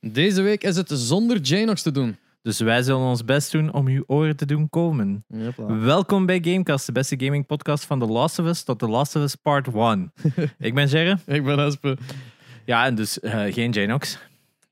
Deze week is het zonder Janox te doen. Dus wij zullen ons best doen om uw oren te doen komen. Ah. Welkom bij Gamecast, de beste gaming podcast van The Last of Us tot The Last of Us Part 1. ik ben Jerry. Ik ben Espe. Ja, en dus eh, geen Janox.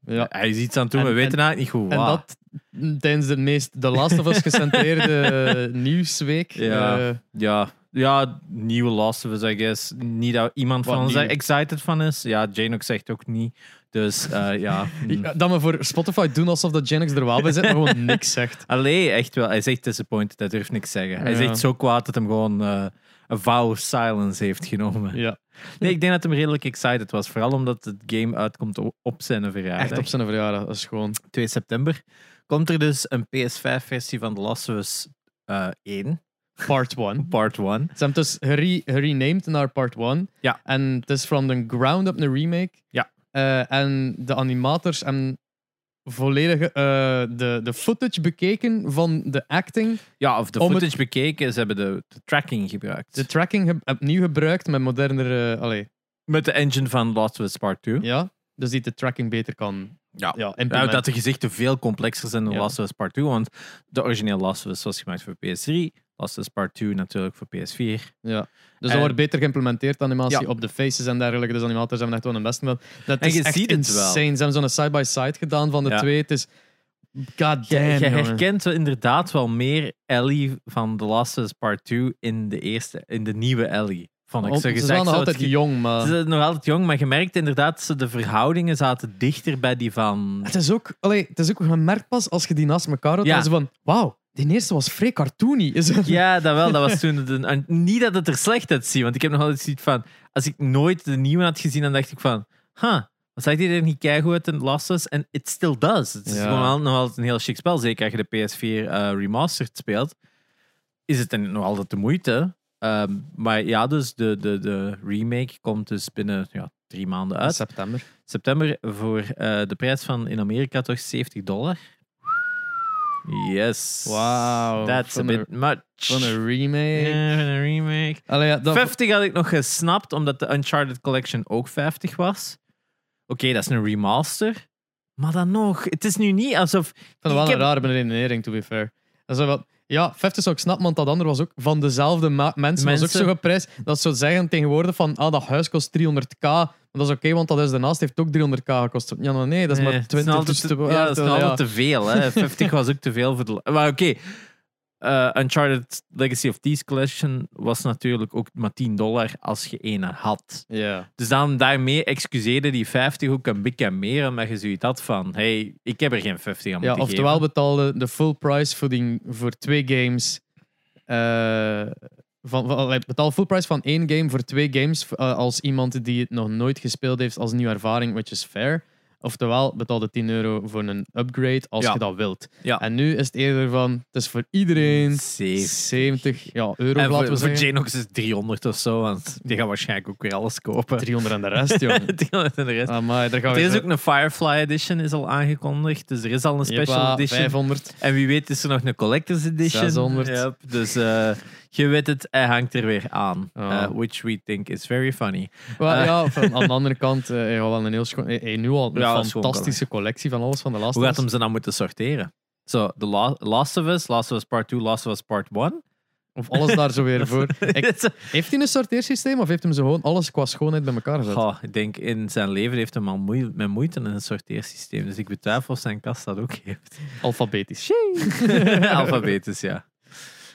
Ja. Hij is iets aan het doen, En- we weten en- eigenlijk niet goed En wat. dat tijdens de meest The Last of Us gecentreerde nieuwsweek. Ja. Eh, Ja. ja, nieuwe Last of Us, I guess. Niet dat iemand Wat van ons nieuw. daar excited van is. Ja, Janox zegt ook niet. Dus eh, ja. hm. ja, dat we voor Spotify doen alsof dat Janox er wel bij zit, maar gewoon niks zegt. Allee, echt wel. Hij is echt disappointed. Hij durft niks zeggen. Hij is Ja. echt zo kwaad dat hem gewoon eh, een vow of silence heeft genomen. Ja, Nee, ik denk dat hem redelijk excited was. Vooral omdat het game uitkomt o- op zijn verjaardag. echt op zijn verjaardag. Dat is gewoon... 2 september. Komt er dus een PS5-versie van The Last of Us eh, 1, Part 1. part 1. Ze hebben het dus gere- gerenamed naar part 1. Ja. En het is from the ground up een remake. Ja. Eh, en de animators hebben volledig eh, de, de footage bekeken van de acting. Ja, of de Om het- footage bekeken, ze hebben de, de tracking gebruikt. De tracking heb, opnieuw gebruikt met modernere... allee, Met de engine van The Last of Us Part 2. ja. Dus die de tracking beter kan Ja. ja, Ja, implementen. dat de gezichten veel complexer zijn dan Ja. Last of Us Part 2, want de originele Last of Us was gemaakt voor PS3, Last of Us Part 2 natuurlijk voor PS4. ja. Dus dat En- wordt beter geïmplementeerd, animatie Ja. op de faces en dergelijke. Dus animators hebben echt wel een best gedaan. Dat En is je echt ziet het wel. insane. Ze hebben zo'n side-by-side gedaan van de Ja. twee. Het is... God Je, damn, je jongen. herkent wel inderdaad wel meer Ellie van The Last of Us Part 2 in de eerste, in de nieuwe Ellie. Vond ik Om- zo ze gezegd. zijn Zo nog het altijd ge- jong, maar... Ze zijn nog altijd jong, maar je merkt inderdaad ze de verhoudingen zaten dichter bij die van. Het is ook, allee, het is ook gemerkt pas als je die naast elkaar houdt. Ja. Ja. ze van, wauw, die eerste was vrij cartoony. Is het- Ja, dat wel. Dat was toen het een, en niet dat het er slecht uitziet, want ik heb nog altijd zoiets van. Als ik nooit de nieuwe had gezien, dan dacht ik van, huh, wat zag die er niet keigoed uit in The Last of Us? En it still does. Het is Ja. gewoon al- nog altijd een heel chic spel, zeker als je de PS4 eh, remastered speelt. Is het dan nog altijd de moeite? Ehm, maar ja, dus de, de, de remake komt dus binnen ja, drie maanden uit. september. september voor eh, de prijs van in Amerika toch 70 dollar. Yes. Wauw, That's a van bit much. Van een remake. Ja, van een remake. Allee, ja, dat, 50 had ik nog gesnapt, omdat de Uncharted Collection ook 50 was. Oké, dat is een remaster. Maar dan nog, het is nu niet alsof... ik vind het wel ik een heb- rare beredenering, to be fair. Dat is wel- ja, 50 zou ik snappen, want dat andere was ook van dezelfde ma- mensen. Dat was Mensen. ook zo geprijsd. Dat ze zeggen tegenwoordig van, ah, dat huis kost 300k. Maar dat is oké, want dat huis daarnaast heeft ook 300k gekost. Ja, maar nee, dat is Nee, maar het is 20. dus altijd te, te- ja, dat is ja. altijd te veel. Hè. 50 was ook te veel voor de... Maar oké, eh, Uncharted Legacy of Thieves Collection was natuurlijk ook maar 10 dollar als je één had. Ja. Dus dan daarmee excuseerde die 50 ook een beetje meer, omdat je zoiets had van: hey, ik heb er geen 50 aan Ja, moeten oftewel geven. betaalde de full price voor, die, voor twee games. eh, van, van, allee, betaal full price van één game voor twee games eh, als iemand die het nog nooit gespeeld heeft als nieuwe ervaring, which is fair. Oftewel, betaalde 10 euro voor een upgrade als Ja. je dat wilt. Ja. En nu is het eerder van, het is voor iedereen 70. 70 ja, euro, laten En we voor, voor zeggen. Janox is het 300 of zo, want die gaan waarschijnlijk ook weer alles kopen. 300 en de rest, jongen. 300 en de rest. Amai, daar gaan Er we is ook een Firefly Edition, is al aangekondigd. Dus er is al een Special Jeppa, Edition. 500. En wie weet is er nog een Collector's Edition. 600. Yep, dus eh, je weet het, hij hangt er weer aan. Oh. Eh, which we think is very funny. Wel, Eh. ja, van, aan de andere kant, eh, je had wel een heel schoon, eh, eh, nu al een Ja, dat is gewoon fantastische collectie van alles van de laatste. Hoe gaat hem ze dan moeten sorteren? Zo, The La- Last of Us, Last of Us Part 2, Last of Us Part 1. Of alles daar zo weer voor. Ik, heeft hij een sorteersysteem of heeft hem zo gewoon alles qua schoonheid bij elkaar gezet? Goh, ik denk in zijn leven heeft hem al moe met moeite in een sorteersysteem. Dus ik betwijfel of zijn kast dat ook heeft. Alfabetisch. Alfabetisch, ja.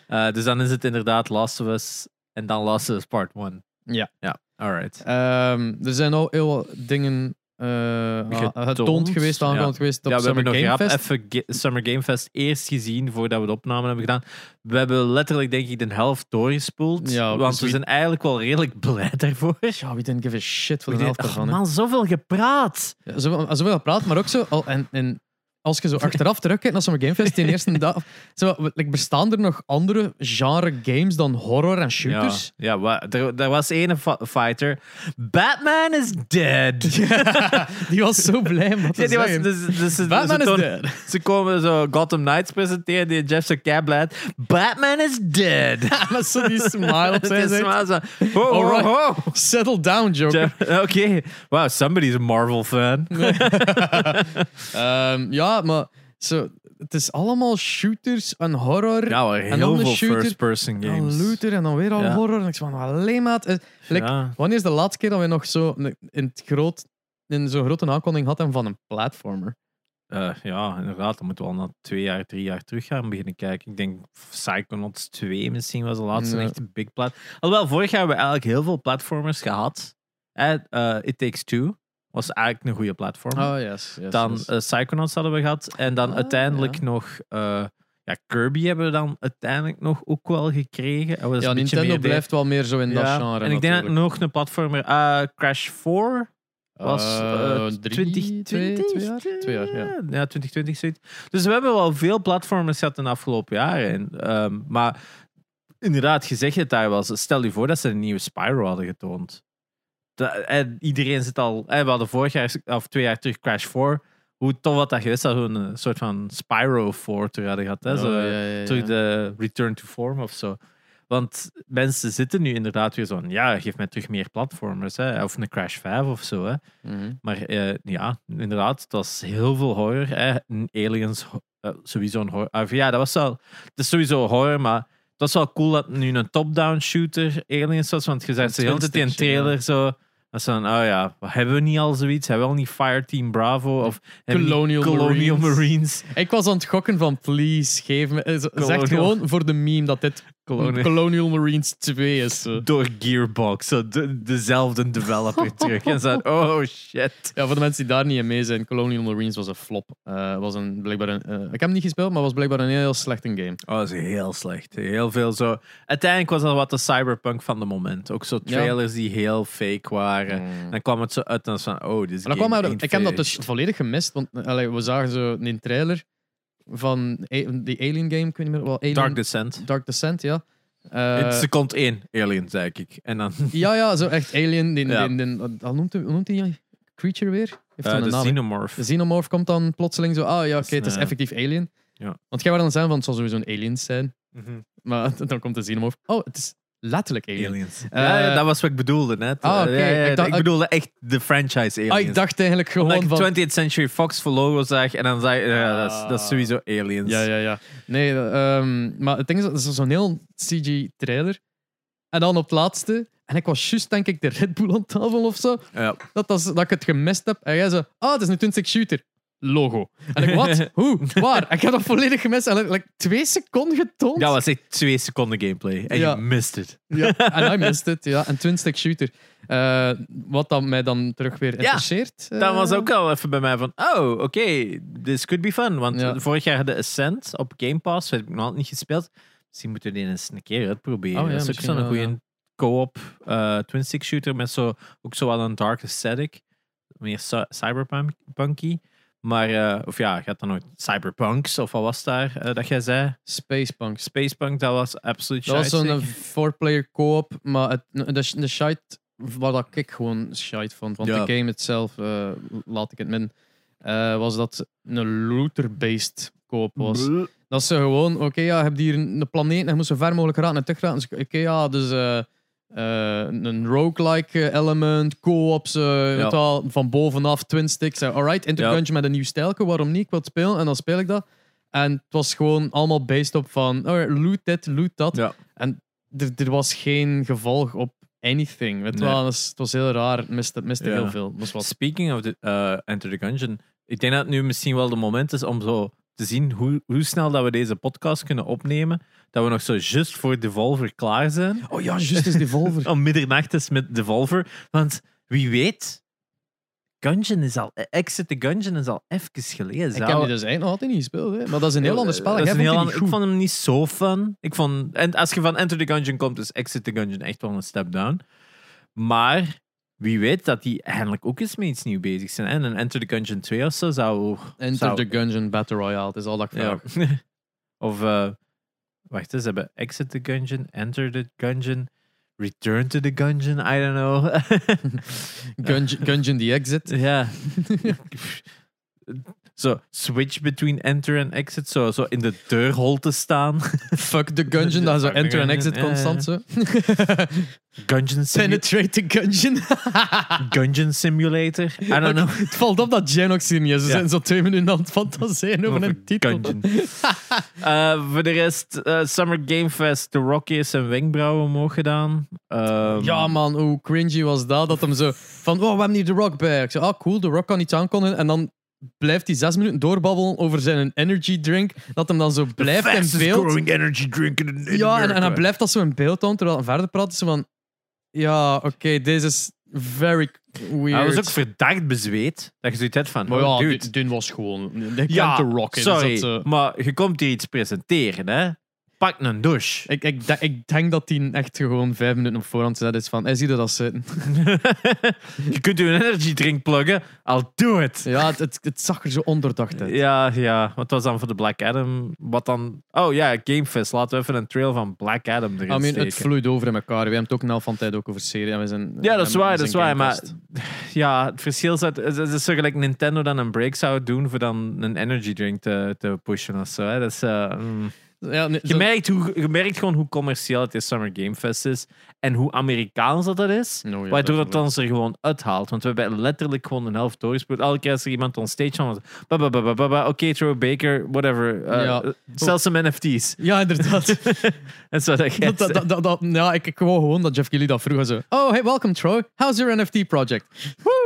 Eh, dus dan is het inderdaad Last of Us en dan Last of Us Part 1. Ja. Ja, alright. Ehm, er zijn al heel wat dingen eh, ah, Getoond, getoond geweest, aangekondigd ja. geweest op ja, we Summer hebben nog Game rap Fest. even Ga- Summer Game Fest eerst gezien voordat we de opname hebben gedaan. We hebben letterlijk, denk ik, de helft doorgespoeld. Ja, want dus we wie- zijn eigenlijk wel redelijk blij daarvoor. Ja, we didn't give a shit voor We de deden- helft oh, ervan. hè. man, zoveel gepraat. Ja, Zoveel zoveel gepraat, maar ook zo... Al, en, en als je zo achteraf terugkijkt naar sommige gamefest in de eerste dag. Zo, we- like, bestaan er nog andere genre games dan horror en Ja, shooters? ja wa- er, er was één fa- fighter. Batman is dead. Die was zo blij om dat te Ja, die was, zeggen. dus, dus, ze- Batman ze is tonen- Ze komen zo Gotham Knights presenteren, die Jeff zijn cab laat. Batman is dead. Met zo die smile op Het zijn is gezicht. maar zo, ho, ho, Alright. ho. Settle down, Joker. Jeff- Oké, wow, somebody's a Marvel fan. Ehm, ja, maar zo, het is allemaal shooters en horror. Ja, maar en dan heel de veel shooter, first-person dan games. looter en dan weer al Ja. horror. En ik zei van, alleen maar... het- eh, like, Ja. Wanneer is de laatste keer dat we nog zo in, het groot, in zo'n grote aankondiging hadden van een platformer? Eh, ja, inderdaad. Dan moeten we al na twee jaar, drie jaar terug gaan beginnen kijken. Ik denk Psychonauts 2 misschien was de laatste Ja. echte big plat. Alhoewel, vorig jaar hebben we eigenlijk heel veel platformers gehad. Eh, eh, It Takes Two was eigenlijk een goede platform. yes. yes dan eh, Psychonauts hadden we gehad. En dan Dus Ah, uiteindelijk ja. nog... eh, ja, Kirby hebben we dan uiteindelijk nog ook wel gekregen. En dat is ja, een beetje Nintendo meer de- blijft wel meer zo in dat Ja, genre. En ik denk dat nog een platformer... eh, Crash 4 was eh, 2020? Twee jaar? Twee jaar, ja. 2020 zoiets. Dus we hebben wel veel platformers gehad in de afgelopen jaren. En, ehm, maar inderdaad, gezegd het daar was. Stel je voor dat ze een nieuwe Spyro hadden getoond. Da- en iedereen zit al. En we hadden vorig jaar of twee jaar terug Crash 4. Hoe tof wat dat geweest dat we een soort van Spyro 4 terug hadden gehad. Hè? Zo, Oh, Ja, ja, ja, ja. eh, Terug de Return to Form of zo. Want mensen zitten nu inderdaad weer zo van, ja, geef mij terug meer platformers. Hè? Of een Crash 5 of zo. Hè? Mhm. Maar eh, ja, inderdaad, het was heel veel horror. Hè. Een Aliens, ho- eh, sowieso een horror. of ja, dat was wel. Het is sowieso horror, maar het was wel cool dat het nu een top-down shooter Aliens was. Want je zegt ze heel de hele tijd in een twinstietje, trailer zo. Dat ze dan, oh ja, wat hebben we niet al zoiets? Hebben we al niet Fireteam Bravo? Of hebben we niet Colonial Colonial Marines. Marines? Ik was aan het gokken van, please, geef me... eh, zo- Zeg Colonial. gewoon voor de meme dat dit Colonial. Colonial, Marines 2 is. zo. Door Gearbox, zo de- dezelfde developer terug. En ze dan, oh shit. Ja, voor de mensen die daar niet in mee zijn, Colonial Marines was een flop. Eh, was een, blijkbaar een, eh, ik heb hem niet gespeeld, maar was blijkbaar een heel slechte game. Oh, dat is heel slecht. Heel veel zo. Uiteindelijk was dat wat de cyberpunk van de moment. Ook zo trailers die heel fake waren. Dan kwam het zo uit en dan is van, oh, dit is Maar Mm. dan kwam er- ik heb dat dus volledig gemist, want eh, allee, we zagen zo een trailer van A- die Alien game, ik weet niet meer wat. Alien- Dark Descent. Dark Descent, ja. Eh, Het Second 1, Alien, zei ik. En dan ja, ja, zo echt Alien. Die, Ja. die, die, hoe noemt hij- hoe noemt hij Creature weer? Heeft eh, dan een de naam, hè? Xenomorph. De Xenomorph komt dan plotseling zo, ah ja, oké, is het is een- effectief Alien. Ja. Want jij waren dan zijn van, het zal sowieso een Aliens zijn. Mhm. Maar dan komt de Xenomorph, oh, het is letterlijk Alien. Aliens. Eh, ja, ja, dat was wat ik bedoelde net. ah, Eh, oké. ja, ja, ja, Ik ik, dacht- ik- bedoelde echt de franchise Aliens. Ah, ik dacht eigenlijk gewoon Omdat ik van... 20th Century Fox voor logo zag en dan zei ik, ja, dat, is, dat is sowieso Aliens. Ja, ja, ja. Nee, ehm, maar het ding is, dat is zo'n heel CG-trailer. En dan op het laatste, en ik was juist, denk ik, de Red Bull aan tafel of zo, Ja. dat, dat, dat ik het gemist heb. En jij zo, ah, het is een 20 shooter. Logo. En ik, wat? Hoe? Waar? En ik heb dat volledig gemist. En like, twee seconden getoond. Dat was echt twee seconden gameplay. En Ja. je missed het. Ja, en I missed it. Ja, een twin-stick shooter. Eh, wat dan mij dan terug weer interesseert. Dat was eh, ook al even bij mij van, oh, oké, this could be fun. Want Ja. vorig jaar de Ascent op Game Pass, heb ik nog altijd niet gespeeld. Misschien moeten we die eens een keer uitproberen. Oh ja, dat is ook misschien zo'n wel, goede co-op twin-stick shooter met zo, ook zo wel een dark aesthetic. Meer cy- cyberpunky. Maar, eh, of ja, gaat dan nooit cyberpunks, of wat was daar eh, dat jij zei? Spacepunks. Spacepunk, dat was absoluut Dat was shite, zo'n zeg. four-player co-op, maar het, de, de shite, wat dat ik gewoon shite vond, want Ja. de game itself, eh, laat ik het min, eh, was dat een looter-based co-op was. Dat ze gewoon, oké, ja, je hebt hier een een planeet en je moet zo ver mogelijk raken en terug raken. Dus, oké, ja, dus eh, eh, een roguelike eh, element, co-ops, eh, weet wel, van bovenaf, twin sticks. eh, Alright, intercrunch met een nieuw stijlke, waarom niet? Ik wil het spelen en dan speel ik dat. En het was gewoon allemaal based op van, alright, loot dit, loot dat. Ja. En er, er was geen gevolg op anything. Weet je Nee. wel? Dus het was heel raar. Het miste, het miste Ja. heel veel. Dat was wat. Speaking of the, eh, Enter the Gungeon, ik denk dat het nu misschien wel de moment is om zo te zien hoe, hoe snel dat we deze podcast kunnen opnemen. Dat we nog zo just voor Devolver klaar zijn. Oh ja, juist is Devolver. Om middernacht is met Devolver. Want wie weet, Gungeon is al, Exit the Gungeon is al even geleden. ik Zou- heb die dus eigenlijk nog altijd niet gespeeld. Hè? Maar dat is een heel ander spel. Eh, Dat Jij is een vond heel die niet ander- ik goed. vond hem niet zo fun. Ik vond, en als je van Enter the Gungeon komt, is Exit the Gungeon echt wel een step down. Maar Wie weet dat die eindelijk ook eens met iets nieuws bezig zijn. hè. En een Enter the Gungeon 2 of zo zou... Enter zou- the Gungeon Battle Royale, dat is al dat ik Ja. vraag. of, eh, wacht eens, ze hebben Exit the Gungeon, Enter the Gungeon, Return to the Gungeon, I don't know. Gungeon, Gungeon The Exit. ja. Zo, switch between enter en exit, zo, zo in de deurholte staan. Fuck the Gungeon, dat is zo Fuck the enter en Gungeon, exit ja, ja, ja. constant zo. Gungeon, simu- Penetrate the Gungeon. Gungeon Simulator, I don't know. Het valt op dat Jan ook serieus is. Ze Ja. zijn zo twee minuten aan het fantaseren over een titel. Gungeon. Eh, voor de rest, eh, Summer Game Fest, The Rocky is zijn wenkbrauwen omhoog gedaan. Ehm, Ja, man, hoe cringy was dat? Dat hem zo van, oh, we hebben hier The Rock bij. Ik zei, ah, cool, The Rock kan iets aankondigen. En dan blijft hij zes minuten doorbabbelen over zijn energy drink. Dat hem dan zo blijft in fastest beeld. growing energy drink in, in Ja, en, en hij America. blijft dat zo in beeld dan, terwijl hij verder praat. Zo van, ja, oké, deze is very weird. Hij was ook verdacht bezweet. Dat je zoiets hebt van, maar oh, ja, dude. dit, dit was gewoon... Dit Ja, kent The Rock. hè, dus sorry, dat, eh, maar je komt hier iets presenteren, hè. Pak een douche. ik, ik, de- ik denk dat hij echt gewoon vijf minuten op voorhand zet is van, hij ziet dat zitten. je kunt je een energy drink pluggen. I'll do it. Ja, het, het, het zag er zo onderdacht uit. Ja, ja. Wat was dan voor de Black Adam? Wat dan? Oh ja, Gamefest. Laten we even een trail van Black Adam erin I mean, het steken. vloeit over in elkaar. We hebben het ook na van tijd ook over serie. En we zijn, Ja, dat is en- waar, en dat is zijn waar, Gamecast. Ja, het verschil is dat het het is zo gelijk Nintendo dan een break zou doen voor dan een energy drink te, te pushen of zo. Hè. Dat is, eh, mm. Ja, nee, je, zo- merkt hoe, je merkt gewoon hoe commercieel het is Summer Game Fest is en hoe Amerikaans dat, dat is. Nou ja, waardoor dat dat ons er gewoon uithaalt. Want we hebben letterlijk gewoon een helft doorgespeeld. Elke keer als er iemand on stage kwam, was het ba, ba, ba, ba, ba, ba, oké, Troy Baker, whatever. eh, Ja. eh, Sell some NFT's. Ja, inderdaad. En zo dat jij dat, dat, dat, dat- ja, ik, ik wou gewoon dat Jeff Keighley dat vroeg. en Zo. Oh, hey, welcome Troy. How's your NFT project? Woe!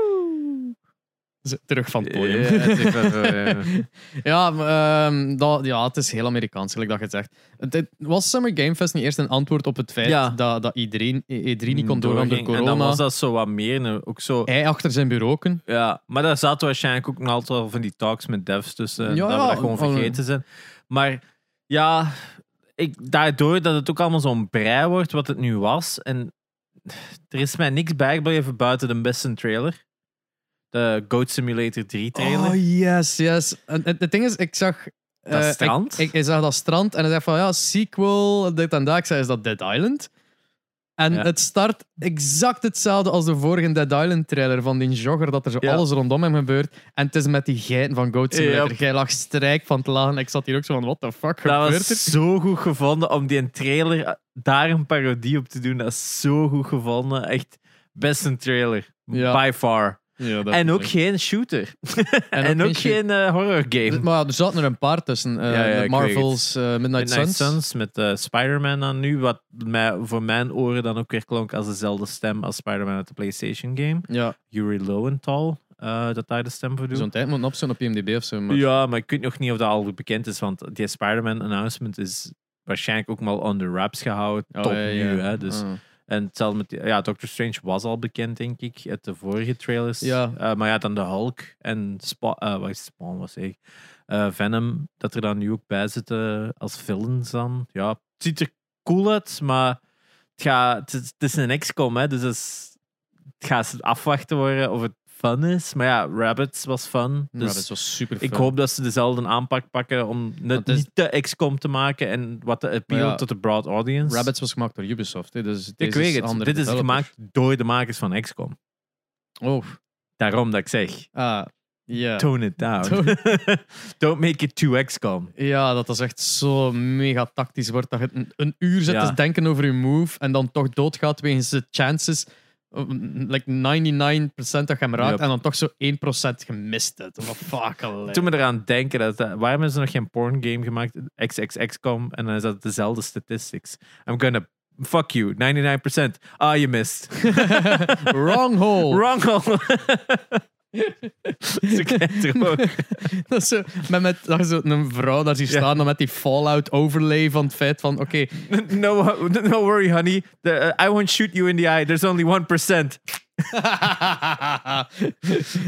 Zo, Terug van het podium. Ja, het is wel zo, ja. Ja, maar, ehm, dat, ja, het is heel Amerikaans, gelijk dat je het zegt. Het, het was Summer Game Fest niet eerst een antwoord op het feit Ja. dat, dat iedereen E- E3 niet kon doorgaan door doorging. corona? En dan was dat zo wat meer. en Ook zo, Hij achter zijn bureau kunnen. ja. Maar daar zaten waarschijnlijk ook nog altijd wel van die talks met devs tussen. en Ja, dat we ja, dat gewoon van- vergeten zijn. Maar ja, ik, daardoor dat het ook allemaal zo'n brei wordt wat het nu was. En er is mij niks bijgebleven buiten de beste trailer. De Goat Simulator 3 trailer. Oh, yes, yes. En het het ding is, ik zag... Dat eh, strand? Ik, ik, ik zag dat strand en hij zegt van, ja, sequel, dit en dat. Ik zei, is dat Dead Island? En Ja. het start exact hetzelfde als de vorige Dead Island trailer van die jogger, dat er zo Ja. alles rondom hem gebeurt. En het is met die geiten van Goat Simulator. Yep. Jij lag strijk van te lachen. Ik zat hier ook zo van, what the fuck dat gebeurt er? was zo goed gevonden om die trailer eh, daar een parodie op te doen. Dat is zo goed gevonden. Echt beste trailer. Ja. By far. Ja, dat En is ook het. geen shooter. En, ook ook geen geen eh, horror game. Dus, Maar er zaten er een paar tussen. eh, Ja, ja, de ik weet Marvel's eh, Midnight, Midnight Suns. Suns met eh, Spider-Man dan nu. Wat mij, voor mijn oren dan ook weer klonk als dezelfde stem als Spider-Man uit de PlayStation game. Ja, Yuri Lowenthal, eh, dat daar de stem voor doet. zo'n tijd moet op zo'n op IMDb of zo. maar- Ja, maar ik weet nog niet of dat al bekend is, want die Spider-Man announcement is waarschijnlijk ook maar on the wraps gehouden Oh, tot ja, ja. nu. Hè, dus. Ah. En hetzelfde met, die- ja, Doctor Strange was al bekend, denk ik, uit de vorige trailers. Ja. Eh, maar ja, dan de Hulk en Spa eh, wat is Spawn, was ik. Eh, Venom, dat er dan nu ook bij zitten als villains dan. Ja, het ziet er cool uit, maar het, gaat, het, is, het is een XCOM, hè, dus het, is- het gaat afwachten worden of het fun is. Maar ja, Rabbits was fun. Dus ja, dat was super ik hoop dat ze dezelfde aanpak pakken om het Want het is- niet te XCOM te maken en wat de appeal Maar ja, tot de broad audience. Rabbits was gemaakt door Ubisoft. Hè, dus Ik deze weet is het. andere Dit is developer. gemaakt door de makers van XCOM. Oh, Daarom dat ik zeg, ah, ja. tone it down. Don't make it too XCOM. Ja, dat is echt zo mega tactisch wordt. Dat je een, een uur zit Ja. te denken over je move en dan toch doodgaat wegens de chances. eh, Like 99% dat je hem raakt Yep. en dan toch zo 1% gemist hebt. Wat fuck, allee. Toen me eraan denken, dat, dat- waarom hebben ze nog geen porn game gemaakt? XXXCOM en dan is dat dezelfde statistics. I'm gonna fuck you, 99%. Ah, you missed. Wrong hole. Wrong hole. Ze kent er ook. Dat is zo, met, met dat je zo een vrouw daar ziet Ja. staan, dan met die fallout overlay van het feit van: oké, No, no worry, honey. The- eh, I won't shoot you in the eye. There's only 1%.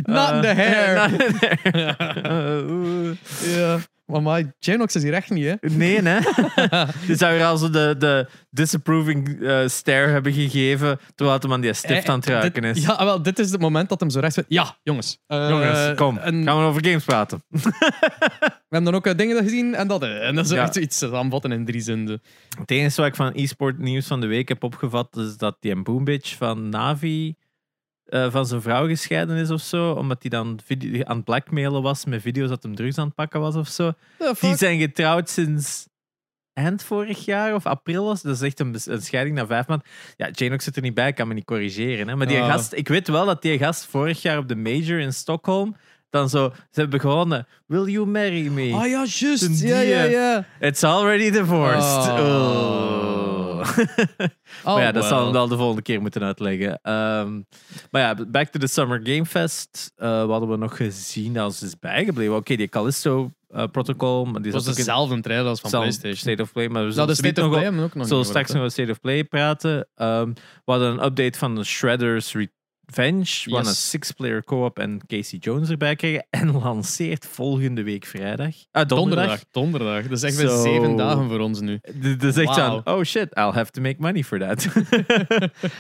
not in the hair. Eh, Uh, Not in the hair. Ja. Amai, Genox is hier echt niet, hè? Nee, hè? Je zou hier al zo de, de disapproving eh stare hebben gegeven. terwijl hem aan die stift aan het Eh, ruiken dit- is. Ja, wel, dit is het moment dat hem zo recht zit. Ja, jongens. Eh, Jongens, kom. en Gaan we over games praten? We hebben dan ook eh, dingen gezien en dat. eh, en dat is Ja. echt iets samenvatten in drie zinnen. Het enige wat ik van e-sport nieuws van de week heb opgevat. is dat die Boombitch van Navi. eh, van zijn vrouw gescheiden is of zo. Omdat hij dan video- aan het blackmailen was. met video's dat hem drugs aan het pakken was of zo. Ja, Die zijn getrouwd sinds eind vorig jaar of april was. Dat is echt een, bes- een scheiding na vijf maanden. Ja, Janox zit er niet bij, kan me niet corrigeren. Hè? Maar die Ah. gast, ik weet wel dat die gast vorig jaar op de major in Stockholm dan zo, ze hebben gewonnen. Will you marry me? Ah ja, juist. Die, Ja, ja, eh, ja. It's already divorced. Oh. Oh. Oh, maar ja, dat zal hem wel. wel de volgende keer moeten uitleggen. Ehm, maar ja, back to the Summer Game Fest. Eh, wat hadden we nog gezien dat ons is dus bijgebleven? Oké, die Callisto eh, protocol. Maar die Het zat was ook in- dezelfde trailer als van Zal PlayStation. State of Play, maar we Zou zullen de straks State of nog Play wel- hem ook nog zullen niet straks worden, nog over State of Play praten. Ehm, we hadden een update van Shredder's Revenge. We hadden een Yes. six-player co-op en Casey Jones erbij kregen. En lanceert volgende week vrijdag. Ah, hè? donderdag. Donderdag. Donderdag. Dat is echt weer Zo. zeven dagen voor ons nu. D- Dat is echt Wauw. zo'n, oh shit, I'll have to make money for that.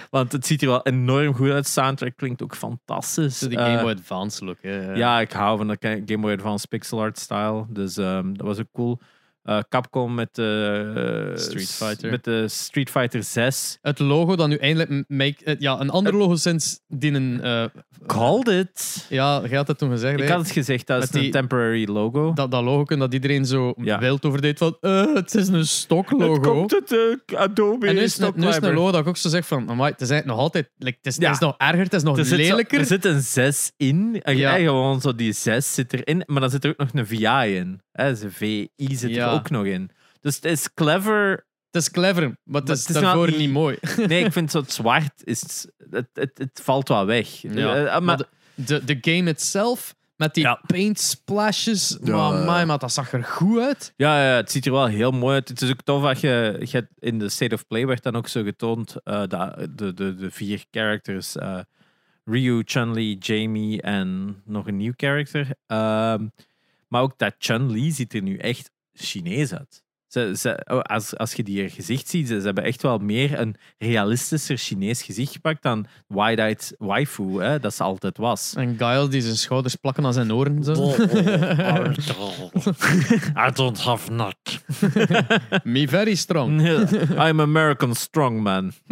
Want het ziet er wel enorm goed uit. Soundtrack klinkt ook fantastisch. Zo die Eh, Game Boy Advance look. hè. Ja, ik hou van de Ga- Game Boy Advance pixel art style. Dus ehm, dat was ook cool. Eh, Capcom met de Street Fighter. Met de Street Fighter 6. Het logo dat nu eindelijk m- make, eh, ja, een ander logo sinds die een. eh, Called it. ja, jij had dat toen gezegd. Ik hè? had het gezegd, dat is Met een die- temporary logo. dat, dat logo en dat iedereen zo Ja. wild over deed van eh, het is een Het stoklogo. komt uit de Adobe En nu is, Stock nu is het een Library. logo dat ik ook zo zeg van amai, het is eigenlijk nog altijd, like, het, is, Ja. het is nog erger, het is nog Er zit, zo- lelijker. er zit een 6 in. En Ja. en gewoon zo die 6 zit erin. Maar dan zit er ook nog een VI in. Hè, dus Zijn VI zit Ja. er ook nog in. Dus het is clever het is clever, maar het is het is nou- daarvoor wel- niet mooi. Nee, ik vind zo het zwart is. Het, het, het valt wel weg. Ja, Eh, eh, maar, maar de, de, de game itself, met die Ja. paint splashes, Ja. maar amai, maar dat zag er goed uit. ja, ja, het ziet er wel heel mooi uit. Het is ook tof dat je, je hebt- in de State of Play werd dan ook zo getoond eh, dat de, de, de vier characters: eh, Ryu, Chun-Li, Jamie en nog een nieuw character. Ehm, maar ook dat Chun-Li ziet er nu echt Chinees uit. Ze, ze, oh, als, als je die haar gezicht ziet, ze, ze hebben echt wel meer een realistischer Chinees gezicht gepakt dan wide-eyed waifu, hè, dat ze altijd was. En Guile die zijn schouders plakken aan zijn oren. Zo. I don't have nut. Me very strong. I'm American strongman.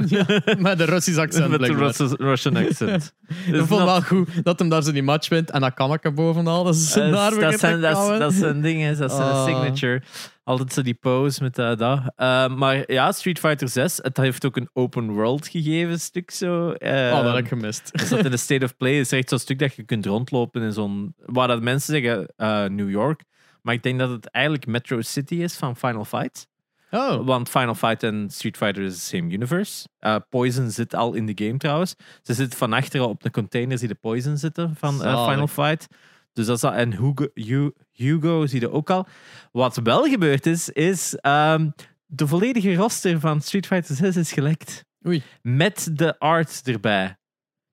met een Russisch accent. Met een blijkbaar. Russisch- Russian accent. Ik Is vond not- wel goed dat hem daar zo die match wint en dat kammetje bovenal. Dat is eh, daar begint dat, te zijn, dat, is- kammen. dat zijn dingen, dat is zijn Ah. signature. Altijd zo die pose met dat. dat. Eh, maar ja, Street Fighter 6, het heeft ook een open world gegeven stuk zo. Eh, Oh, dat heb ik gemist. Dus dat in de State of Play is er echt zo'n stuk dat je kunt rondlopen in zo'n... Waar dat mensen zeggen eh, New York. Maar ik denk dat het eigenlijk Metro City is van Final Fight. Oh, Want Final Fight en Street Fighter is the same universe. Eh, poison zit al in de game trouwens. Ze zit van achteren op de containers die de Poison zitten van eh, Zalig. Final Fight. Dus dat is al, en Hugo, Hu- Hugo zie je ook al. Wat wel gebeurd is, is ehm, de volledige roster van Street Fighter 6 is gelekt. Oei. Met de art erbij.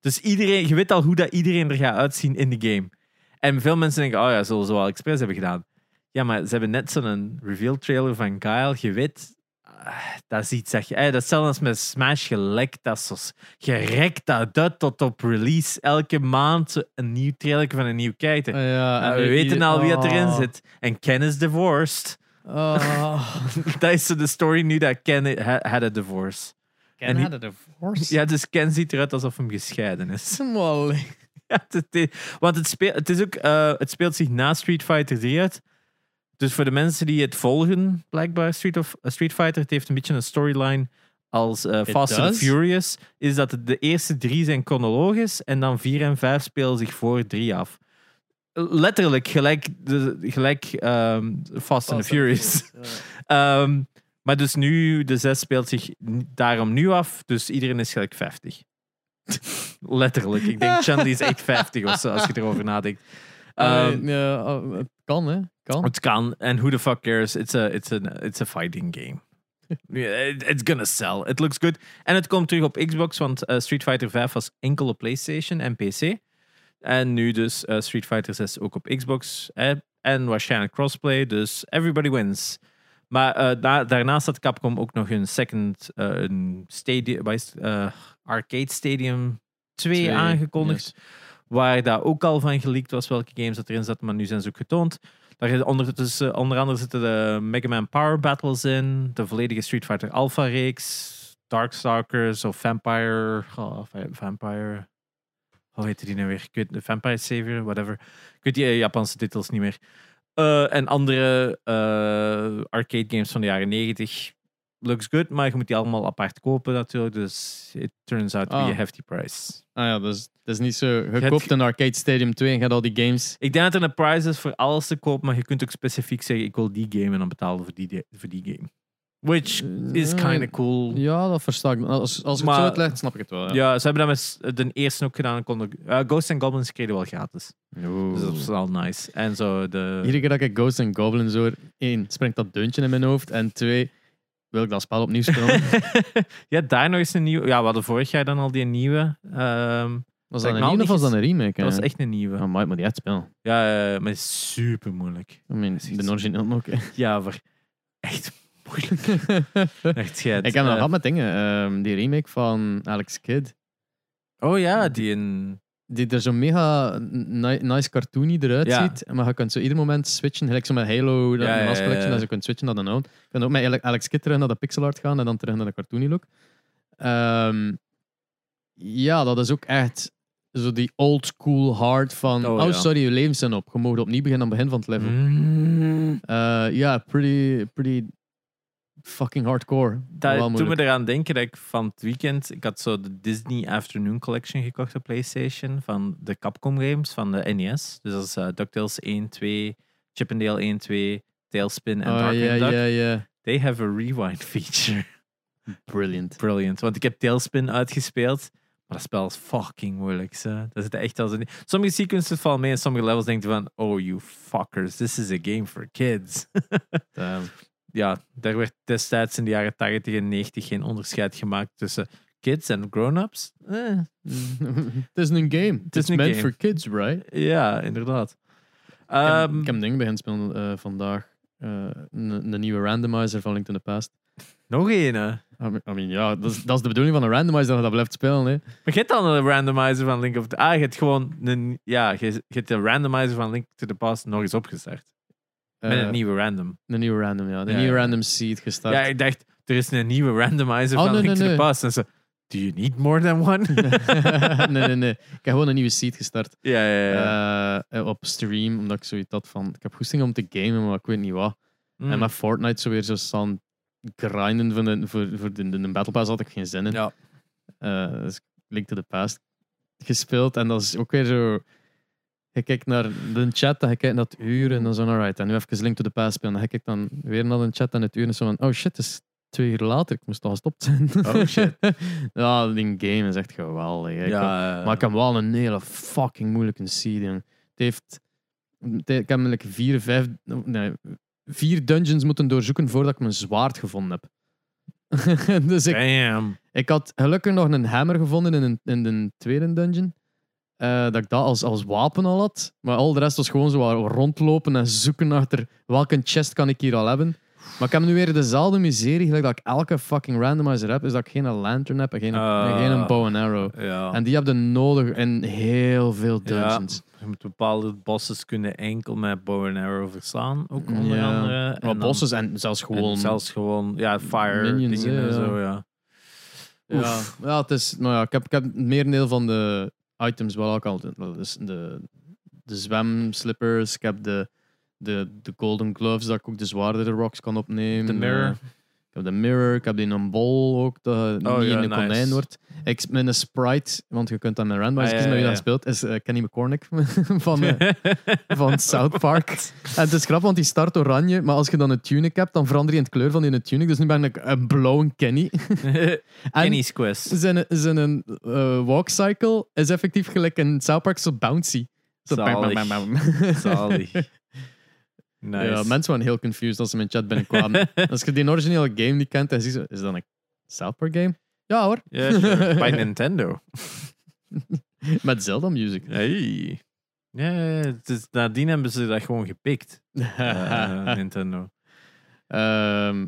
Dus iedereen, je weet al hoe dat iedereen er gaat uitzien in de game. En veel mensen denken, oh ja, zullen ze wel expres hebben gedaan. Ja, maar ze hebben net zo'n reveal trailer van Kyle. Je weet, ah, dat is iets dat je... eh, Dat is zelfs als met Smash gelekt. Dat is zo's- je rekt dat uit tot op release. Elke maand een nieuw trailer van een nieuw kijker. Oh ja, Nou, en we die- weten al wie oh. dat erin zit. En Ken is divorced. Oh. dat is de story nu dat Ken ha- had a divorce. En die- Canada Force? Ja, dus Ken ziet eruit alsof hem gescheiden is. Molly. Ja, het- het- want het, speel, het, is ook, eh, het speelt zich na Street Fighter 3 uit. Dus voor de mensen die het volgen, blijkbaar Street, of, eh, Street Fighter, het heeft een beetje een storyline als eh, Fast and does? Furious. Is dat het de eerste drie zijn chronologisch en dan vier en vijf spelen zich voor drie af. Letterlijk, gelijk, de, gelijk ehm, Fast and the Furious. Ehm, maar dus nu, de zes speelt zich n- daarom nu af, dus iedereen is gelijk 50. Letterlijk. Ik denk Chun-Li is echt 50 of zo, als je erover nadenkt. Ehm, Allee, Ah, ja, oh, het kan, hè? Kan. Het kan, en who the fuck cares? It's a, it's a, it's a fighting game. Yeah, it- It's gonna sell. It looks good. En het komt terug op Xbox, want eh, Street Fighter 5 was enkel op PlayStation en PC. En nu dus eh, Street Fighter 6 ook op Xbox. Eh, En waarschijnlijk crossplay, dus everybody wins. Maar eh, da- daarnaast had Capcom ook nog hun second eh, een stadium, wat is het? Eh, Arcade Stadium 2, Twee, aangekondigd. Waar daar ook al van geleakt was welke games dat erin zaten, maar nu zijn ze ook getoond. Daar zit ondertussen, onder andere zitten de Mega Man Power Battles in, de volledige Street Fighter Alpha reeks, Darkstalkers of Vampire. oh, va- Vampire. Hoe heette die nou weer? Ik weet- de Vampire Savior, whatever. Ik weet die eh, Japanse titels niet meer. Eh, en andere eh, arcade games van de jaren 90. Looks good, maar je moet die allemaal apart kopen natuurlijk. Dus it turns out to be Ah. a hefty price. Ah ja, dus het is niet zo. Je hebt koopt ge- een Arcade Stadium 2 en gaat al die games. Ik denk dat er een price is voor alles te kopen, maar je kunt ook specifiek zeggen: ik wil die game en dan betalen voor die, de- voor die game. Which is Eh, Ja, kind of cool. Ja, dat versta ik. Als, als je Maar- het zo uitlegt, snap ik het wel. Ja. Ja, ze hebben dat met s- de eerste ook gedaan. en Konden, eh, Ghosts and Goblins kregen wel gratis. Dus dat is wel nice. En zo de. Iedere keer dat ik Ghosts and Goblins hoor, één, springt dat deuntje in mijn hoofd. En twee, wil ik dat spel opnieuw spelen. ja, daar nog eens een nieuwe. Ja, we hadden vorig jaar dan al die nieuwe. ehm, Was Zeg, dat een nou, nieuwe of was niet dat een remake? dat was echt een nieuwe. Oh, maar ik moet die echt spelen. Ja, eh, maar het is super moeilijk. I mean, iets- de origineel ook. Ja, voor echt moeilijk. Echt schijt. ik heb nog Eh, gehad met dingen. ehm, die remake van Alex Kidd. Oh ja, die in. Die er zo mega ni- nice cartoony eruit Ja. ziet. Maar je kunt zo ieder moment switchen. Gelijk zo met Halo, dat Ja, een ja, mass ja, collection. ja. Dat je kunt switchen naar de own. Je kunt ook met Ale- Alex Kidd terug naar de pixel art gaan. En dan terug naar de cartoony look. Ehm, ja, dat is ook echt zo die old school hard van... Oh, Oh, ja. Mhm. sorry, je levens zijn op. Je mag opnieuw beginnen aan het begin van het level. Mm, Eh, ja, pretty, pretty fucking hardcore. dat Wel doet me moeilijk. eraan denken dat ik van het weekend. Ik had zo de Disney Afternoon Collection gekocht op PlayStation. Van de Capcom games van de NES. Dus dat is eh, DuckTales 1, 2, Chip 'n Dale 1, 2, Tailspin en Oh, Darkwing ja, Duck. ja, ja. They have a rewind feature. Brilliant. Brilliant. Want ik heb Tailspin uitgespeeld. Maar dat spel is fucking moeilijk. Ze. Dat zit echt als een... Sommige sequences vallen mee en sommige levels denk je van... Oh, you fuckers. This is a game for kids. Ehm, ja, daar werd destijds in de jaren 80 en 90 geen onderscheid gemaakt tussen kids en grown-ups. Eh, Het is een game. Het is is een meant game. for kids, right? ja, inderdaad. Ik heb- Ehm, ik heb een ding beginnen spelen eh, vandaag. Eh, een een nieuwe randomizer van Link to the Past. nog één. hè. I mean, I mean, ja, dat is, dat is de bedoeling van een randomizer dat je dat blijft spelen. Hè. Maar je hebt dan een randomizer van Link of the... Ah, je hebt gewoon een... Ja, je, je hebt de randomizer van Link to the Past nog eens opgestart. Met Eh, een nieuwe random. de nieuwe random, ja. De Ja, nieuwe ja. random seed gestart. Ja, ik dacht, er is een nieuwe randomizer Oh, van nee, Link nee, to the nee. Past. En ze, do you need more than one? nee, nee, nee. Ik heb gewoon een nieuwe seed gestart. ja, ja, ja. Eh, op stream, omdat ik zoiets had van... Ik heb goesting om te gamen, maar ik weet niet wat. Mm. Eh, En met Fortnite zo weer zo staan grinden van de, voor, voor de, de, de Battle Pass had ik geen zin in. Ja. Eh, dus Link to the Past gespeeld. En dat is ook weer zo... Je kijkt naar de chat, dan je kijkt naar het uur en dan zo, alright, en nu even Link to the Past spelen. Dan kijk ik dan weer naar de chat en het uur en zo van, oh shit, het is twee uur later, ik moest al gestopt zijn. Oh, shit. ja, die game is echt geweldig. hè. Ik heb- ja, eh, maar ik heb wel een hele fucking moeilijke seed, jong. Het heeft... het- Ik heb like vier, vijf... Nee, vier dungeons moeten doorzoeken voordat ik mijn zwaard gevonden heb. dus ik, Damn. ik had gelukkig nog een hammer gevonden in, een, in de tweede dungeon. eh, dat ik dat als, als wapen al had. Maar al de rest was gewoon zo wat rondlopen en zoeken achter welke chest kan ik hier al hebben. Maar ik heb nu weer dezelfde miserie gelijk dat ik elke fucking randomizer heb. Is dat ik geen lantern heb en geen, Ah. en geen bow and arrow. Ja. En die heb je nodig in heel veel dungeons. Je moet bepaalde bosses kunnen enkel met bow and arrow verslaan, ook onder Mm, Ja. andere. En Maar dan- bosses en zelfs en gewoon... zelfs gewoon, ja, fire minions, dingen hè, en ja. zo, ja. Ja, Oef. ja, het is, nou ja ik, heb, ik heb het merendeel van de items wel ook al. wel, Dus de, de zwemslippers, ik heb de, de, de golden gloves, dat ik ook de zwaardere rocks kan opnemen. De mirror. Eh, ik heb de mirror, ik heb die een bol ook, dat je Oh niet ja, in een nice. konijn wordt. Ik, mijn sprite, want je kunt dat met random Ah, kiezen ja, met wie ja, dat ja. speelt, is eh, Kenny McCormick van, eh, van South Park. En het is grappig, want die start oranje, maar als je dan een tunic hebt, dan verander je in het kleur van die een tunic. Dus nu ben ik een blauwe Kenny. En- Kenny's Quest. zijn, zijn eh walkcycle is effectief gelijk een South Park zo bouncy. Zo bang, bang, bang, bang. Zalig. Nice. Ja, mensen waren heel confused als ze mijn chat binnenkwamen. als je die originele game niet kent, dan zie je zo, is dat een South Park game? Ja hoor, Ja, sure. Bij Nintendo. met Zelda music. Hey. Ja, ja, ja, het is, nadien hebben ze dat gewoon gepikt, eh, Nintendo. Ehm,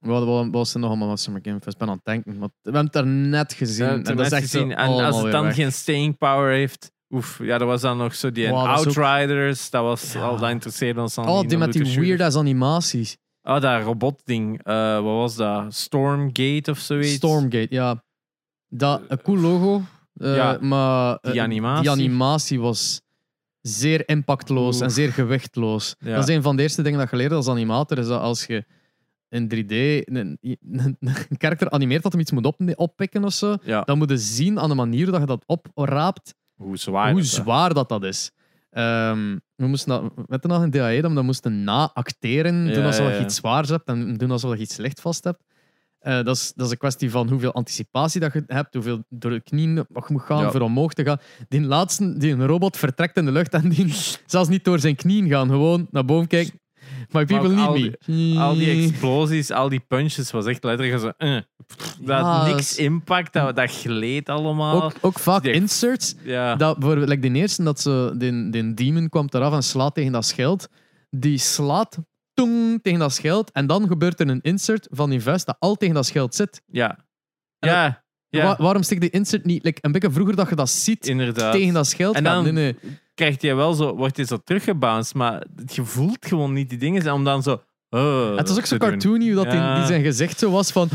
wat, wat, wat was er nog allemaal van Summer Game Fest? Ik ben aan het denken. Want we hebben het daar net gezien. Ja, en het dat is net echt gezien. zo en als allemaal het weer dan weg. geen staying power heeft, oef, ja, er was dan nog zo die en Wow, dat is ook- Outriders, dat was Ja. al, dat interesseerde ons dan Oh, niet, die dan met doet die de shooter. weird-ass animaties. Oh, dat robotding, eh, wat was dat? Stormgate of zoiets? Stormgate, ja. Dat, een cool logo. eh, Ja, maar eh, die animatie. die animatie was zeer impactloos en Oef. zeer gewichtloos. Ja. Dat is een van de eerste dingen dat je leert als animator. Is dat als je in 3D een, een, een karakter animeert dat hem iets moet op, oppikken of zo, Ja, dan moet je zien aan de manier dat je dat opraapt hoe zwaar. hoe dat, hè. zwaar dat, dat is. Ehm, we moesten dat, weet je nog in DAE, E dat we dat moesten na-acteren, Ja, doen alsof ja, je ja. iets zwaars hebt en doen alsof je iets licht vast hebt. Eh, dat, is, dat is een kwestie van hoeveel anticipatie dat je hebt, hoeveel door de knieën mag moet gaan Ja. voor omhoog te gaan. Die laatste, die een robot vertrekt in de lucht en die zelfs niet door zijn knieën gaan, gewoon naar boven kijken. My people ook need al me. Al die explosies, al die punches was echt letterlijk zo. eh, pff, dat Ja, had dat niks is- impact, dat, dat gleed allemaal. ook, ook vaak Die- inserts ja. Dat, bijvoorbeeld, like de eerste, dat ze, die, die demon kwam eraf en slaat tegen dat schild. Die slaat tong, tegen dat schild. En dan gebeurt er een insert van die vuist dat al tegen dat schild zit. ja. En Ja, ja, Wa- waarom stikt die insert niet like, een beetje vroeger dat je dat ziet inderdaad. tegen dat schild? En gaan? dan- Nee, nee. Krijgt hij wel zo, wordt hij zo teruggebounced, maar je voelt gewoon niet die dingen. En om dan zo. eh, Het was ook zo te doen. cartoony hoe dat die- Ja. die zijn gezicht zo was van...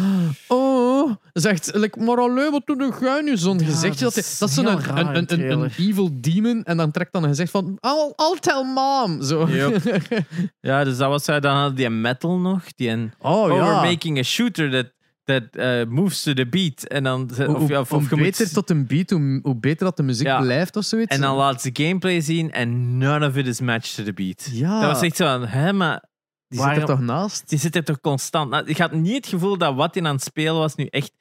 Oh, zegt, like, maar allee, wat doe jij nu? Zo'n Ja, gezichtje. dat Dat, is dat is zo'n heel een, raar een, een, een, trailer. evil demon. En dan trekt dan een gezicht van... I'll, I'll tell mom. Zo. Yep. Ja, dus dat was hij. Dan had die metal nog. Die en, Oh, ja. oh, we're making a shooter that, that eh, moves to the beat. En dan, ze- Hoe- Eh, of, hoe- ja, of, hoe of je moet- beter tot een beat, hoe, hoe beter dat de muziek Ja. blijft of zoiets. en dan laat ze gameplay zien en none of it is matched to the beat. Ja. Dat was echt zo van, hè, maar die waarom- zit er toch naast? die zit er toch constant. na- Ik had niet het gevoel dat wat hij aan het spelen was nu echt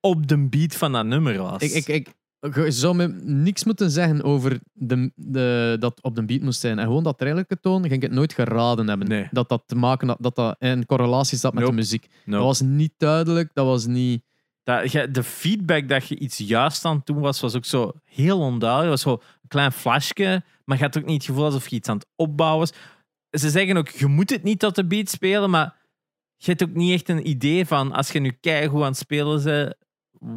op de beat van dat nummer was. Ik, ik, ik, je zou me niks moeten zeggen over de, de, dat op de beat moest zijn. En gewoon dat trailerlijke toon, ging ik het nooit geraden hebben. Nee. Dat dat te maken had, dat dat in correlatie zat met Nope. de muziek. No. Dat was niet duidelijk, dat was niet... Dat je- de feedback dat je iets juist aan het doen was, was ook zo heel onduidelijk. Het was zo een klein flashje, maar je had ook niet het gevoel alsof je iets aan het opbouwen was. Ze zeggen ook, je moet het niet tot de beat spelen, maar je hebt ook niet echt een idee van, als je nu keigoed aan het spelen bent,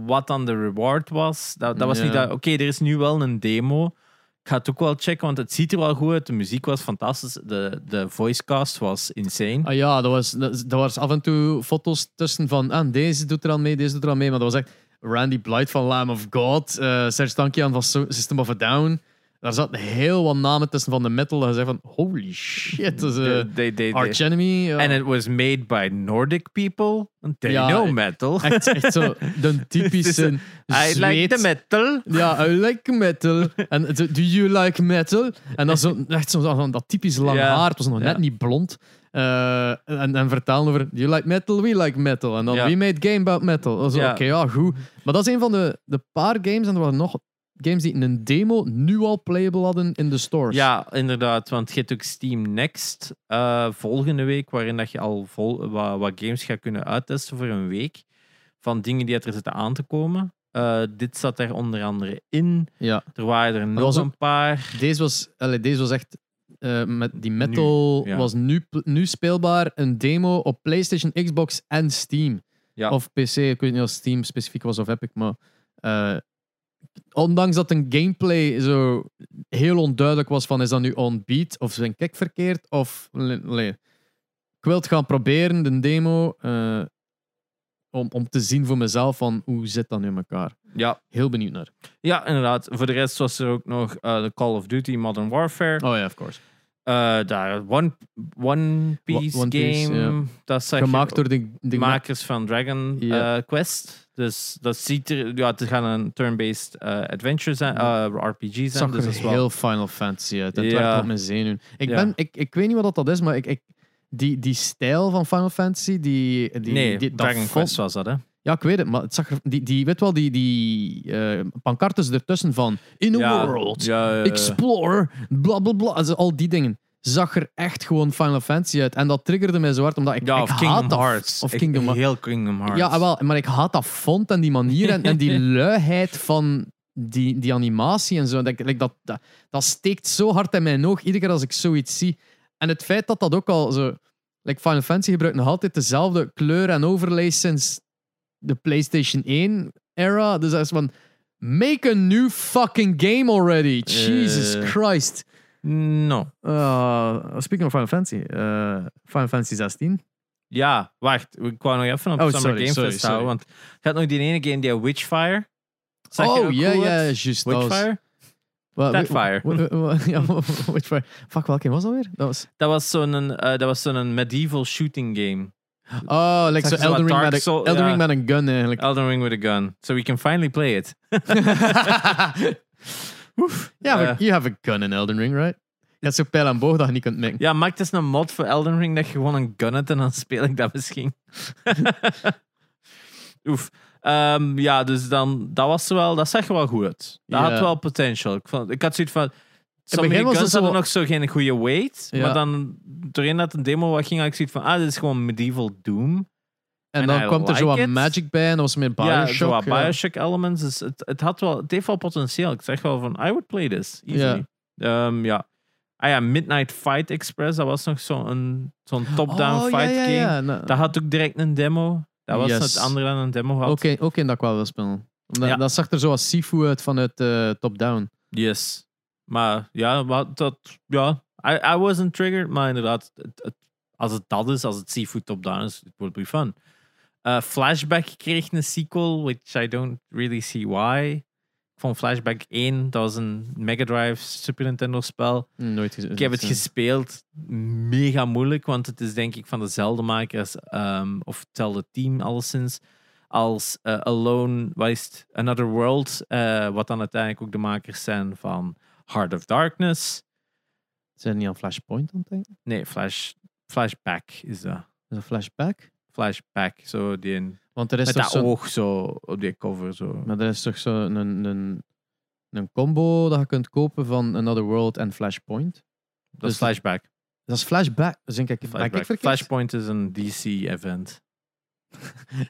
wat dan de reward was. Dat, dat was Ja. niet dat, oké, er is nu wel een demo. Ik ga het ook wel checken, want het ziet er wel goed uit. De muziek was fantastisch. De, de voicecast was insane. Ah ja, dat was, dat, dat was af en toe foto's tussen van ah, deze doet er aan mee, deze doet er aan mee. Maar dat was echt Randy Blythe van Lamb of God, eh Serge Tankian van So- System of a Down. Daar zat heel wat namen tussen van de metal. Dat je zei van, holy shit, dat is eh, De- de- de- de- Arch Enemy. ja. And it was made by Nordic people. They Oh. Ja, know ik- metal. echt, echt zo, de typische Het eh, I like the Zweeds- metal. Ja, I like metal. En do do you like metal? En dan zo, echt zo, zo- dat typisch lang Ja. haar. Het was nog Ja. net niet blond. Eh, en, en vertalen over do you like metal, we like metal. En dan Ja. we made game about metal. Zo, Ja. Oké, ja, goed. Maar dat is een van de, de paar games, en er waren nog games die in een demo nu al playable hadden in de stores. Ja, inderdaad. Want je hebt ook Steam Next eh, volgende week, waarin dat je al vol, wat, wat games gaat kunnen uittesten voor een week. Van dingen die er zitten aan te komen. Eh, dit zat er onder andere in. ja. Er waren er nog was een ook- paar. Deze was, allee, deze was echt. eh, met die metal Nu, ja. was nu, nu speelbaar een demo op PlayStation, Xbox en Steam. Ja. Of PC, ik weet niet of Steam specifiek was of Epic, maar. eh, ondanks dat een gameplay zo heel onduidelijk was: van is dat nu on beat of zijn kick verkeerd? Of. allee, ik wil het gaan proberen, de demo, eh, om, om te zien voor mezelf van hoe zit dat nu in elkaar. Ja. Heel benieuwd naar. ja, inderdaad. Voor de rest was er ook nog eh, de Call of Duty Modern Warfare. Oh ja, of course. Eh, daar, One, One Piece One Piece, game. dat zag je Gemaakt door de, de de makers van Dragon Ja. eh, Quest. Dus dat ziet er, ja, het gaat een turn-based eh, adventure zijn, eh, RPG zijn. Het zag dus er dat is wel, heel Final Fantasy uit. Het Ja. werkt op mijn zenuwen. Ik, Ja. ben, ik, ik weet niet wat dat is, maar ik, ik, die, die stijl van Final Fantasy, die... die nee, die, dat Dragon font- Quest was dat, hè? Ja, ik weet het, maar het zag er, die, die, weet wel, die, die eh, pancartes ertussen van... In a ja, world, Ja, eh, explore, bla bla bla. Also, al die dingen. Zag er echt gewoon Final Fantasy uit. En dat triggerde mij zo hard, omdat ik, ja, ik of haat Kingdom dat- Hearts. Of Ik- Kingdom Hearts. Heel Kingdom Hearts. Ja, wel, maar ik haat dat font en die manier en, en die luiheid van die, die animatie en zo. Dat, ik- like, dat, dat, dat steekt zo hard in mijn oog iedere keer als ik zoiets zie. En het feit dat dat ook al zo. Like Final Fantasy gebruikt nog altijd dezelfde kleur en overlay sinds de PlayStation 1 era. Dus dat is van. Make a new fucking game already. Jesus Eh. Christ. No. Uh, speaking of Final Fantasy, eh, Final Fantasy 16. Ja, wacht. Ik wou nog even op Oh, Summer sorry, Game sorry, Fest houden. sorry. Want je had nog die ene game, die Witchfire. Zag je oh, dat ja, cool ja, uit? juist. dat was- Witchfire? Wa- wi- Deadfire. wa- wa- wa- ja, wa- wa- Witchfire. Fuck, welke was dat weer? Dat was... Dat was zo'n eh, dat was zo'n medieval shooting game. Oh, like Zag zo je zo wat Elden Ring, Dark met een, Soul- Elden ja. Ring met een gun eigenlijk. Elden Ring with a gun. So we can finally play it. Ja, maar Eh. you have a gun in Elden Ring, right? Je hebt zo'n pijl en boog dat je niet kunt mengen. Ja, maak dus een mod voor Elden Ring dat je gewoon een gun hebt en dan speel ik dat misschien. Oef. Ehm, ja, dus dan, dat was wel, dat zag er wel goed uit. Dat Ja. had wel potential. Ik, vond, ik had zoiets van, sommige begin was guns dat zo- hadden nog zo geen goede weight, Ja. maar dan, doorheen dat een demo wat ging, had ik zoiets van, ah, dit is gewoon medieval doom. en en dan I kwam er zo wat like it. magic bij en dat was meer ja, Bioshock. zo wat ja. Bioshock elements. Dus het, het had wel, het heeft wel potentieel. Ik zeg wel van, I would play this, easily. Ehm, ja. Ah ja, Midnight Fight Express, dat was nog zo'n zo'n top-down Oh, ja, fight ja, game. ja. Nou, Dat had ook direct een demo. Dat was Yes. het andere dan een demo had. Ook in, ook in dat ik wel wil spelen. Omdat, Ja. Dat zag er zo als Sifu uit vanuit eh, Top Down. Yes. Maar ja, wat dat, ja. I, I wasn't triggered, maar inderdaad, het- het- als het dat is, als het seafood top-down is, it would be fun. Eh, Flashback kreeg een sequel, which I don't really see why. Ik vond Flashback 1, dat was een Mega Drive Super Nintendo spel. Hm, Nooit gezien. Ik heb het gespeeld, mega moeilijk, want het is denk ik van dezelfde makers, ehm, of hetzelfde team alleszins, als eh, Alone, wat is het? Another World, eh, wat dan uiteindelijk ook de makers zijn van Heart of Darkness. Zijn die aan Flashpoint aan het denken? Nee, Flash, Flashback is dat. Is dat Flashback? Flashback, zo die een, Want er is met toch dat zo'n- oog zo op die cover. Zo. Maar er is toch zo'n een, een, een combo dat je kunt kopen van Another World en Flashpoint. Dat dus- is Flashback. Dat is Flashback. Dus denk ik, ben ik Flashback. verkeerd? Flashpoint is een DC-event.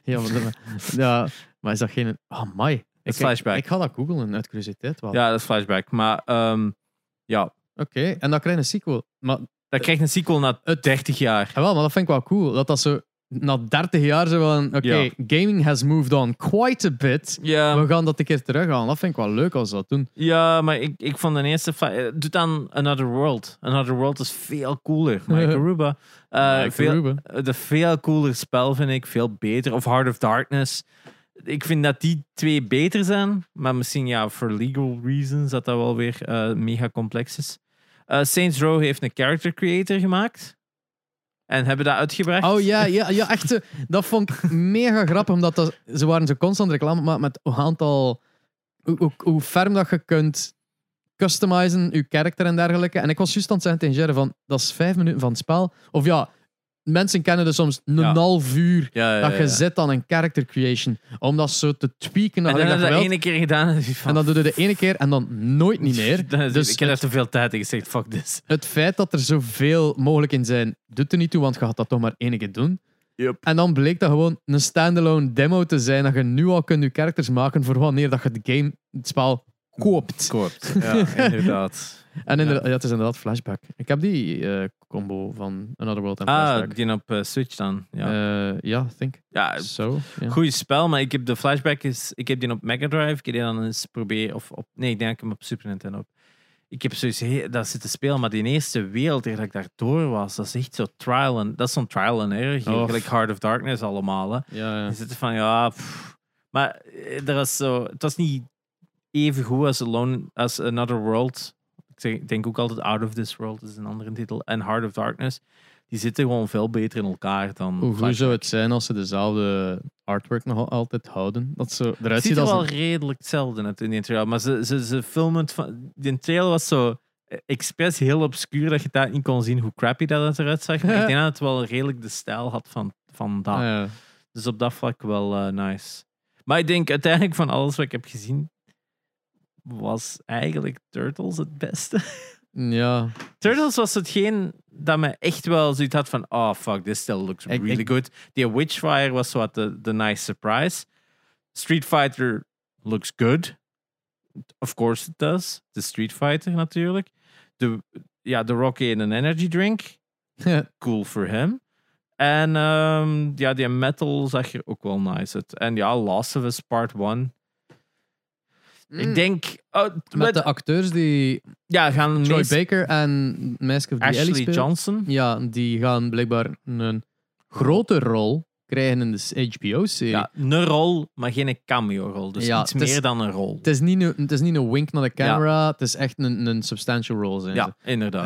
Ja, maar, dat- ja, maar is dat geen... Oh, my. Ik, Flashback. Ik, ga dat googlen uit curiositeit. wel. Ja, dat is Flashback. Maar ehm, ja, Oké, en dan krijg je een sequel. Maar, dat krijgt een sequel na 30 jaar. jawel, maar dat vind ik wel cool. Dat dat zo na 30 jaar zo van... Oké, Ja. gaming has moved on quite a bit. Ja, We gaan dat een keer terughalen. Dat vind ik wel leuk als ze dat doen. ja maar ik, ik vond de eerste... fla- eh, Doe dan Another World. Another World is veel cooler. Michael Ruba. Eh, Mike veel, Ruben. eh, de veel cooler spel vind ik. Veel beter. Of Heart of Darkness. Ik vind dat die twee beter zijn. Maar misschien ja, voor legal reasons dat dat wel weer eh, mega complex is. Eh, Saints Row heeft een character creator gemaakt. En hebben dat uitgebracht. Oh ja, ja, ja echt. eh, Dat vond ik mega grappig, omdat dat, ze waren zo constant reclame maar met een aantal... Hoe, hoe, hoe ferm dat je kunt customizen, je karakter en dergelijke. En ik was juist aan het zeggen tegen Jerry van, dat is vijf minuten van het spel. Of ja, mensen kennen dus soms een Ja. half uur Ja, ja, dat je ja. zit aan een character creation. Om dat zo te tweaken naar En dan gelijk dat hebben we je dat wilt. ene keer gedaan. En, van, En dat doe je de ene keer en dan nooit niet meer. Dan is het- Dus ik heb daar te veel tijd in gezegd. Fuck this. het feit dat er zoveel mogelijk in zijn, doet er niet toe, want je gaat dat toch maar één keer doen. Yep. En dan bleek dat gewoon een standalone demo te zijn, dat je nu al kunt je characters maken voor wanneer dat je de game, het spel, koopt. Kort. Ja, inderdaad. En inderdaad, ja. het is inderdaad Flashback. Ik heb die eh, combo van Another World en Ah, Flashback. die op eh, Switch dan. Ja, Ah, Ja, ja I think. ja Zo. ja. goeie spel, maar ik heb de flashback is, ik heb die op Mega Drive, ik heb die dan eens proberen of op, nee, ik denk dat ik hem op Super Nintendo heb. Ik heb zoiets he- dat zitten spelen, maar die eerste wereld eer dat ik daardoor was, dat is echt zo trial and, dat is zo'n trial and error, hier, Oh. gelijk Heart of Darkness allemaal. Hè. Ja, ja. Je zit er van ja, pff. maar eh, er was zo, het was niet even goed als Alone als Another World. Ik zeg- ik denk ook altijd Out of This World is een andere titel en Heart of Darkness. Die zitten gewoon veel beter in elkaar dan. Hoe goed Flashback. zou het zijn als ze dezelfde artwork nog al- altijd houden? Dat ze eruit Het ziet ziet er als wel een- redelijk hetzelfde uit in die trailer. Maar ze, ze, ze filmen het van... Die trailer was zo eh, expres heel obscuur dat je daar niet kon zien hoe crappy dat het eruit zag. Maar ik denk dat het wel redelijk de stijl had van, van dat. Ah, Ja. Dus op dat vlak wel eh, nice. Maar ik denk uiteindelijk van alles wat ik heb gezien was eigenlijk Turtles het beste. ja. Turtles was hetgeen dat me echt wel zoiets had van, oh fuck, this still looks Ik- really ik- good. Die Witchfire was wat de de nice surprise. Street Fighter looks good. Of course it does. De Street Fighter natuurlijk. De, ja, de Rocky in een energy drink. Cool voor hem. En ehm, ja, die metal zag er ook wel nice uit. En ja, Last of Us Part 1. Mm. Ik denk... oh, Met met- de acteurs die ja, gaan Troy meest- Baker en Mask of the Alley Ashley spelen. Johnson. Ja, die gaan blijkbaar een grote rol krijgen in de HBO-serie. Ja, een rol, maar geen cameo-rol. Dus Ja, iets het is- meer dan een rol. Het, is niet een, het is niet een wink naar de camera, het is echt een, een substantial rol. Zijn ze. Ja, inderdaad.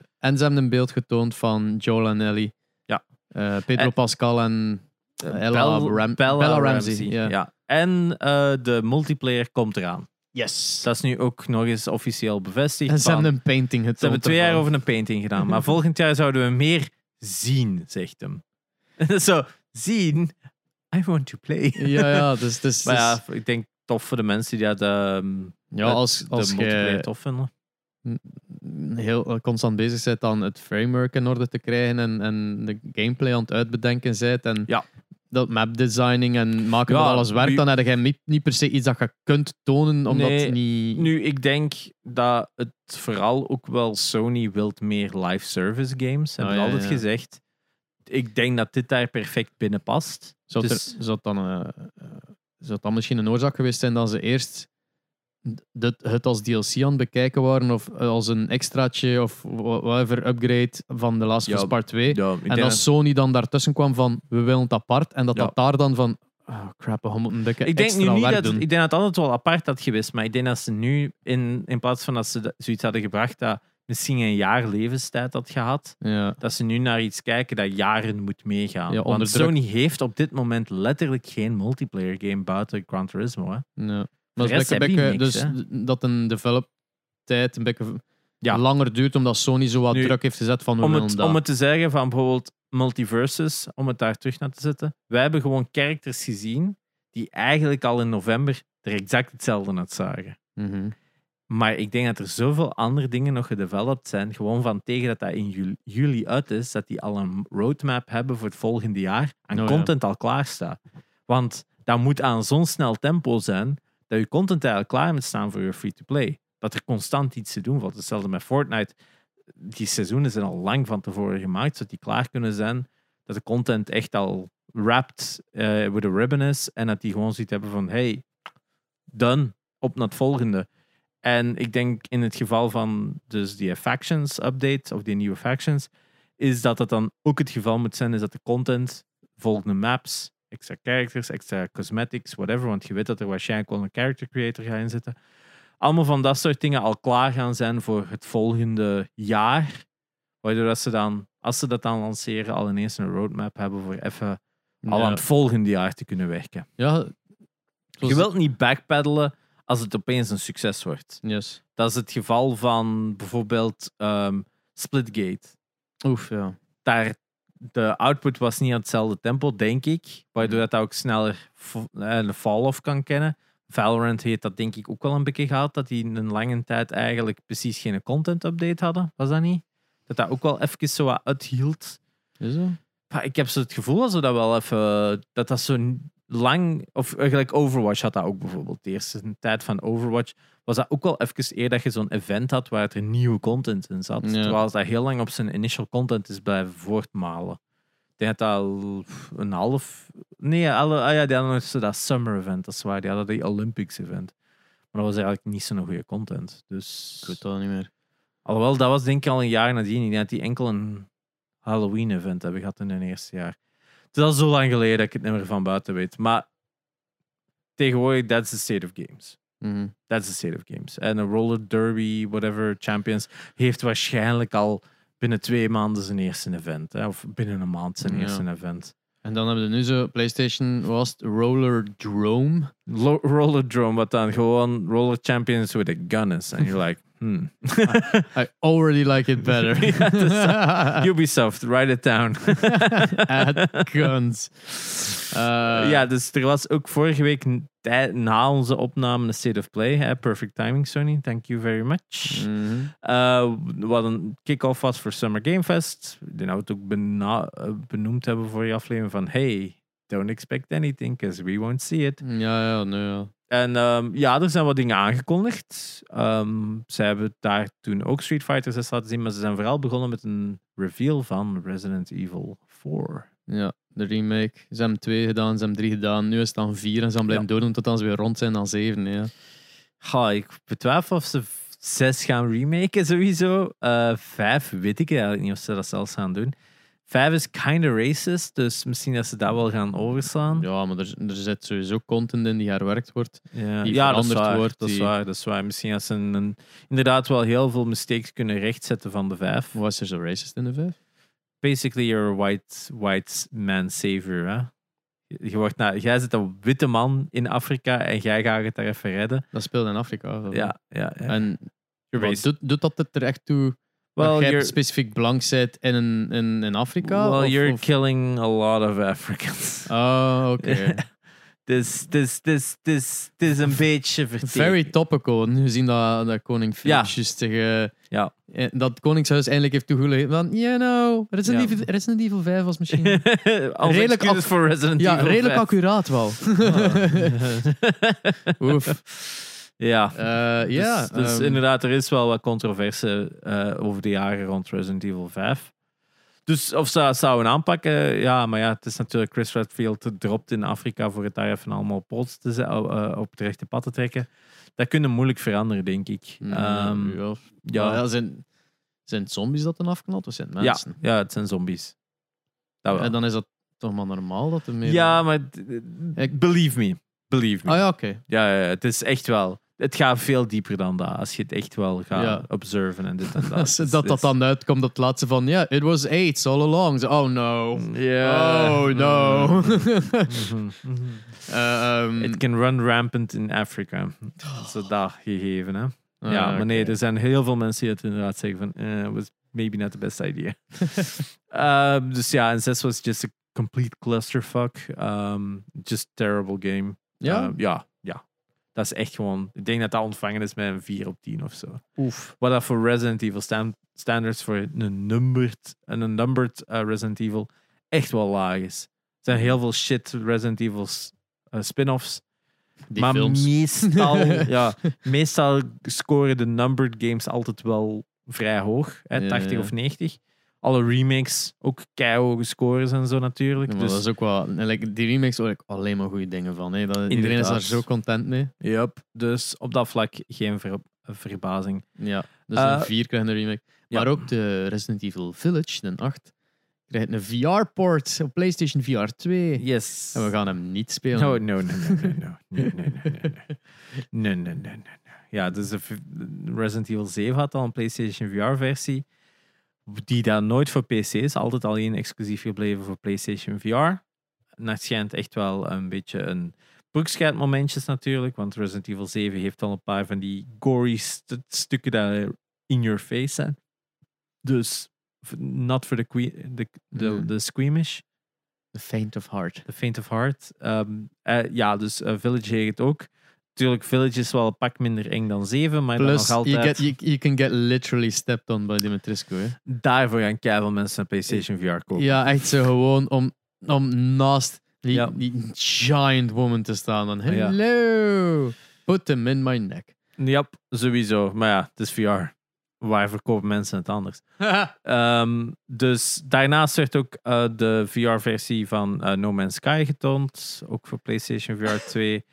Eh, en ze hebben een beeld getoond van Joel en Ellie. Ja. Eh, Pedro En- Pascal en Eh, Ella Ram- Bella Ramsey, ja. En eh, de multiplayer komt eraan. Yes. Dat is nu ook nog eens officieel bevestigd. En ze van- hebben een painting getoond. ze hebben twee jaar ervan. over een painting gedaan. Maar volgend jaar zouden we meer zien, zegt hem. Zo, zien? I want to play. Ja, ja, dus, dus, maar dus- ja, ik denk tof voor de mensen die dat, ehm, ja, als, de als multiplayer je tof vinden. heel eh, constant bezig bent aan het framework in orde te krijgen en, en de gameplay aan het uitbedenken bent en Ja. dat map designing en maken Ja, dat alles werkt, nu- dan heb je niet, niet per se iets dat je kunt tonen, omdat Nee, het niet... Nu, ik denk dat het vooral ook wel Sony wilt meer live service games. Hebben Oh, ja, we altijd ja. gezegd. Ik denk dat dit daar perfect binnen past. Zou, het er- Dus- zou, het dan, eh, eh, zou het dan misschien een oorzaak geweest zijn dat ze eerst dit, het als DLC aan het bekijken waren, of eh, als een extraatje of wha- whatever upgrade van The Last of Us Ja, Part 2? Ja, ik En denk als Sony dan daartussen kwam van we willen het apart, en dat Ja. dat daar dan van oh crap, we moeten een dikke Ik denk nu extra niet werk dat. doen. Ik denk dat het altijd wel apart had geweest. Maar ik denk dat ze nu, in, in plaats van dat ze dat- zoiets hadden gebracht dat misschien een jaar levenstijd had gehad, Ja. dat ze nu naar iets kijken dat jaren moet meegaan. Ja, onder Want druk. Sony heeft op dit moment letterlijk geen multiplayer game buiten Gran Turismo. Hè. ja. Maar het rest is een heb beetje- je niks, dus hè? d- dat een develop tijd een beetje Ja. langer duurt, omdat Sony zo wat Nu, druk heeft gezet van we om willen het, dat. om het te zeggen van bijvoorbeeld multiverses, om het daar terug naar te zetten. Wij hebben gewoon characters gezien die eigenlijk al in november er exact hetzelfde uitzagen. Mhm. Maar ik denk dat er zoveel andere dingen nog gedeveloped zijn, gewoon van tegen dat dat in jul- juli uit is, dat die al een roadmap hebben voor het volgende jaar en Oh ja. content al klaar staat. Want dat moet aan zo'n snel tempo zijn dat je content eigenlijk klaar moet staan voor je free-to-play. Dat er constant iets te doen valt. Hetzelfde met Fortnite. Die seizoenen zijn al lang van tevoren gemaakt, zodat die klaar kunnen zijn. Dat de content echt al wrapped eh with a ribbon is. En dat die gewoon zoiets hebben van, hey, done, op naar het volgende. En ik denk in het geval van dus die factions update, of die nieuwe factions, is dat dat dan ook het geval moet zijn, is dat de content, volgende maps, extra characters, extra cosmetics, whatever, want je weet dat er waarschijnlijk wel een character creator gaat inzitten. Allemaal van dat soort dingen al klaar gaan zijn voor het volgende jaar, waardoor dat ze dan, als ze dat dan lanceren, al ineens een roadmap hebben voor even al Ja. aan het volgende jaar te kunnen werken. Dus Ja, het was- Je wilt niet backpedalen als het opeens een succes wordt. Yes. Dat is het geval van bijvoorbeeld ehm, Splitgate. Oef, ja. Daar, de output was niet aan hetzelfde tempo, denk ik. Waardoor dat ook sneller fo- eh, een fall-off kan kennen. Valorant heeft dat denk ik ook wel een beetje gehad. Dat die een lange tijd eigenlijk precies geen content-update hadden. Was dat niet? Dat dat ook wel even zo wat uithield. Is dat? Maar ik heb zo het gevoel dat ze dat wel even. Dat dat zo lang. Of eigenlijk Overwatch had dat ook bijvoorbeeld. De eerste tijd van Overwatch was dat ook wel even eer dat je zo'n event had waar er nieuwe content in zat. Ja. Terwijl dat heel lang op zijn initial content is blijven voortmalen. Die had al een half. Nee, alle, ah ja, die hadden nog zo dat summer event, dat is waar. Die hadden die Olympics event. Maar dat was eigenlijk niet zo'n goede content. Dus. Ik weet dat niet meer. Alhoewel, dat was denk ik al een jaar nadien. Ik denk dat die enkel een Halloween-event hebben gehad in hun eerste jaar. Dus dat is zo lang geleden dat ik het niet meer van buiten weet. Maar tegenwoordig, that's the state of games. Mhm. That's the state of games. En een roller derby, whatever, champions, heeft waarschijnlijk al binnen twee maanden zijn eerste event. Hè? Of binnen een maand zijn Ja. eerste event. En dan hebben we nu zo PlayStation, wat was het Roller Drome? Lo- roller drone, wat dan gewoon roller champions with a gun is. En you're like, hmm. I already like it better. Ja, dat is Ubisoft, write it down. At guns. Eh, ja, dus er was ook vorige week n- tij- na onze opname de State of Play. Hè? Perfect timing, Sony. Thank you very much. mhm. Eh, wat een kick-off was voor Summer Game Fest. Die nou het ook bena- eh, benoemd hebben voor je aflevering van hey, don't expect anything, because we won't see it. Ja, ja, nee, ja. En ehm, ja, er zijn wat dingen aangekondigd. Ehm, ze hebben daar toen ook Street Fighter 6 laten zien, maar ze zijn vooral begonnen met een reveal van Resident Evil 4. Ja, de remake. Ze hebben twee gedaan, ze hebben drie gedaan. Nu is het dan vier en ze gaan blijven doordoen tot ze weer rond zijn dan zeven. Ja. Ha, ik betwijfel of ze 6 gaan remaken sowieso. Eh 5 weet ik eigenlijk niet of ze dat zelfs gaan doen. 5 is kinda racist, dus misschien dat ze dat wel gaan overslaan. ja, maar er, er zit sowieso content in die herwerkt wordt. Ja, die ja dat, is veranderd waar, wordt, dat is die- waar. Dat is waar. Misschien als ze een, een- inderdaad wel heel veel mistakes kunnen rechtzetten van de vijf. Was er zo racist in de vijf? Basically, you're a white, white man savior. Hè? Je- Je wordt nou, jij zit een witte man in Afrika en jij gaat het daar even redden. Dat speelde in Afrika. of- Ja, ja. ja. En You're wat, racist. doet, doet dat het er echt toe? well, dat jij you're, specifiek blank bent in, een- in, in Afrika? well, of- you're of- killing a lot of Africans. Oh, oké. Dus, dus, dus, dus, dus een beetje vertekend. Very topical, nu gezien dat, dat koning Filip Ja. juist tegen... Ja. eh, Dat het koningshuis eindelijk heeft toegegeven van... You know, Resident, Ja. Evil, Resident Evil 5 was misschien... Als Redelijk excuses ac- voor Resident ja, Evil redelijk 5. accuraat wel. Oef. ja. Eh, Dus- ja, dus, ehm, inderdaad, er is wel wat controverse eh, over de jaren rond Resident Evil 5. Dus of ze dat zouden aanpakken, ja, maar ja, het is natuurlijk Chris Redfield dropt in Afrika voor het daar even allemaal plots te ze- eh, op het rechte pad te trekken. Dat kunnen moeilijk veranderen, denk ik. mm, Ehm, ja, ja. ja, Maar ja, zijn, zijn het zombies dat dan afknalt of zijn het ja, mensen? het zijn zombies. Dat wel. En dan is dat toch maar normaal dat er meer... Ja, maar d- Ik- believe me. Believe me. Ah ja. ja, oké. Ja, ja, het is echt wel. Het gaat veel dieper dan dat. Als je het echt wel gaat Ja. observen en dus dit en dat. Als- Het dat is- dat dan uitkomt, dat laatste van... Ja, it was AIDS all along. Zo, Oh no. Ja. Oh no. Mhm. Mhm. Eh, ehm, It can run rampant in Africa. Zo dat gegeven, hè. ah, ja, maar nee, oké. er zijn heel veel mensen die het inderdaad zeggen van... eh, it was maybe not the best idea. Ehm, dus ja, en 6 was just a complete clusterfuck. Ehm, just terrible game. Ja? Ehm, ja, ja. Dat is echt gewoon... Ik denk dat dat ontvangen is met een 4 op 10 of zo. Oef. Wat dat voor Resident Evil staan- standards voor een numbered, een numbered eh, Resident Evil echt wel laag is. Er zijn heel veel shit Resident Evil spin-offs. Die maar films. meestal, ja, meestal scoren de numbered games altijd wel vrij hoog. Hè, Ja, 80 ja. of 90. Alle remakes ook keihoge scores en zo natuurlijk. Ja, maar dus, dat is ook wel... en, like, die remakes hoor ik alleen maar goede dingen van. Hè. Dat, iedereen is Inderdaad. daar zo content mee. Yup. dus op dat vlak geen ver- verbazing. Ja, dus Eh, een 4 krijgt een remake. ja. Maar ook de Resident Evil Village, een 8, krijgt een VR-port op PlayStation VR 2. Yes. Nou, En we gaan hem niet spelen. No, no, no, no, no, no, no, no, no, no, no, no, no, no, no. Ja, dus de v- Resident Evil 7 had al een PlayStation VR-versie, die dan nooit voor PC is, altijd alleen exclusief gebleven voor PlayStation VR. En dat schijnt echt wel een beetje een broekscheidmomentjes natuurlijk, want Resident Evil 7 heeft al een paar van die gory st- stukken die in your face zijn. Dus v- not for the, que- the, the, Mm. the squeamish. The Faint of Heart. The Faint of Heart. Ehm, eh, ja, dus eh, Village heeft het ook. Natuurlijk, Village is wel een pak minder eng dan 7, maar Plus, dan nog you, altijd... get, you, you can get literally stepped on by Dimitrescu. Hè. Daarvoor gaan keiveel mensen een PlayStation VR kopen. Ja, echt zo gewoon om, om naast die, Ja. Oh die giant woman te staan. Dan, Ja. hello, put them in my neck. Ja, sowieso. Maar ja, het is VR. Waar verkopen mensen het anders? Ehm, dus daarnaast werd ook eh, de VR-versie van eh, No Man's Sky getoond. Ook voor PlayStation VR 2.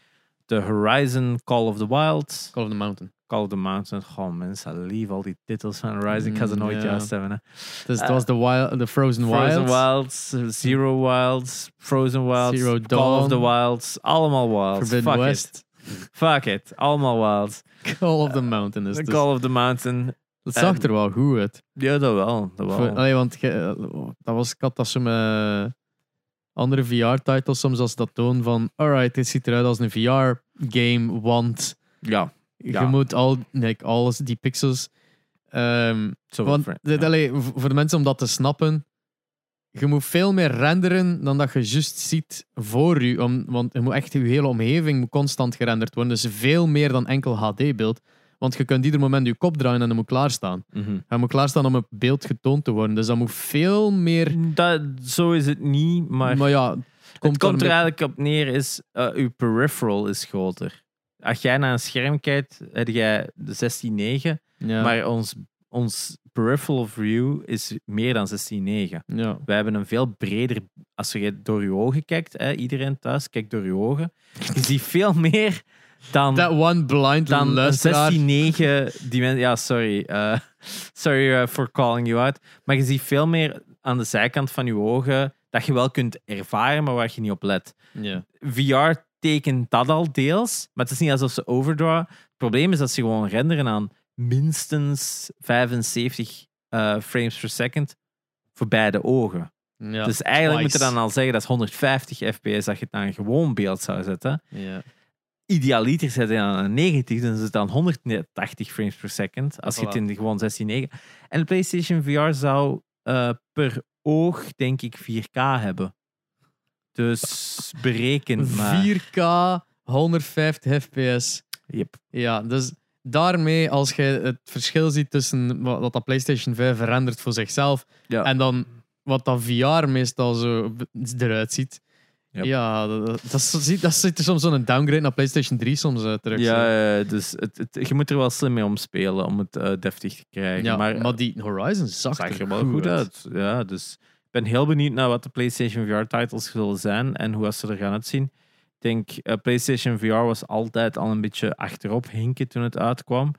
De Horizon Call of the Wild. Call of the Mountain. Call of the Mountain. Goh, mensen, lief al die titels van Horizon. Ik ga ze Mm, nooit ja. juist hebben. Hè. Dus het Eh, was the, wild, the Frozen, Frozen Wilds. Wilds, Zero Wilds, Frozen Wilds, Zero Call of Dawn. the Wilds, allemaal Wilds. Forbidden Fuck West. it. Fuck it, allemaal Wilds. Call of the Mountain is The het. Call of the Mountain. Dat zag er wel goed uit. Ja, dat wel. Dat Voor- oh, wel. allee, want ge- dat was, ik had dat zo met andere VR-titles soms als ze dat toon van alright, dit ziet eruit als een VR-game, want Ja, Ja. je moet al, like, alles, die pixels... ehm, zo want dit- allee, v- voor de mensen om dat te snappen, je moet veel meer renderen dan dat je juist ziet voor je. Om, want je moet echt je hele omgeving moet constant gerenderd worden. Dus veel meer dan enkel HD-beeld. Want je kunt ieder moment je kop draaien en dan moet klaarstaan. Mhm. Hij moet klaarstaan om op beeld getoond te worden. Dus dat moet veel meer. dat, zo is het niet, maar, Maar, ja, het komt er eigenlijk op neer is, eh, uw peripheral is groter. Als jij naar een scherm kijkt, heb jij de 16.9, Ja. maar ons, ons peripheral view is meer dan 16.9. ja. Wij hebben een veel breder. Als je door je ogen kijkt, hè, iedereen thuis kijkt door je ogen. Je ziet veel meer dan, Dat one blind dan een luisteraar. 16-9. Die men, ja, sorry. eh, sorry eh, for calling you out. Maar je ziet veel meer aan de zijkant van je ogen dat je wel kunt ervaren, maar waar je niet op let. Ja. VR tekent dat al deels, maar het is niet alsof ze overdraw. Het probleem is dat ze gewoon renderen aan minstens 75 eh, frames per second voor beide ogen. Ja. Dus eigenlijk moet je twice. dan al zeggen dat is 150 fps dat je het naar een gewoon beeld zou zetten. ja. Idealiter zet je dan aan 90, dan is het dan 180 frames per second. Als je het in de gewoon 16.9. En de PlayStation VR zou eh, per oog, denk ik, 4K hebben. Dus bereken maar. 4K, 150 fps. Yep. Ja, dus daarmee, als je het verschil ziet tussen wat wat dat PlayStation 5 rendert voor zichzelf Ja. en dan wat dat VR meestal zo b- eruit ziet. Yep. Ja, dat, dat, dat ziet- dat ziet er soms zo'n downgrade naar PlayStation 3 soms uit terug. zo. Ja, ja, dus het, het- je moet er wel slim mee omspelen om het eh, deftig te krijgen. Ja, maar maar, die Horizon zag, zag er wel goed uit. Ja, dus ik ben heel benieuwd naar wat de PlayStation VR-titles zullen zijn en hoe dat ze er gaan uitzien. Ik denk, eh, PlayStation VR was altijd al een beetje achterop hinken toen het uitkwam.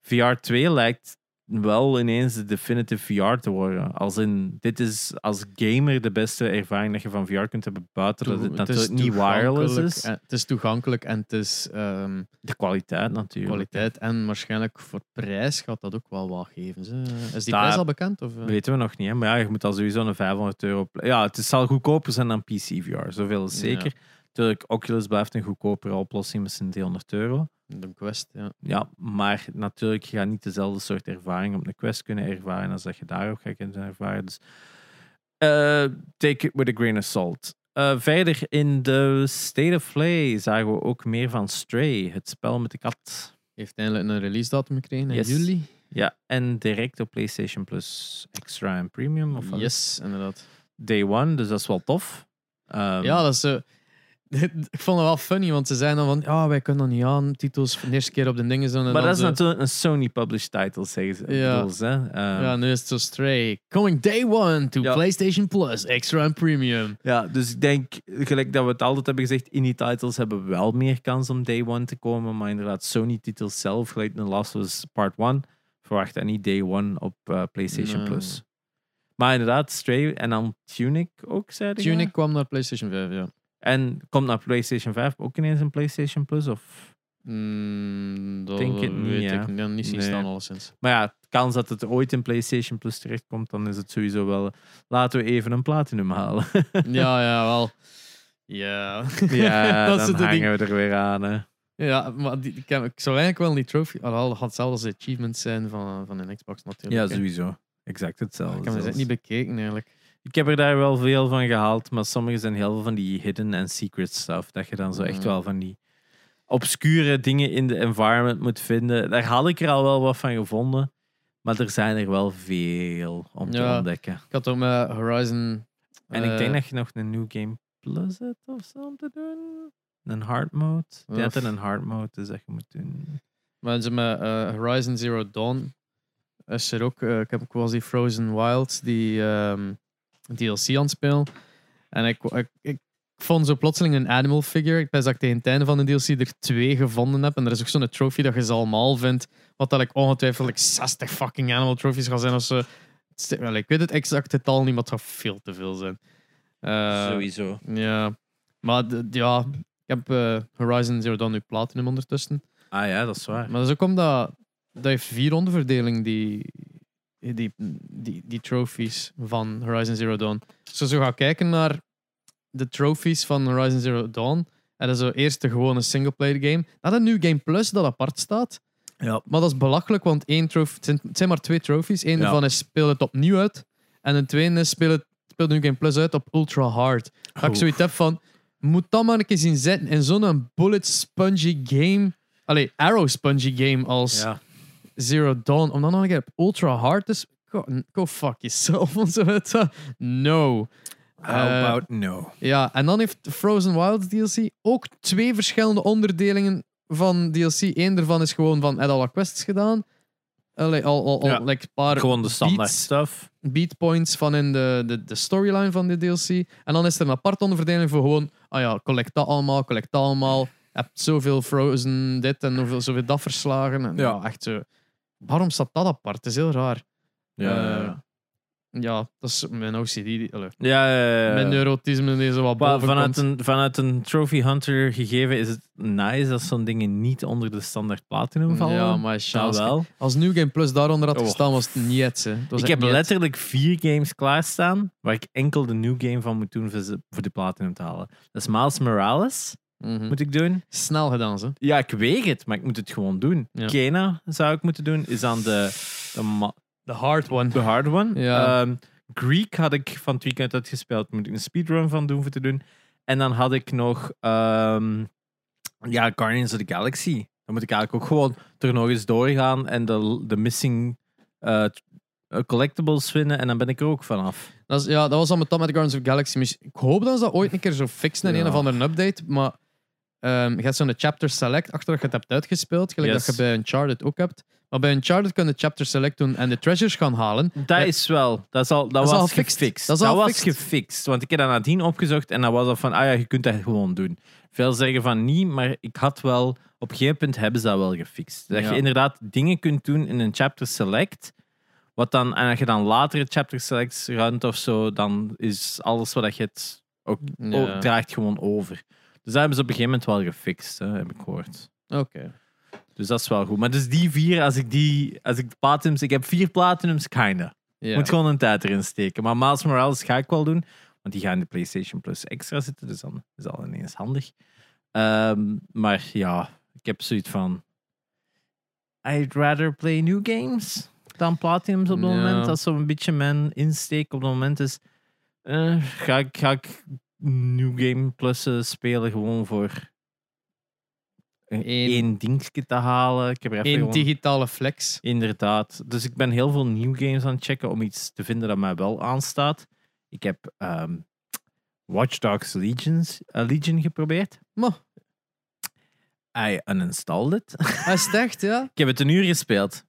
VR 2 lijkt wel ineens de definitive VR te worden. Als in, dit is als gamer de beste ervaring dat je van VR kunt hebben, buiten dat het Het is natuurlijk niet wireless toegankelijk is. en- het is toegankelijk en het is ehm, De kwaliteit natuurlijk. kwaliteit. En waarschijnlijk voor prijs gaat dat ook wel wat geven. ze. Is die Daar- prijs al bekend? Of, eh? Weten we nog niet, hè? maar ja, je moet al sowieso een 500 euro. pla- Ja, het zal goedkoper zijn dan PC-VR, zoveel is Ja. zeker. Natuurlijk, Oculus blijft een goedkopere oplossing met zijn 300 euro. De Quest, ja. Ja, maar natuurlijk, je gaat niet dezelfde soort ervaring op een Quest kunnen ervaren als dat je daar ook gaat kunnen ervaren. Dus eh, take it with a grain of salt. Eh, verder in de State of Play zagen we ook meer van Stray, het spel met de kat. Heeft eindelijk een release datum gekregen in Yes. juli. Ja, en direct op PlayStation Plus Extra en Premium. Of wat is Yes, inderdaad. day one, dus dat is wel tof. Ehm, ja, dat is zo. ik vond het wel funny, want ze zeiden dan van, ja, wij kunnen dat niet aan, titels van de eerste keer op de dingen zijn. en maar dan dat is zo- natuurlijk een Sony-published title, zeggen ze. Ja. bedoel ze, hè. Ehm, Ja, nu is het zo Stray. Coming day one to Ja. PlayStation Plus, extra en premium. ja, dus ik denk, gelijk dat we het altijd hebben gezegd, indie titles hebben wel meer kans om day one te komen, maar inderdaad, Sony-titels zelf, gelijk The Last of Us Part 1, verwacht dat niet day one op eh, PlayStation Nee. Plus. Maar inderdaad, Stray en dan Tunic ook, zei je? Tunic kwam naar PlayStation 5, ja. En komt naar PlayStation 5 ook ineens een PlayStation Plus? Of... Mm, dat Denk het weet niet, ik ja. niet. Dat niet zien Nee. staan, alleszins. Maar ja, de kans dat het ooit in PlayStation Plus terechtkomt, dan is het sowieso wel. eh, Laten we even een platinum halen. ja, ja, wel. Ja. ja, Dat is dan het ding. hangen we er weer aan. Hè. Ja, maar die, ik, heb- ik zou eigenlijk wel die trophy... Alhoewel, dat gaat zelfs de achievements zijn van, van een Xbox natuurlijk. Ja, hè. sowieso. Exact hetzelfde. Ik heb het zelfs. niet bekeken, eigenlijk. Ik heb er daar wel veel van gehaald, maar sommige zijn heel veel van die hidden en secret stuff. Dat je dan zo echt Ja. wel van die obscure dingen in de environment moet vinden. Daar had ik er al wel wat van gevonden, maar er zijn er wel veel om te Ja. ontdekken. Ik had ook met Horizon. En eh, ik denk dat je nog een New Game Plus hebt of zo om te doen. Een hard mode. Je hebt Oef. een hard mode, dus dat je moet doen. Maar ze met eh, Horizon Zero Dawn is er ook. eh, ik heb ook wel eens die Frozen Wilds, die ehm, DLC aan het spelen. En ik, ik, ik vond zo plotseling een animal figure. Ik ben dat ik tegen het einde van de DLC er twee gevonden heb. En er is ook zo'n trophy dat je ze allemaal vindt. Wat dat ik ongetwijfeld like, 60 fucking animal trophies ga zijn of zo. Het is- wel, Ik weet het exacte tal niet, maar het gaat veel te veel zijn. Eh, Sowieso. Ja, maar d- ja, ik heb eh, Horizon Zero Dawn nu platinum ondertussen. Ah ja, dat is waar. Maar dat is ook omdat dat heeft vier onderverdeling, die, die, die, die trophies van Horizon Zero Dawn. Als je zo gaat kijken naar de trophies van Horizon Zero Dawn, en dat is zo eerst de gewone singleplayer game, dan een New Game Plus dat apart staat. Ja. Maar dat is belachelijk, want één trof- het, zijn, het zijn maar twee trophies. Eén Ja. daarvan is speel het opnieuw uit. En een tweede is speel, het, speel de New Game Plus uit op Ultra Hard. Dat ik Oeh. zoiets heb van, moet dat maar een keer zien zitten in zo'n bullet spongy game. Allee, arrow spongy game als Ja. Zero Dawn. Om dan nog een keer op Ultra Hard te sp- Go, go fuck yourself. of zo. Het, eh, no. How Eh, about no? Ja, en dan heeft Frozen Wilds DLC ook twee verschillende onderdelingen van DLC. Eén daarvan is gewoon van, had al wat quests gedaan. Allee, al, al, al Ja. like, een paar Gewoon de standaard beats. stuff. beat points van in de, de, de storyline van de DLC. En dan is er een aparte onderverdeling voor gewoon, ah ja, collect dat allemaal, collect dat allemaal. Heb zoveel Frozen dit en zoveel, zoveel dat verslagen. En, Ja. ja. echt zo. Waarom staat dat apart? Het is heel raar. Ja, Eh, Ja, dat is mijn OCD. die- allee, ja, ja, ja. Mijn neurotisme die zo wat Maar boven Eh, vanuit, komt. een, vanuit een Trophy Hunter gegeven is het nice dat zo'n dingen niet onder de standaard platinum vallen. Ja, maar Nou chance. wel. Als New Game Plus daaronder had Oh. gestaan, was het niet het. hè. Het was echt Ik heb niet het. letterlijk vier games klaarstaan waar ik enkel de new game van moet doen voor ze- voor de platinum te halen. Dat is Miles Morales, Mhm. moet ik doen. Snel gedaan, ze. Hm. Ja, ik weet het, maar ik moet het gewoon doen. Ja. Kena zou ik moeten doen, is aan de, de, ma- The hard one. de hard one. Ja. Ehm, Greek had ik van het weekend uitgespeeld, moet ik een speedrun van doen voor te doen. En dan had ik nog ehm, ja, Guardians of the Galaxy. Dan moet ik eigenlijk ook gewoon er nog eens doorgaan en de, de missing eh, t- eh, collectibles vinden. En dan ben ik er ook vanaf. Dat, is, ja, dat was dan met dat met Guardians of the Galaxy. Miss- Ik hoop dat ze dat ooit een keer zo fixen in Ja. een of andere update. Maar ehm je hebt zo'n chapter select achter dat je het hebt uitgespeeld. Gelijk Yes. dat je bij Uncharted ook hebt. Maar bij Uncharted kun je chapter select doen en de treasures gaan halen. Dat Ja. is wel. Dat, is al, dat, is was al gefixt. gefixt. Dat is al was gefixt. gefixt. Want ik heb dat nadien opgezocht en dat was al van, ah ja, je kunt dat gewoon doen. Veel zeggen van niet, maar ik had wel, op een gegeven punt hebben ze dat wel gefixt. Dat Ja. je inderdaad dingen kunt doen in een chapter select. Wat dan, en als je dan later het chapter select ruimt of zo, dan is alles wat dat je het ook, Ja. ook draagt gewoon over. Dus dat hebben ze op een gegeven moment wel gefixt, hè, heb ik gehoord. Oké. Dus dat is wel goed. Maar dus die vier, als ik die, als ik de platinums, ik heb vier platinums, kinda. Ja. Moet gewoon een tijd erin steken. Maar Miles Morales ga ik wel doen. Want die gaan in de PlayStation Plus extra zitten. Dus dan is dat ineens handig. Ehm, maar ja, ik heb zoiets van. I'd rather play new games dan platinums op dat Ja. moment. Dat zo'n beetje mijn insteek op dat moment is. eh, ga, ik, ga ik New Game Plus eh, spelen gewoon voor. Eén- één dingetje te halen. Ik heb er even Eén gewoon- digitale flex. Inderdaad. Dus ik ben heel veel nieuw games aan het checken om iets te vinden dat mij wel aanstaat. Ik heb ehm Watch Dogs Legions, eh, Legion geprobeerd. Maar, I uninstalled it. hij is het echt, ja? ik heb het een uur gespeeld.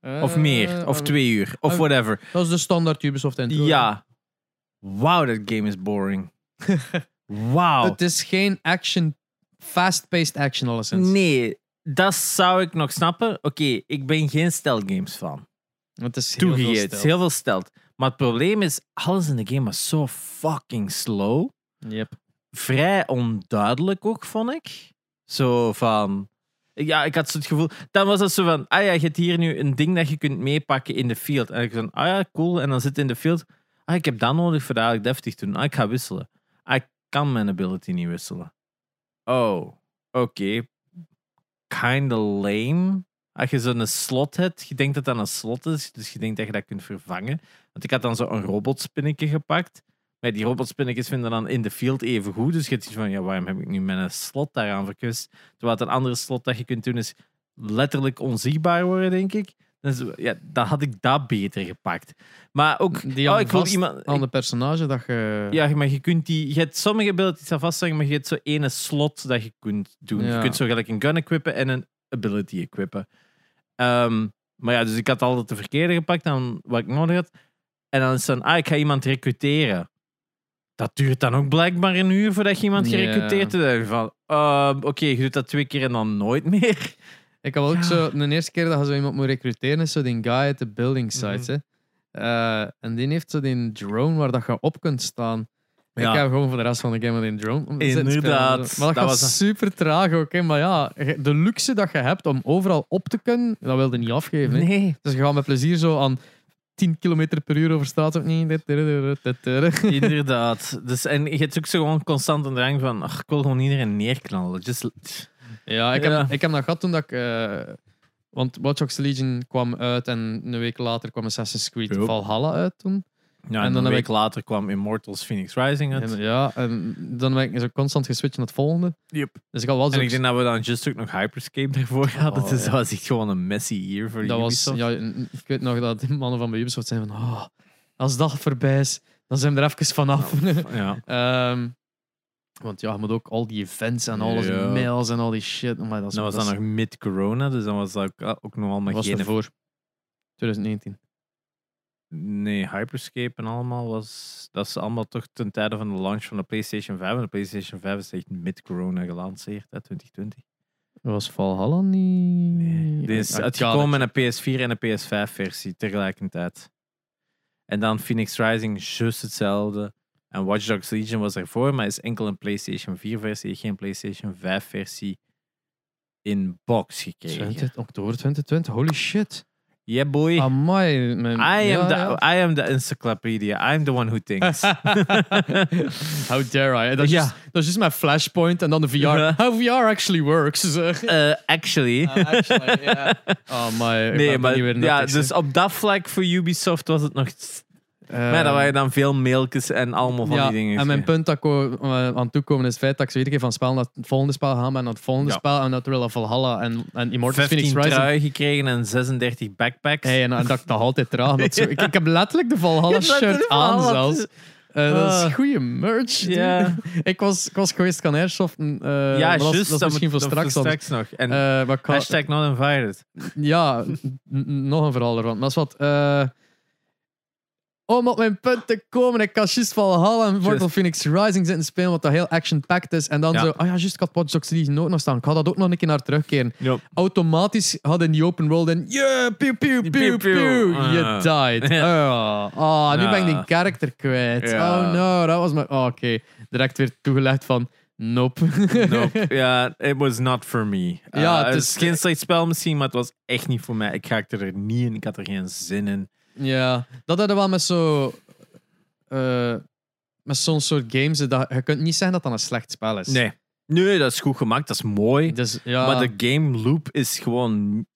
Of Eh, meer. Of eh, twee uur. Of eh, whatever. Dat is de standaard Ubisoft intro. Ja. Wauw, dat game is boring. Wauw. Het is geen action, fast-paced action alleszins. Nee, dat zou ik nog snappen. Oké, ik ben geen stelgames fan. Het is heel veel Toegegeven, het is stijl. heel veel stelt. Maar het probleem is, alles in de game was zo fucking slow. Yep. Oh, vrij onduidelijk ook, vond ik. Zo van. Ja, ik had zo het gevoel. Dan was dat zo van. Ah ja, je hebt hier nu een ding dat je kunt meepakken in de field. En ik van. Ah ja, cool. En dan zit je in de field. Ah, ik heb dat nodig voor dadelijk deftig te doen. Ah, ik ga wisselen. Ah, ik kan mijn ability niet wisselen. Oh, oké. Kinda lame. Als je zo'n slot hebt, je denkt dat dat een slot is, dus je denkt dat je dat kunt vervangen. Want ik had dan zo'n robotspinnetje gepakt. Maar die robotspinnetjes vinden dan in de field even goed. Dus je hebt iets van, ja, waarom heb ik nu mijn slot daaraan verkust? Terwijl het een andere slot dat je kunt doen is letterlijk onzichtbaar worden, denk ik. Dus ja, dan had ik dat beter gepakt. Maar ook, Die oh, aan ik wil vast- iemand... Aan de personage dat je... Ja, maar je kunt die... Je hebt sommige abilities al vastleggen, maar je hebt zo ene slot dat je kunt doen. Je Ja. kunt zo gelijk een gun equippen en een ability equippen. Ehm, maar ja, dus ik had altijd de verkeerde gepakt dan wat ik nodig had. En dan is dan, ah, ik ga iemand recruteren. Dat duurt dan ook blijkbaar een uur voordat je iemand Ja. gerecruiteerd hebt. Dan denk je Van, ehm, oké, je doet dat twee keer en dan nooit meer. Ik had ook Ja. zo, de eerste keer dat je zo iemand moet recruteren, is zo die guy uit de building site. Mhm. hè. Eh, en die heeft zo die drone waar dat je op kunt staan. Ja. Ik heb gewoon voor de rest van de game al die drone. om te zitten spelen. Inderdaad, Maar dat, dat gaat was- super traag ook. Hè. Maar ja, je- de luxe dat je hebt om overal op te kunnen, dat wilde niet afgeven. hè. Nee. Dus je gaat met plezier zo aan 10 km per uur over straat. Of niet, dit, dit, dit, dit, dit. Inderdaad. Dus, en je hebt ook zo gewoon constant een drang van, ach, ik wil gewoon iedereen neerknallen. Just... Ja, ik heb, Ja. Ik heb dat gehad toen dat ik. eh, want Watch Dogs Legion kwam uit en een week later kwam Assassin's Creed Yup. Valhalla uit toen. Ja, en, En dan dan een heb week later kwam Immortals Phoenix Rising uit. En, ja, en dan ben ik zo constant geswitcht naar het volgende. Yep. Dus ik had wel zo. En ik denk dat we dan just ook nog Hyperscape ervoor hadden. Oh, dus ja. dat was echt gewoon een messy year voor dat was, Ubisoft. ja, n- ik weet nog dat die mannen van bij Ubisoft zijn van. Oh, als dat voorbij is, dan zijn we er even vanaf. Nou, Ja. Ehm, want ja, je moet ook al die events en alles, Ja. mails en al die shit. Maar dat is, Dat was dat dan is- nog mid-corona, dus dan was dat ook, ah, ook nog allemaal was geen... ervoor. 2019. Nee, Hyperscape en allemaal was... Dat is allemaal toch ten tijde van de launch van de PlayStation 5. En de PlayStation 5 is echt mid-corona gelanceerd, hè, 2020. Was Valhalla niet? Nee. Die is Arcade. uitgekomen met een PS4 en een PS5-versie tegelijkertijd. En dan Phoenix Rising, juist hetzelfde. En Watch Dogs Legion was ervoor, maar is enkel een PlayStation 4-versie, geen PlayStation 5-versie in box gekregen. 20, oktober 2020, holy shit. Yeah, boy. Amai. Mijn, I Ah, ja, am, the, ja. I am the encyclopedia. I'm the one who thinks. How dare I? Dat is, Ja. just, dat is just mijn flashpoint en dan de VR. Ja. How VR actually works. Zeg. Eh, actually. Ah, actually, ja. Oh my. Nee, maar niet weer ja, nuttig, dus zeg. op dat vlak voor Ubisoft was het nog. maar dan Ehm, waren dan veel mailtjes en allemaal van die dingen. En mijn punt dat ik wou, eh, aan toekomen is het feit dat ik zo iedere keer van spel naar het volgende spel ga, maar naar het volgende Ja. spel en dat Thrill of Valhalla en, en Immortals 15 Phoenix Rising. trui gekregen en 36 backpacks. Hey, en, en dat nou, ik dat altijd traag. Dat zo, ik, ik heb letterlijk de Je Valhalla hebt letterlijk shirt aan Valhalla. zelfs. Eh, dat Ah. is goede merch. dude. Ja. ik, was, ik was geweest gaan airsoften. eh, ja, maar dat is- juist. Dat is misschien voor straks. dan. nog. En Eh, maar ik ga- hashtag not invited. ja, n- n- nog een verhaal ervan. Maar is wat. eh, om op mijn punt te komen, ik kan juist Valhalla en Mortal Juist. Phoenix Rising zitten spelen, wat dat heel action-packed is. En dan Ja. zo, ah ja, juist, ik had Watch Dogs Legion ook nog staan. Ik ga dat ook nog een keer naar terugkeren. Ja. Automatisch hadden in die open world en yeah, pew, pew, pew, Pew, pew. pew, you Ah. died. Ah, ah, nu Ja. ben ik die character kwijt. Ja. Oh no, dat was mijn... oh, Oké, direct weer toegelegd van, nope. Nope. ja, it was not for me. Eh, Ja, het het is- is geen slecht spel misschien, maar het was echt niet voor mij. Ik raakte er niet in. Ik had er geen zin in. Ja, dat hadden we wel met zo. eh, met zo'n soort games. Dat, je kunt niet zeggen dat dat een slecht spel is. Nee. Nee, dat is goed gemaakt. Dat is mooi. Dus, ja, Maar de game loop is gewoon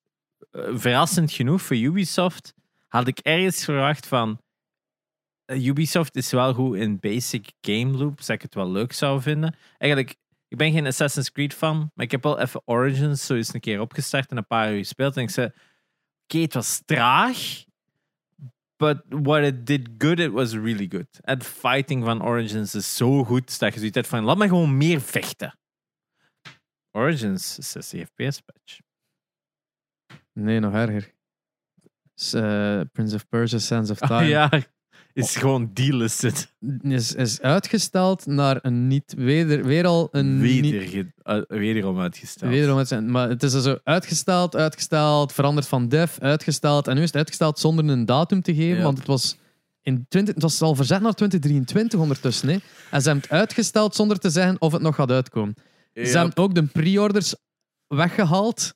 eh, verrassend genoeg voor Ubisoft. Had ik ergens verwacht van eh, Ubisoft is wel goed in basic game loops, dat ik het wel leuk zou vinden. Eigenlijk, ik ben geen Assassin's Creed fan, maar ik heb wel even Origins zo eens een keer opgestart en een paar uur gespeeld. En ik zei, oké, het was traag, but what it did good, it was really good. Het fighting van Origins is zo goed dat je zoiets hebt van, laat me gewoon meer vechten. Origins 60 FPS patch. nee, nog erger. S- eh, Prince of Persia Sands of Time Ah, ja, Oh. is gewoon delisted. is, is uitgesteld naar een niet. Weder, weer al een. Weder, Niet, ge- eh, wederom uitgesteld. wederom het zijn. Maar het is zo uitgesteld, uitgesteld, veranderd van dev, uitgesteld. En nu is het uitgesteld zonder een datum te geven, Ja. want het was. In 20, het was al verzet naar 2023 ondertussen. Hè. En ze hebben het uitgesteld zonder te zeggen of het nog gaat uitkomen. Ja. Ze hebben ook de pre-orders weggehaald.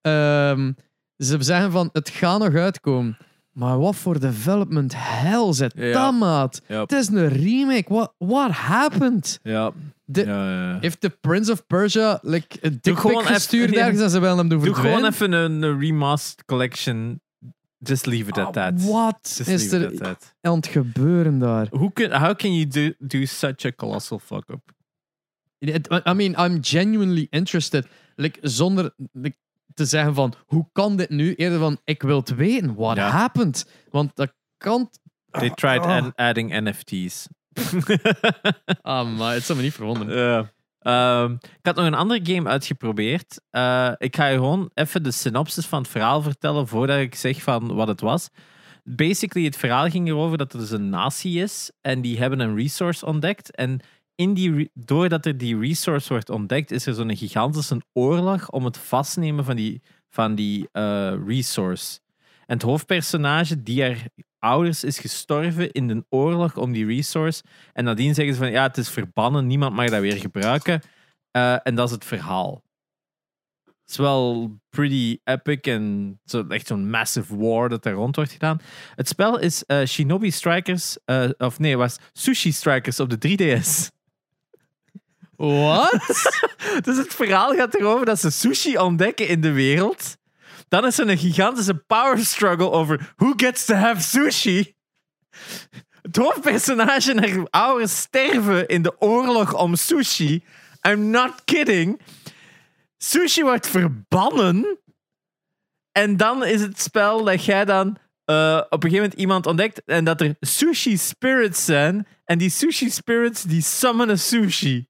Ehm, ze zeggen van, het gaat nog uitkomen. Maar wat voor development hell zit Ja. dat, maat? Ja. Het is een remake. What, what happened? Ja. De- Ja, ja. Heeft de Prince of Persia like, een dick gewoon pic even- gestuurd ja. ergens en ze willen hem doen Doe gewoon verdwijnen? even een, een remastered collection. Just leave it at that. Ah, Wat Just is leave it at er that. aan het gebeuren daar? Hoe kun- how can you do, do such a colossal fuck-up? It- I mean, I'm genuinely interested. Like, zonder like, te zeggen van, hoe kan dit nu? Eerder van, ik wil het weten. What Ja. happened? Want dat kan... They tried Ah. an- adding NFT's. Ah, maar het zou me niet verwonderen. Ja. Ehm, ik had nog een andere game uitgeprobeerd. Eh, ik ga je gewoon even de synopsis van het verhaal vertellen voordat ik zeg van wat het was. Basically, het verhaal ging erover dat er dus een natie is en die hebben een resource ontdekt. En in die re- doordat er die resource wordt ontdekt, is er zo'n gigantische oorlog om het vastnemen van die, van die eh, resource. En het hoofdpersonage die haar ouders is gestorven in een oorlog om die resource. En nadien zeggen ze van ja, het is verbannen, niemand mag dat weer gebruiken. Eh, en dat is het verhaal. Het is wel pretty epic en zo, echt zo'n massive war dat daar rond wordt gedaan. Het spel is eh, Shinobi Strikers, eh, of nee, was Sushi Strikers op de 3DS. What? Dus het verhaal gaat erover dat ze sushi ontdekken in de wereld. Dan is er een gigantische power struggle over who gets to have sushi. Het hoofdpersonage en haar ouders sterven in de oorlog om sushi. I'm not kidding. Sushi wordt verbannen. En dan is het spel dat jij dan eh, op een gegeven moment iemand ontdekt en dat er sushi spirits zijn. En die sushi spirits die summonen sushi.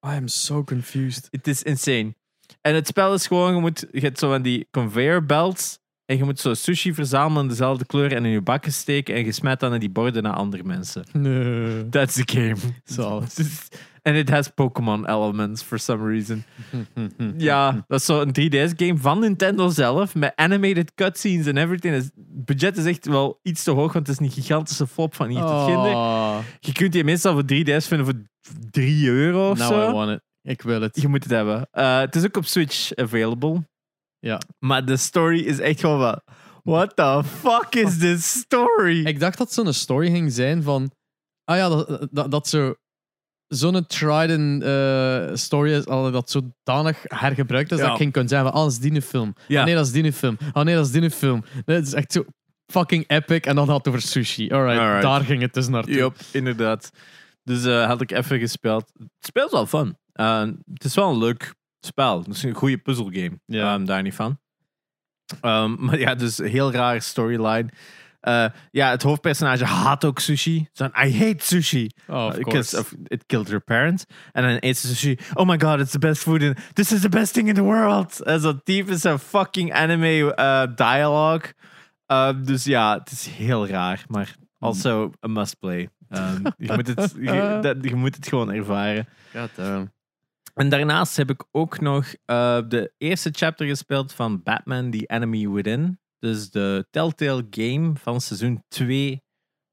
I am so confused. Het is insane. En het spel is gewoon, je, moet, je hebt zo van die conveyor belts. En je moet zo sushi verzamelen in dezelfde kleur en in je bakken steken. En je smijt dan in die borden naar andere mensen. Nee. That's the game. Zalig. Het is- En it has Pokémon elements for some reason. Ja, dat is zo'n 3DS-game van Nintendo zelf. Met animated cutscenes en everything. Het budget is echt wel iets te hoog, want het is een gigantische flop van hier tot ginder. Oh, Je kunt die meestal voor 3DS vinden voor 3 euro of now zo. I want it. Ik wil het. Je moet het hebben. Eh, het is ook op Switch available. Ja. Maar de story is echt gewoon van... What the fuck is this story? Ik dacht dat zo'n story ging zijn van. Ah ja, dat, dat, dat zo. Zo'n tried and eh, story is al dat zodanig hergebruikt is Ja. dat ik ging kunnen zeggen van, ah, dat is die een film. Ja. Ah, nee, dat is die een film. Ah nee, dat is die een film. Nee, het is echt zo fucking epic en dan had het over sushi. Alright, Alright. daar ging het dus naartoe. Yup, inderdaad. Dus eh, had ik even gespeeld. Het spel is wel fun. Eh, het is wel een leuk spel. Het is een goede puzzelgame. Ja. Ehm, daar niet van. Ehm, maar ja, dus een heel rare storyline. Eh, ja, het hoofdpersonage haat ook sushi. Zo van, I hate sushi. Oh, of Because course. of, it killed her parents. En dan eet ze sushi. Oh my god, it's the best food in... This is the best thing in the world. En zo diep is een fucking anime eh, dialogue. Ehm, dus ja, het is heel raar. Maar also a must play. Ehm, je, moet het, je, dat- je moet het gewoon ervaren. God damn. En daarnaast heb ik ook nog eh, de eerste chapter gespeeld van Batman The Enemy Within. Dus de Telltale game van seizoen 2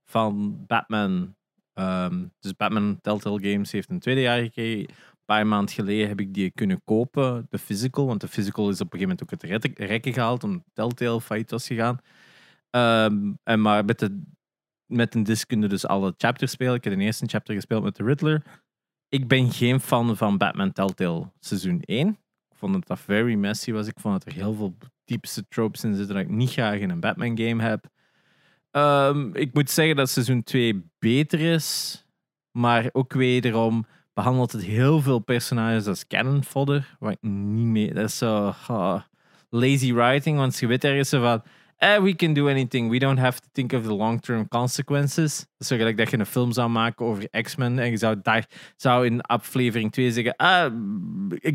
van Batman. Ehm, dus Batman Telltale Games heeft een tweede jaar gekregen. Een paar maanden geleden heb ik die kunnen kopen, de physical. Want de physical is op een gegeven moment ook het rette- rekken gehaald, omdat Telltale failliet was gegaan. Ehm, en maar met, de, met een disc kun je dus alle chapters spelen. Ik heb de eerste chapter gespeeld met de Riddler ik ben geen fan van Batman Telltale seizoen 1. Ik vond het dat very messy was. Ik vond dat er heel veel diepste tropes in zitten dat ik niet graag in een Batman game heb. Ehm, ik moet zeggen dat seizoen 2 beter is. Maar ook wederom behandelt het heel veel personages als canon fodder. Waar ik niet mee... Dat is zo... ah, lazy writing, want je weet ergens zo van... Eh, we can do anything. We don't have to think of the long-term consequences. Dat is zo gelijk dat je een film zou maken over X-Men en je zou, daar, zou in aflevering 2 zeggen... Ah,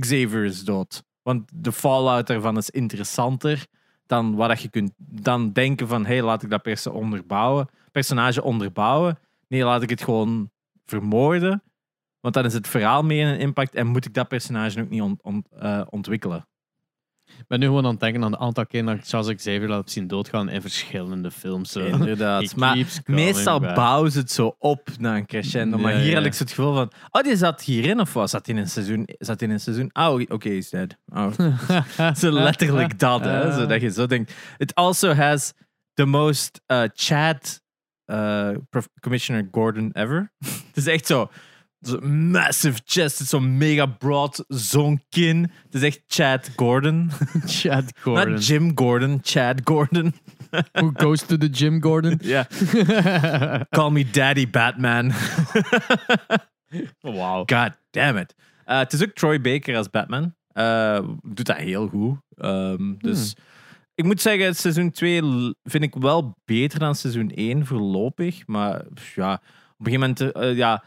Xavier is dood. Want de fallout daarvan is interessanter dan wat dat je kunt... Dan denken van, hey, laat ik dat perso onderbouwen, personage onderbouwen. Nee, laat ik het gewoon vermoorden. Want dan is het verhaal meer een impact en moet ik dat personage ook niet ont- ont- eh, ontwikkelen. Ik ben nu gewoon aan het denken aan het aantal keer dat ik Charles Xavier laat heb zien doodgaan in verschillende films. zo. Inderdaad. He maar keeps coming meestal back. bouwen ze het zo op naar een crescendo. Maar Ja, hier ja. had ik zo het gevoel van... Oh, die zat hierin of wat? Zat die in een seizoen? Zat die in een seizoen? Oh, oké, okay, is dead. Oh. zo letterlijk dat, hè. Ah. Zodat je zo denkt. It also has the most eh, Chad eh, prof- Commissioner Gordon ever. het is echt zo... zo massive chest, het is zo mega broad, zo'n kin. Het is echt Chad Gordon. Chad Gordon. Not Jim Gordon, Chad Gordon. Who goes to the gym, Gordon? Ja. Call me Daddy Batman. Wauw. God damn it. Eh, het is ook Troy Baker als Batman. Eh, doet dat heel goed. Ehm, dus ik moet zeggen, seizoen 2 l- vind ik wel beter dan seizoen 1 voorlopig. Maar pff, ja, op een gegeven moment, eh, ja,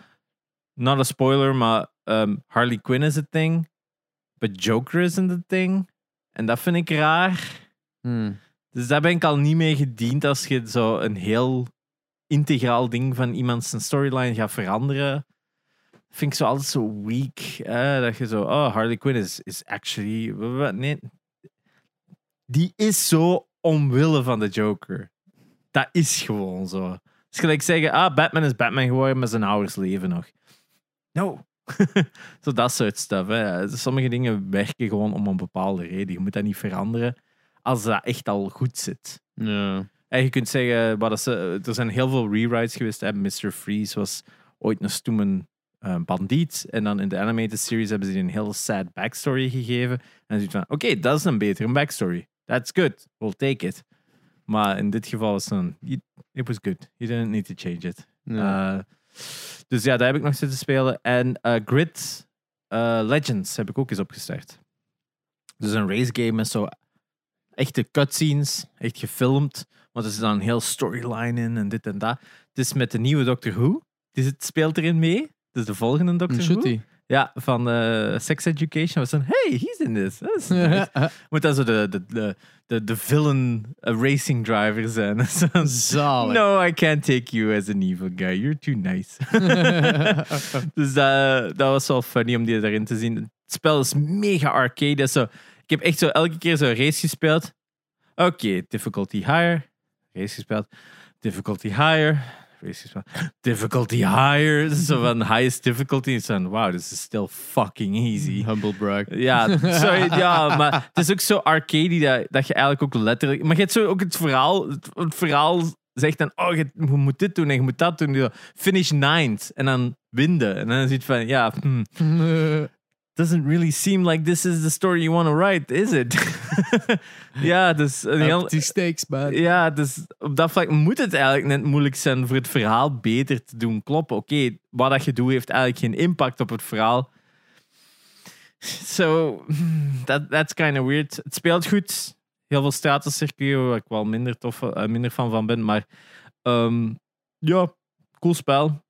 not a spoiler, maar ehm, Harley Quinn is a thing. But Joker isn't a thing. En dat vind ik raar. Hmm. Dus daar ben ik al niet mee gediend als je zo een heel integraal ding van iemand zijn storyline gaat veranderen. Vind ik zo altijd zo weak. eh, dat je zo, oh, Harley Quinn is, is actually. Nee. Die is zo omwille van de Joker. Dat is gewoon zo. Het is gelijk zeggen, ah, Batman is Batman geworden, maar zijn ouders leven nog. No. zo dat soort stuff. Hè. Sommige dingen werken gewoon om een bepaalde reden. Je moet dat niet veranderen als dat echt al goed zit. Ja. En je kunt zeggen, wat dat ze, er zijn heel veel rewrites geweest. Hè. Mr. Freeze was ooit een stoemen eh, bandiet. En dan in de animated series hebben ze die een heel sad backstory gegeven. En ze van, oké, dat is een betere backstory. That's good. We'll take it. Maar in dit geval was het een, it- it was good. You didn't need to change it. Ja. Eh, dus ja, daar heb ik nog zitten spelen. En eh, Grid eh, Legends heb ik ook eens opgestart. Dus een race game met zo echte cutscenes, echt gefilmd. Want er zit dan een heel storyline in en dit en dat. Het is met de nieuwe Doctor Who. Dus het speelt erin mee. Dus de volgende Doctor Who. Shooty. Ja, van eh, Sex Education. was dan, hey, he's in this. Dat is nice. Moet dan zo de, de, de, de, de villain eh, racing driver zijn. Zo, Zalig. no, I can't take you as an evil guy. You're too nice. dus dat, dat was wel funny om die daarin te zien. Het spel is mega arcade. Dat is zo, ik heb echt zo elke keer zo'n race gespeeld. Oké, difficulty higher. Race gespeeld. Difficulty higher. Race gespeeld. Difficulty higher. Zo van highest difficulty. Het is van, wow, this is still fucking easy. Humble brag. Ja, sorry, ja, maar het is ook zo arcade dat, dat je eigenlijk ook letterlijk. Maar je hebt zo ook het verhaal. Het, het verhaal zegt dan: oh, je, je moet dit doen en je moet dat doen. Zo, Finish ninth en dan winden. En dan zit van: ja, hmm, doesn't really seem like this is the story you want to write, is it? ja, dus een heel, Up die stakes, man. ja, dus op dat vlak moet het eigenlijk net moeilijk zijn voor het verhaal beter te doen kloppen. Oké, wat dat je doet heeft eigenlijk geen impact op het verhaal. So, hmm, that, that's kind of weird. Het speelt goed. Heel veel stratencircuiten, waar ik wel minder, tof, eh, minder van van ben. Maar ehm, ja, cool spel.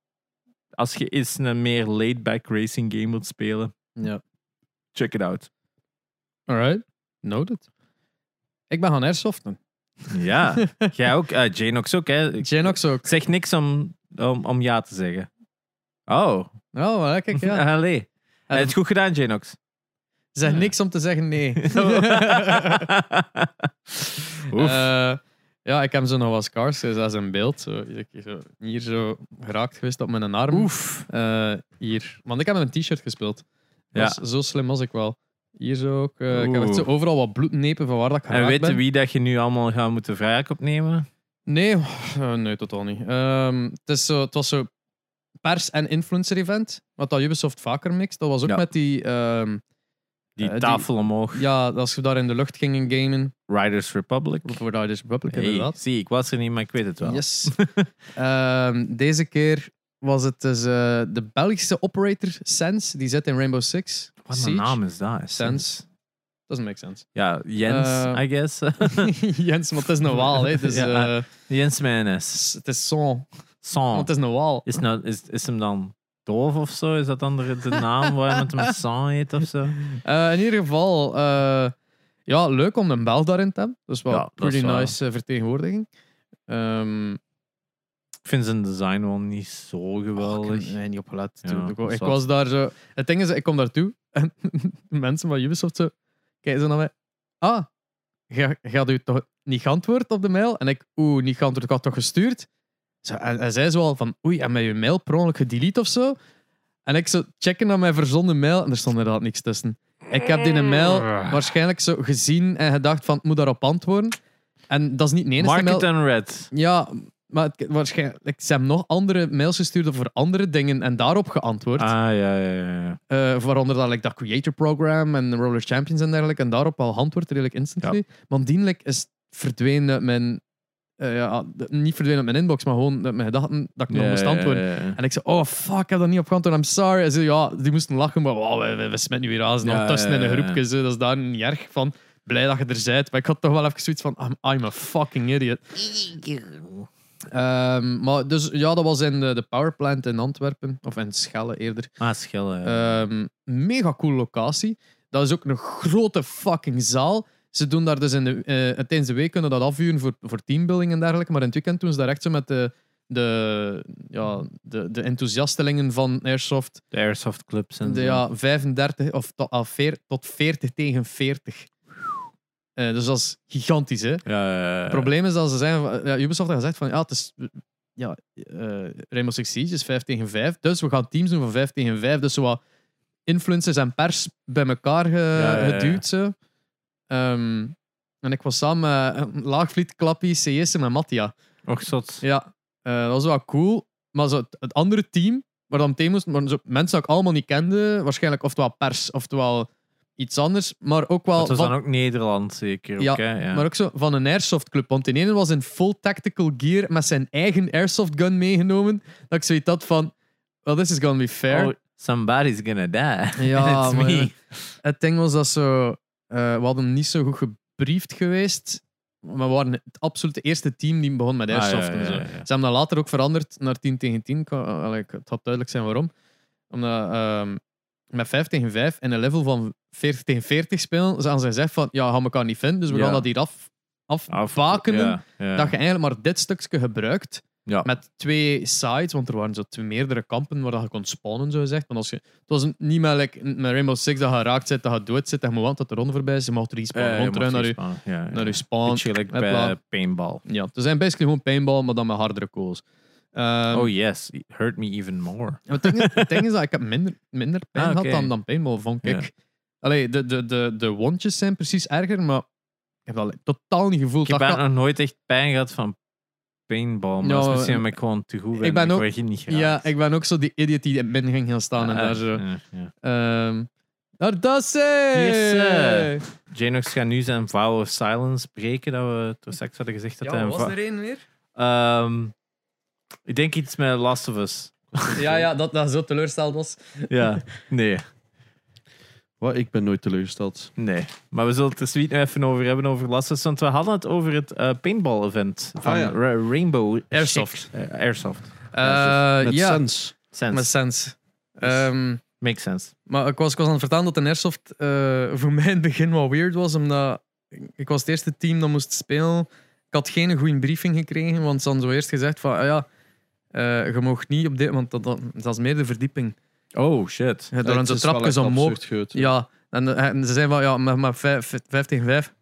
Als je eens een meer laid-back racing game wilt spelen, Ja. check it out. Alright. Noted. Ik ben gaan airsoften. Ja, jij ook. eh Janox ook, hè. Ik Genox ook. zeg niks om, om, om ja te zeggen. Oh, Oh, maar kijk, ja. Eh. Allee. Heb je het goed gedaan, Janox? Zeg niks om te zeggen nee. Oef. Eh, ja, ik heb zo nog wat scars, dus dat is een beeld. Zo, iedere keer zo, hier zo geraakt geweest op mijn arm. Oef. Eh, hier. Want ik heb met een t-shirt gespeeld. Ja. Dat was- zo slim was ik wel. Hier zo ook. eh, ik heb echt zo Oeh. overal wat bloednepen van waar dat ik En geraakt weet je ben. wie dat je nu allemaal gaat moeten vraag opnemen? Nee, eh, nee, totaal niet. Ehm, het, is zo, het was zo pers- en influencer-event, wat dat Ubisoft vaker mixt. Dat was ook Ja. met die... ehm, Die Eh, die- tafel omhoog. ja, als we daar in de lucht gingen gamen. Riders Republic. Voor Riders Republic, Hey, inderdaad. zie, ik was er niet, maar ik weet het wel. Yes. Ehm, deze keer was het dus eh, de Belgische operator Sense. Die zit in Rainbow Six. Wat Siege. een naam is dat? Sense. Doesn't make sense. Ja, Jens, Eh, I guess. Jens, want het is een waal. hè. Dus, Ja. eh, Jens Menes. s- het is son. Want Son. het is een waal. Is, nou, is, is hem dan doof of zo? Is dat dan de, de naam waar iemand hem Son heet of zo? Eh, in ieder geval, eh, ja, leuk om een bel daarin te hebben. Dat is wel Ja, dat pretty is wel- nice eh, vertegenwoordiging. Ehm, Ik vind zijn design wel niet zo Oh, ik geweldig. heb er niet opgelet. Ja, toen ik dat ook- is ik wat. was daar zo. Het ding is, ik kom daartoe en de mensen van Ubisoft zo, kijken zo naar mij. Ah, ga- gaat u toch niet geantwoord op de mail? En ik, oeh, niet geantwoord, ik had toch gestuurd? Zo, en, en zij zo al van, oei, en met je mail per ongeluk gedelete of zo? En ik zo checken naar mijn verzonden mail en er stond inderdaad niks tussen. Ik heb die mail Ah. waarschijnlijk zo gezien en gedacht van, het moet daarop antwoorden. En dat is niet de enige mail. Market and Red. Ja, maar het- waarschijnlijk. Ze hebben nog andere mails gestuurd over andere dingen en daarop geantwoord. Ah, ja, ja, ja. ja. Eh, waaronder dat, like, dat Creator Program en Roller Champions en dergelijke. En daarop al antwoord redelijk instantly. Want dienlijk is verdwenen uit mijn. eh, ja, d- niet verdwenen uit mijn inbox, maar gewoon uit mijn gedachten dat ik nog Ja, moest ja, antwoorden. ja, ja. En ik zei, oh fuck, ik heb dat niet op geantwoord, I'm sorry. En ze, ja, die moesten lachen, maar wow, we, we, we smeten nu weer aan. Ze Ja, ondertussen ja, in ja, een ja. groepje, zo, dat is daar niet erg van. Blij dat je er bent. Maar ik had toch wel even zoiets van, I'm, I'm a fucking idiot. Ehm, maar dus ja, dat was in de, de powerplant in Antwerpen, of in Schelle eerder. Ah, schillen. Ehm, mega cool locatie. Dat is ook een grote fucking zaal. Ze doen daar dus in de, eh, tijdens de week kunnen dat afvuren voor, voor teambuilding en dergelijke. Maar in het weekend doen ze daar echt zo met de, de, ja, de, de enthousiastelingen van Airsoft. de Airsoft clubs en De, zo. ja, 35 of to- ah, veer- tot 40 tegen 40. Eh, dus dat is gigantisch, hè? Ja, ja, ja. Het probleem is dat ze zeggen, van- ja, Ubisoft had gezegd van ja, het is, ja eh, Rainbow Six Siege is 5 tegen 5, dus we gaan teams doen van 5 tegen 5. Dus zo wat influencers en pers bij elkaar ge- ja, ja. geduwd. Zo. Ehm, en ik was samen met Laagvliet, Klappie, CS en met Mattia. Och, zot. Ja, eh, dat was wel cool. Maar zo, het, het andere team, waar dan meteen moesten, waren zo mensen die ik allemaal niet kende, waarschijnlijk oftewel pers, oftewel iets anders, maar ook wel... Dat was van- dan ook Nederland, zeker. Ja, ook, hè? ja. maar ook zo van een airsoft club. Want die ene was in full tactical gear met zijn eigen airsoft gun meegenomen. Dat ik zoiets had van. Well, this is gonna be fair. Oh, somebody's gonna die. Ja, And it's maar- me. Ah, Het ding was dat zo. eh, we hadden niet zo goed gebriefd geweest. Maar we waren het absolute eerste team die begon met Ah, Airsoft. ja, ja, en zo. ja, ja. Ze hebben dat later ook veranderd naar 10 tegen 10. Ik- eh, allee, ik- Het had duidelijk zijn waarom. Omdat ehm, met 5 tegen 5 en een level van 40 tegen 40 spelen, ze hadden gezegd van ja, we gaan elkaar niet vinden, dus we Ja. gaan dat hier af, afbakenen. Ah, Ja, ja. Dat je eigenlijk maar dit stukje gebruikt Ja. met twee sides, want er waren zo twee meerdere kampen waar dat je kon spawnen, zo gezegd. Want als je, het was een- niet meer like, met Rainbow Six dat je geraakt zit, dat je dood zit, dat je moet want dat de ronde voorbij is. Je mocht Ja, respawnen, je rondrunnen mag naar je, respawn. Ja, ja. naar je spawn. Beetje gelijk Met bij bla. eh, paintball. Ja, het zijn basically gewoon paintball, maar dan met hardere kogels. Ehm, oh yes, it hurt me even more. Maar Het ding, is- het ding is dat ik heb minder, minder pijn Ah, had oké. dan, dan paintball, vond ik. Ja. Allee, de, de, de, de wondjes zijn precies erger, maar ik heb dat totaal niet gevoeld. Ik heb Dat eigenlijk nog nooit echt pijn gehad van paintball, maar Ja, dat is misschien eh, omdat ik gewoon te goed ben. ik ben ook- word hier niet Ah, kan- ja, ik ben ook zo die idiot die in het midden ging gaan staan en daar zo... Ehm daar dat ze! Yes, eh. Janox gaat nu zijn vow of silence breken, dat we toen seks hadden gezegd dat hij een va- één weer? Ehm, Ik denk iets met Last of Us. Ja, ja, dat dat zo teleursteld was. ja, nee, Wat, ik ben nooit teleurgesteld. nee. Maar we zullen het er zoiets nog even over hebben, over Last of Us, want we hadden het over het eh, paintball-event van Ah, ja. Ra- Rainbow Airsoft. Six. Eh, Airsoft. Eh, Met Dus- ja, sens. Sense. met sens. Ehm, Makes sense. maar ik was, ik was aan het vertellen dat de Airsoft eh, voor mij in het begin wat weird was, omdat ik- ik was het eerste team dat moest spelen. Ik had geen goede briefing gekregen, want ze hadden zo eerst gezegd van, ah ja, eh, je mag niet op dit, want dat, dat, dat is meer de verdieping. Oh, shit. Je door Het een zo is wel trapjes echt omhoog. absurd gebeurd. Ja, en, en ze zijn van ja, maar, maar vijf, vijf- vijf tegen vijf.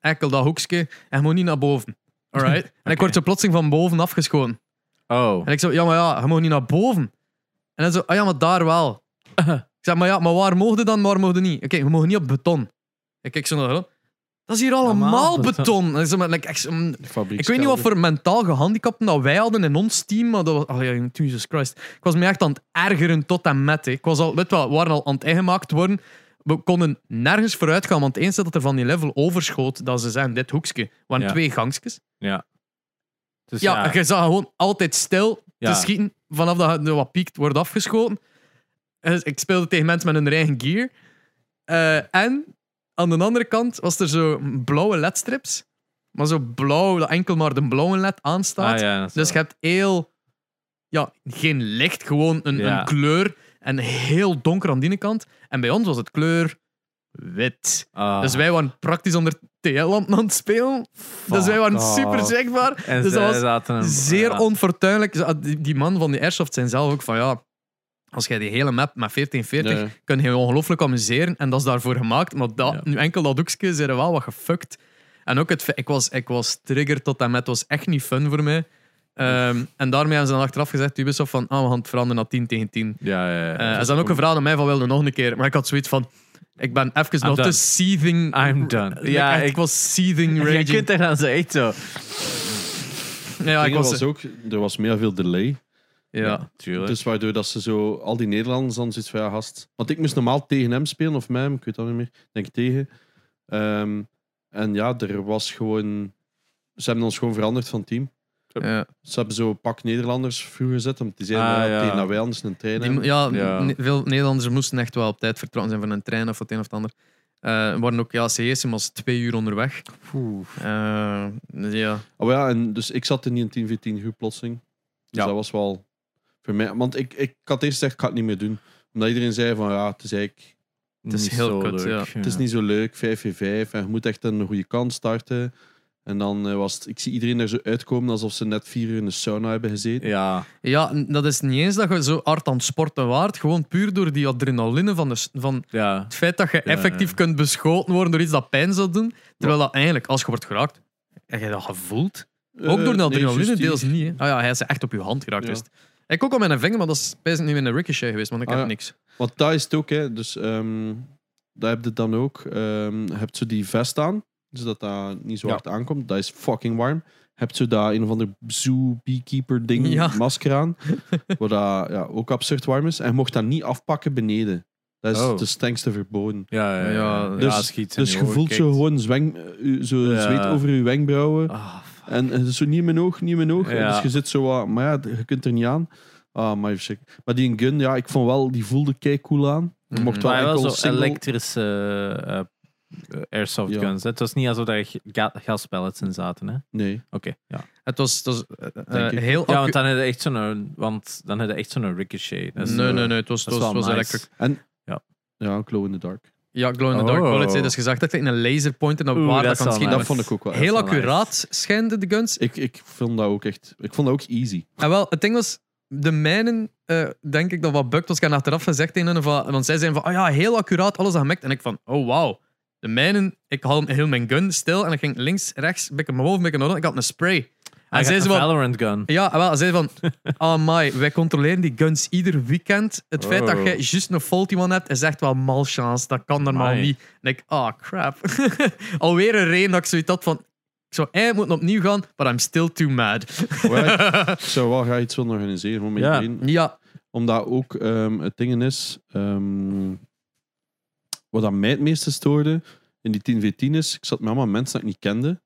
Enkel dat hoekje en je moet niet naar boven. Alright? En ik word zo plotseling van boven afgeschoten. Oh. En ik zo, ja, maar ja, je mag niet naar boven. En dan zo, ah ja, maar daar wel. Ik zeg, maar ja, maar waar mogen dan, waar mogen niet? Oké, we mogen niet op beton. Ik kijk zo naar hem. Dat is hier allemaal Allemaal beton. En zo, maar, like, echt zo, mm, De fabriekskelder. ik weet niet wat voor mentaal gehandicapten dat wij hadden in ons team, maar dat was... Oh ja, Jesus Christ. Ik was me echt aan het ergeren tot en met. hè. Ik was al, weet wel, we waren al aan het ingemaakt worden. We konden nergens vooruit gaan, want eens dat er van die level overschoot, dat ze zijn dit hoekje. waren Ja. twee gangsjes. Dus Ja, je zag gewoon altijd stil Ja. te schieten. Vanaf dat je wat piekt, wordt afgeschoten. Dus ik speelde tegen mensen met hun eigen gear. Eh, en aan de andere kant was er zo blauwe ledstrips. Maar zo blauw, dat enkel maar de blauwe led aanstaat. Ah, ja, dat is Dus je wel- hebt heel... Ja, geen licht, gewoon een, Ja. een kleur. En heel donker aan die ene kant. En bij ons was het kleur wit. Ah, Dus wij waren praktisch onder TL-lamp aan het spelen. Dus wij waren fuck super off. zichtbaar. En dus zij dat was zaten een- Zeer ja. onfortuinlijk. Ze- die- Die man van die Airsoft zijn zelf ook van ja. Als jij die hele map met 1440 Ja. kun je ongelooflijk amuseren en dat is daarvoor gemaakt. Maar dat, Ja. nu enkel dat doekje zijn er wel wat gefukt. En ook het fe- ik was, ik was trigger tot en met, het was echt niet fun voor mij. Ehm, en daarmee hebben ze dan achteraf gezegd, Ubisoft, van ah, we gaan het veranderen naar 10 tegen 10. Ja, ja, ja. Eh, en ze hebben ook gevraagd aan mij van wilde nog een keer. Maar ik had zoiets van, ik ben even nog done. te seething. I'm done. Like, Ah, ja, echt, ik, ik was seething Je raging. kunt er dan zo echt zo. ja, ik Dingen was, was ook, er was mega veel delay. ja. tuurlijk. Dus waardoor dat ze zo, al die Nederlanders dan zoiets van ja, gast. Want ik moest normaal tegen hem spelen, of mij, ik weet dat niet meer. Ik Denk tegen. Ehm, en ja, er was gewoon. Ze hebben ons gewoon veranderd van team. ja. Ze hebben zo een pak Nederlanders vroeger gezet, om te zeggen Ah, ja, ja. tegen dat wij anders een trein Die hebben. mo- ja, Ja. ne- veel Nederlanders moesten echt wel op tijd vertrokken zijn van een trein of het een of het ander. Eh waren ook, ja, CS was twee uur onderweg. Eh, dus ja. Oh ja, en dus ik zat in die 10 v 10 groep plotseling. Dus Ja. dat was wel voor mij. Want ik, ik had eerst gezegd, ik ga het niet meer doen. Omdat iedereen zei van ja, het is eigenlijk Het is heel kut, ja. Het is niet zo leuk, 5v5. En je moet echt een goede kant starten. En dan eh, was het, ik zie iedereen er zo uitkomen alsof ze net vier uur in de sauna hebben gezeten. Ja, ja, n- dat is niet eens dat je zo hard aan het sporten waart. Gewoon puur door die adrenaline van, de, s- van ja. het feit dat je Ja, effectief ja. kunt beschoten worden door iets dat pijn zou doen. Terwijl dat eigenlijk, als je wordt geraakt, heb je dat gevoeld. Ook door Eh, de nee, adrenaline juist die- deels niet. hè. Ah ja, hij is echt op je hand geraakt. Ja. dus. Ik ook al mijn vinger, maar dat is bijna nu in een ricochet geweest, want ik Ah, heb ja. niks. Want daar is het ook, hè. Dus ehm daar heb je dan ook. ehm je hebt zo die vest aan, zodat dat niet zo Ja. hard aankomt. Dat is fucking warm. Je hebt zo daar een of ander zoo beekeeper ding, Ja. masker aan. wat dat ja, ook absurd warm is. En je mocht dat niet afpakken beneden. Dat is Oh. de strengste verboden. Ja, ja, ja. Ja, dus- ja, schiet in Dus je ogen voelt kijkt. zo gewoon zweng, eh, u- zo Ja. zweet over je wenkbrauwen. Ah, fuck. En het is zo niet in mijn oog, niet in mijn oog. Ja. Dus je zit zo wat, maar ja, je kunt er niet aan. Ah, maar shit. Maar die gun, ja, ik vond wel, die voelde kei cool aan. Je mocht Mhm. wel maar hij enkel was zo single... elektrische eh, eh, eh, airsoft Ja. guns. hè. Het was niet alsof daar ga- gaspellets in zaten. hè. Oké, Nee. ja. Het was, het was eh, eh, Denk ik. heel... Ja, accu- want dan hadden echt zo'n, want dan hadden echt zo'n ricochet. Dat is, nee, eh, nee, nee. Het was, dat het is was, wel het was nice. electric. Ja, glow in the dark. Ja, glow-in-the-dark Oh. bullets. hè. Dus je zag dat in een laserpointer naar Oeh, waar dat dat is kan wel schieten. nice. Dat vond ik ook wel. Heel Dat is wel accuraat schijnden de guns. Ik, ik vond dat ook echt. Ik vond dat ook easy. En wel, het ding was, de mijnen, eh, denk ik dat wat Buck ons kan achteraf gezegd tegen hun, van, want zij zijn van, oh ja, heel accuraat, alles gemerkt. En ik van, oh wauw. De mijnen, ik had heel mijn gun stil en ik ging links, rechts, een beetje naar boven, een beetje naar onder. Ik had een spray. Hij En zij had ze een van, Valorant gun. ja, en wel, zij van, oh my, wij controleren die guns ieder weekend. Het feit dat Oh. jij juist een faulty one hebt, is echt wel malchance. Dat kan normaal Amai. niet. En ik, ah, crap. Alweer een reden dat ik zoiets had van, ik zou eigenlijk moeten opnieuw gaan, but I'm still too mad. Right? ik zou wel graag iets willen organiseren gewoon met Ja. iedereen. ja, Omdat ook ehm, het ding is. ehm, wat aan mij het meeste stoorde in die 10v10 is. Ik zat met allemaal mensen dat ik niet kende.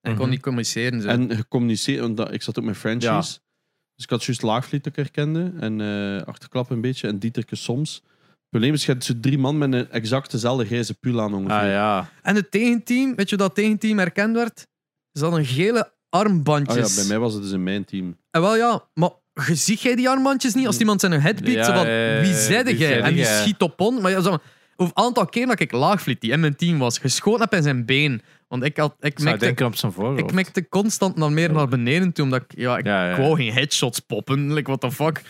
En kon Mhm. niet communiceren. dus. Zo. En gecommuniceerd, want dat- ik zat ook met Frenchies. Ja. Dus ik had juist Laagvliet dat ik herkende. En eh, Achterklap een beetje. En Dieterke soms. Het probleem is, je hebt zo drie man met een exact dezelfde grijze pull aan ongeveer. Ah ja. En het tegenteam, weet je hoe dat tegenteam herkend werd? Ze hadden gele Ah armbandjes. ja, bij mij was het dus in mijn team. En wel ja, maar je ziet jij die armbandjes niet als iemand zijn head biedt? Ja, zo van, ja, ja, ja, wie zijde wie jij? zijde En die jij? schiet op on. Maar ja, zo, een aantal keer dat ik laagvliet, die in mijn team was, geschoten heb in zijn been. Want ik, had, ik, Ik zou merkte, denken op zijn voorhoofd. ik mikte constant naar meer naar beneden toe, omdat ik, ja, ik Ja, ja. wou geen headshots poppen. Like, what the fuck?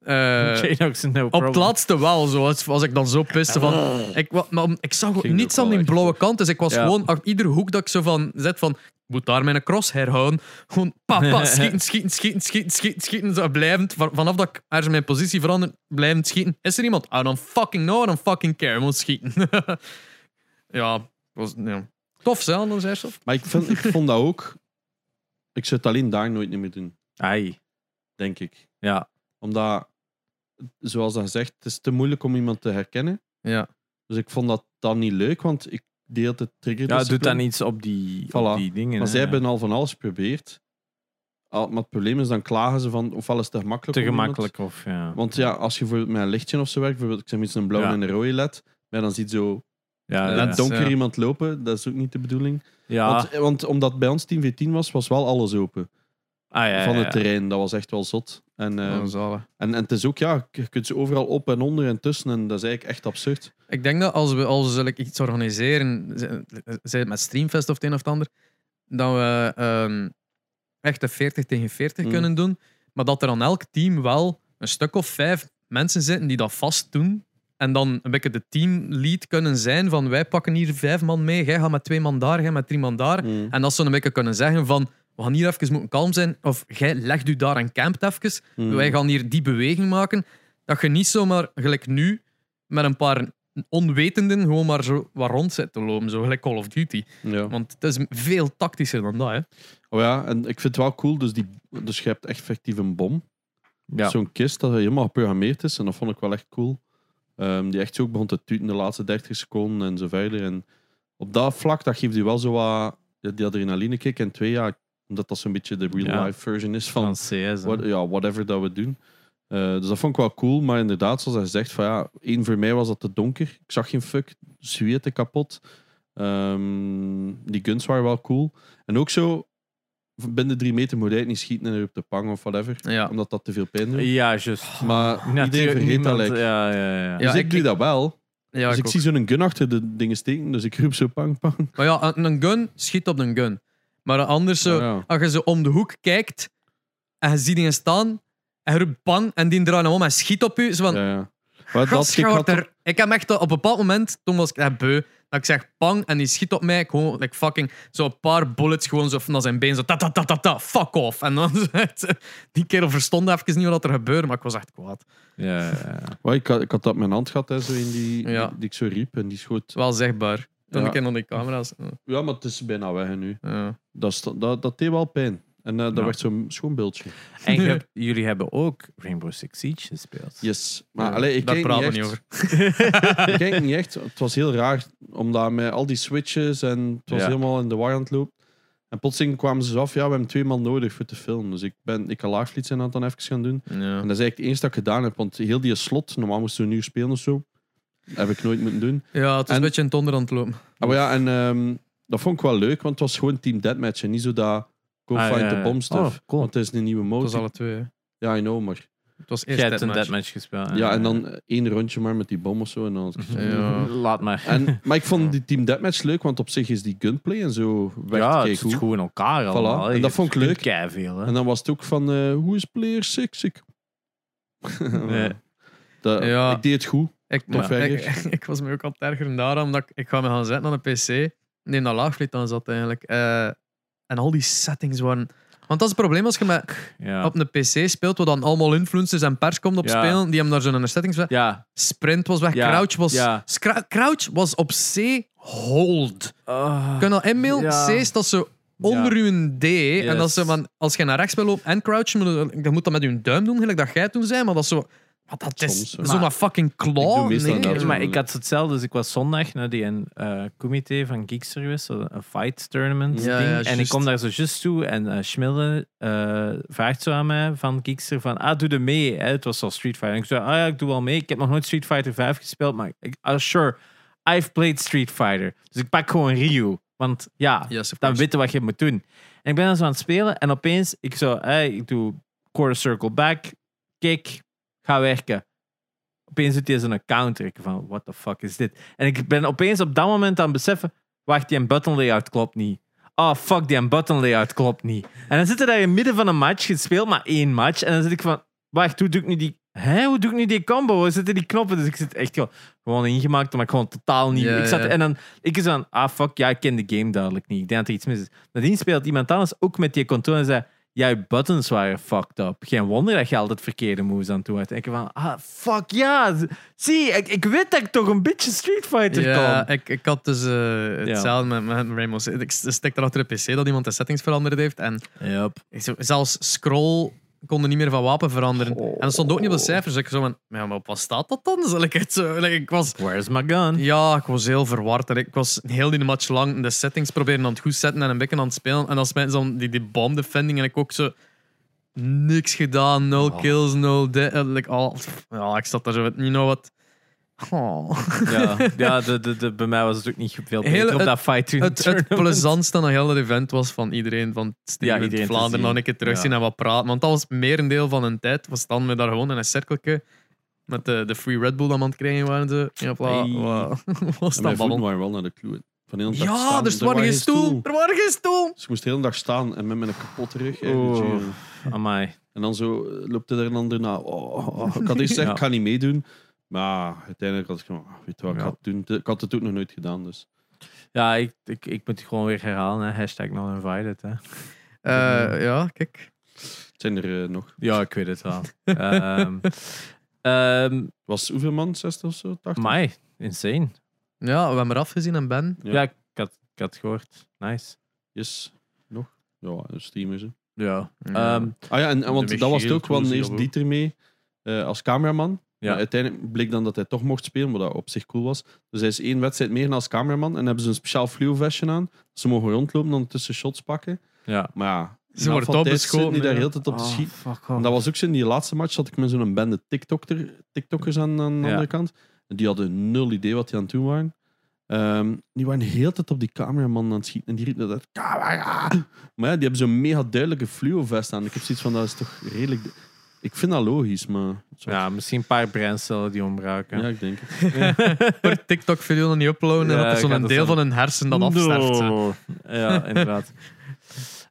Eh, Janox is no Op problem. het laatste wel, zo, als, als ik dan zo piste van... Ik, wa- maar om- ik zag ook Ging er niets ook aan wel die echt blauwe kant, dus ik was Ja. gewoon... Achter iedere hoek dat ik zo van zet van... Ik moet daar mijn cross herhouden. Gewoon papa, schieten, schieten, schieten, schieten, schieten, schieten. Zo blijvend, va- vanaf dat ik ergens mijn positie verander, blijvend schieten. Is er iemand? I don't fucking know, I don't fucking care. Moet schieten. ja, was... Ja. Tof, hè, anders airsoft. Maar ik, vind, ik vond dat ook... Ik zou het alleen daar nooit meer doen, Ai. denk ik. Ja. Omdat, zoals dat gezegd, het is te moeilijk om iemand te herkennen. Ja. Dus ik vond dat dan niet leuk, want ik deel de trigger. Ja, doet discipline. dan iets op die, op Voilà. die dingen. Maar hè. zij hebben al van alles geprobeerd. Al- Maar het probleem is, dan klagen ze van ofwel is het te gemakkelijk. te om iemand- gemakkelijk of ja. Want ja, als je bijvoorbeeld met een lichtje of zo werkt, bijvoorbeeld ik zeg iets een blauw Ja. en een rode led, maar dan ziet zo ja, dat ja. in het donker ja. iemand lopen, dat is ook niet de bedoeling. Ja. Want, eh, want omdat bij ons 10v10 was, was wel alles open Ah, ja, ja, van het ja. terrein. Dat was echt wel zot. En, eh, Oh, zalig. en, en het is ook, ja, je kunt ze overal op en onder en tussen en dat is eigenlijk echt absurd. Ik denk dat als we, als we like, iets organiseren, z- zij het met Streamfest of het een of het ander, dat we ehm echt een 40 tegen 40 Mm. kunnen doen. Maar dat er aan elk team wel een stuk of vijf mensen zitten die dat vast doen. En dan een beetje de teamlead kunnen zijn van wij pakken hier vijf man mee, jij gaat met twee man daar, jij met drie man daar. Mm. En dat ze een beetje kunnen zeggen van we gaan hier even moeten kalm zijn of jij legt u daar en campt even. Mm. Wij gaan hier die beweging maken. Dat je niet zomaar, gelijk nu, met een paar onwetenden gewoon maar zo wat rond zit te lopen. Zo gelijk Call of Duty. Ja. Want het is veel tactischer dan dat, hè. Oh ja, en ik vind het wel cool, dus, die, dus je hebt echt effectief een bom. Ja. Zo'n kist dat helemaal geprogrammeerd is. En dat vond ik wel echt cool. Ehm, die echt zo ook begon te tuten de laatste 30 seconden en zo verder. En op dat vlak, dat geeft u wel zo wat ja, die adrenaline kick. En twee, ja, omdat dat zo'n beetje de Ja. real-life version is van van CS. hè. what- ja, whatever dat we doen. Eh, dus dat vond ik wel cool. Maar inderdaad, zoals hij gezegd, van, ja, één voor mij was dat te donker. Ik zag geen fuck. Zweette kapot. Ehm, die guns waren wel cool. En ook zo, binnen drie meter moet hij het niet schieten en er op de pang of whatever. Ja. Omdat dat te veel pijn doet. Ja, juist. Maar Ah, iedereen Natuurlijk vergeet dat niemand- lijkt. Ja, ja, ja. Ja. dus ik, ik- doe dat wel. Ja, dus ik, zie zo'n gun achter de dingen steken, dus ik roep zo pang pang. Maar ja, een een gun schiet op een gun. Maar anders, zo, Ja. als je zo om de hoek kijkt en je ziet dingen staan en je roept bang en die draaien om en schiet op je. Zo van, Ja, ja. Maar dat ik had, Gasschouder. Ik heb echt eh, op een bepaald moment, toen was ik echt beu, dat ik zeg pang en die schiet op mij. Ik Gewoon like, fucking zo'n paar bullets gewoon zo naar zijn been. Zo ta ta ta ta ta, fuck off. En dan zo echt, eh, die kerel verstond even niet wat er gebeurde, maar ik was echt kwaad. ja, ja, ja. Wel, ik, had, ik had dat in mijn hand gehad, hè, zo in die, Ja. die, die ik zo riep en die schoot. Het is wel zegbaar. Toen Ja. ik in aan die camera's. eh, Ja, maar het is bijna weg hè, nu. Ja. Dat, is- dat, dat deed wel pijn. En eh, dat Ja. werd zo'n schoon beeldje. En je hebt- jullie hebben ook Rainbow Six Siege gespeeld. Yes. Maar Ja, allee, ik Daar kijk praten we niet niet echt. over. Ik kijk niet echt. Het was heel raar, omdat met al die switches en het was Ja. helemaal in de war aan het lopen. En plotseling kwamen ze af, ja, we hebben twee man nodig voor te filmen. Dus ik, ben, ik kan laagvliet zijn aan het dan even gaan doen. Ja. En dat is eigenlijk het eerste dat ik gedaan heb, want heel die slot, normaal moesten we een uur spelen of zo, Heb ik nooit moeten doen. Ja, het is En- een beetje in het onder aan het lopen. Ah, maar ja, en ehm, dat vond ik wel leuk, want het was gewoon Team Deathmatch en niet zo dat go Ah, find ja, the ja. bomb stuff. Oh, cool. Want het is een nieuwe Het was mode. alle twee. hè. Ja, I know, maar... Het was eerst Jij hebt een deathmatch. deadmatch gespeeld. Ja, en dan eh, één rondje maar met die bom of zo. En dan... Ja. Laat maar. En, maar ik vond die Team Deathmatch leuk, want op zich is die gunplay en zo werkt ja, kei het is goed. gewoon in elkaar allemaal. En dat vond ik leuk. veel. En dan was het ook van, eh, hoe is player 6? Ik... Nee. Dat- Ja. Ik deed het goed. Ik, Tof, maar- hè, ik, ik was me ook al terger daarom omdat ik, ik ga me gaan zetten aan de PC. Nee, naar laagvliet dan zat eigenlijk. Eh, en al die settings waren. Want dat is het probleem als je met, Ja. op een PC speelt, waar dan allemaal influencers en pers komt op Ja. spelen, die hem daar zo'n settings van. ja. Sprint was weg, Ja. crouch was. Ja. scra- crouch was op C hold. Ah. Kun je al inmail? Ja. C staat zo onder uw D. En dat Yes. ze, van, als je naar rechts wil lopen en crouchen, moet je- dan moet dat met je duim doen, gelijk dat jij toen zei, maar dat is zo. Maar dat Soms, is hè. zo'n Maar- fucking Ik doe claw. meestal nee. dat, Ja, zo. maar ik had hetzelfde, dus ik was zondag naar die een eh, comité van Geekservice, zo een fight tournament Ja, ding. ja, en ik juist. kom daar zo just toe en eh Schmille eh, vraagt zo aan mij van Geekster van, ah, doe er mee. Hè? Het was al Street Fighter. En ik zei, ah ja, ik doe wel mee. Ik heb nog nooit Street Fighter 5 gespeeld, maar ik, ah, sure, I've played Street Fighter. Dus ik pak gewoon Ryu, want ja, Yes, of dan course. weten wat je moet doen. En ik ben dan zo aan het spelen en opeens, ik zo, hey, ik doe quarter circle back, kick, ga werken. Opeens doet hij zo'n counter. Ik van, what the fuck is dit? En ik ben opeens op dat moment aan het beseffen, wacht, die button layout klopt niet. Oh fuck, die button layout klopt niet. En dan zit er daar in het midden van een match, gespeeld maar één match. En dan zit ik van, wacht, hoe doe ik nu die... Hè, hoe doe ik nu die combo? Waar zitten die knoppen? Dus ik zit echt gewoon, gewoon ingemaakt, maar ik gewoon totaal niet... Ja, ik zat, ja. En dan, ik is van, ah fuck, ja, ik ken de game duidelijk niet. Ik denk dat er iets mis is. Nadien speelt iemand anders ook met die controle en zei, jouw buttons waren fucked up. Geen wonder dat je altijd verkeerde moves aan toe had. En ik van, ah, fuck ja. Zie, ik, ik weet dat ik toch een beetje Street Fighter Ja, kan. ik, ik had dus eh, hetzelfde met, met Rainbow Six. Ik stek erachter de PC dat iemand de settings veranderd heeft. En Yep. ik zo- zelfs scroll konden niet meer van wapen veranderen. Oh. En dat stond ook niet op de cijfers. Ik zo van, ja, maar op wat staat dat dan? Zal ik, het zo, like, ik was... Where's my gun? Ja, ik was heel verward. En ik was heel die match lang de settings proberen aan het goed zetten en een beetje aan het spelen. En als mensen dan die, die bomb defending en ik ook zo... Niks gedaan, nul Oh. kills, nul... dit, eh, Like, oh, pff, ja, ik zat daar zo van, you know what? Oh. Ja, ja de, de, de- bij mij was het ook niet veel beter Heel op het- dat fight toen. het, het plezantste aan dat hele event was van iedereen van Ja, Steven iedereen te Vlaanderen zien. nog een keer terugzien Ja. en wat praten. Want dat was merendeel van hun tijd. We standen we daar gewoon in een cirkeltje met de, de free Red Bull dat we aan het krijgen waren. Ze. Ja, Hey. voilà. Wat was dat En mijn voeten babbel? waren wel naar de clue. Van de hele dag Ja, staan, dus er was geen stoel. Er was geen stoel. Dus ik moest de hele dag staan en met mijn kapotte rug. eh, Oeh. je- Amai. En dan zo eh, loopt er een ander na. Oh, oh, oh. Ik had eerst gezegd, Ja. ik ga niet meedoen. Maar uiteindelijk had ik gewoon, ah, weet je wat, ik, Ja. ga het doen. ik had het ook nog nooit gedaan. Dus. Ja, ik, ik, ik moet het gewoon weer herhalen. Hè. Hashtag non-invited. Hè. Eh, ja, kijk. Het zijn er eh, nog. Ja, ik weet het wel. Ehm ehm, Was hoeveel man? 60 of zo? 80? amai, insane. Ja, we hebben eraf gezien en Ben. Ja, Ja. ik, had, ik had het gehoord. Nice. Yes. Nog? Ja, een steam is hè. Ja. Ja. Ehm, Ah ja, en, en want De dat was het Michiel ook, want Koelsier eerst ook. Dieter mee eh, als cameraman. Ja. Maar uiteindelijk bleek dan dat hij toch mocht spelen, wat dat op zich cool was. Dus hij is één wedstrijd meer als cameraman. En dan hebben ze een speciaal fluo vestje aan. Ze mogen rondlopen en tussen shots pakken. ja. Maar ja, Ze worden opgeschoten, Die daar ja. heel de tijd op te Oh, schieten. fuck En off. dat was ook zo in die laatste match, zat ik met zo'n bende TikToker, TikTokkers aan, aan de Ja. andere kant. En die hadden nul idee wat die aan het doen waren. Ehm, die waren de hele tijd op die cameraman aan het schieten. En die riepen dat camera. Maar ja, die hebben zo'n mega duidelijke fluo vest aan. Ik heb zoiets van, dat is toch redelijk... du- Ik vind dat logisch, maar... Ja, misschien een paar breincellen die ontbraken. Ja, ik denk het. Per TikTok-video nog niet uploaden. en Ja, dat er ik had zo'n dat deel zo. van hun hersen dat afsterft. ze. No. Ja, inderdaad.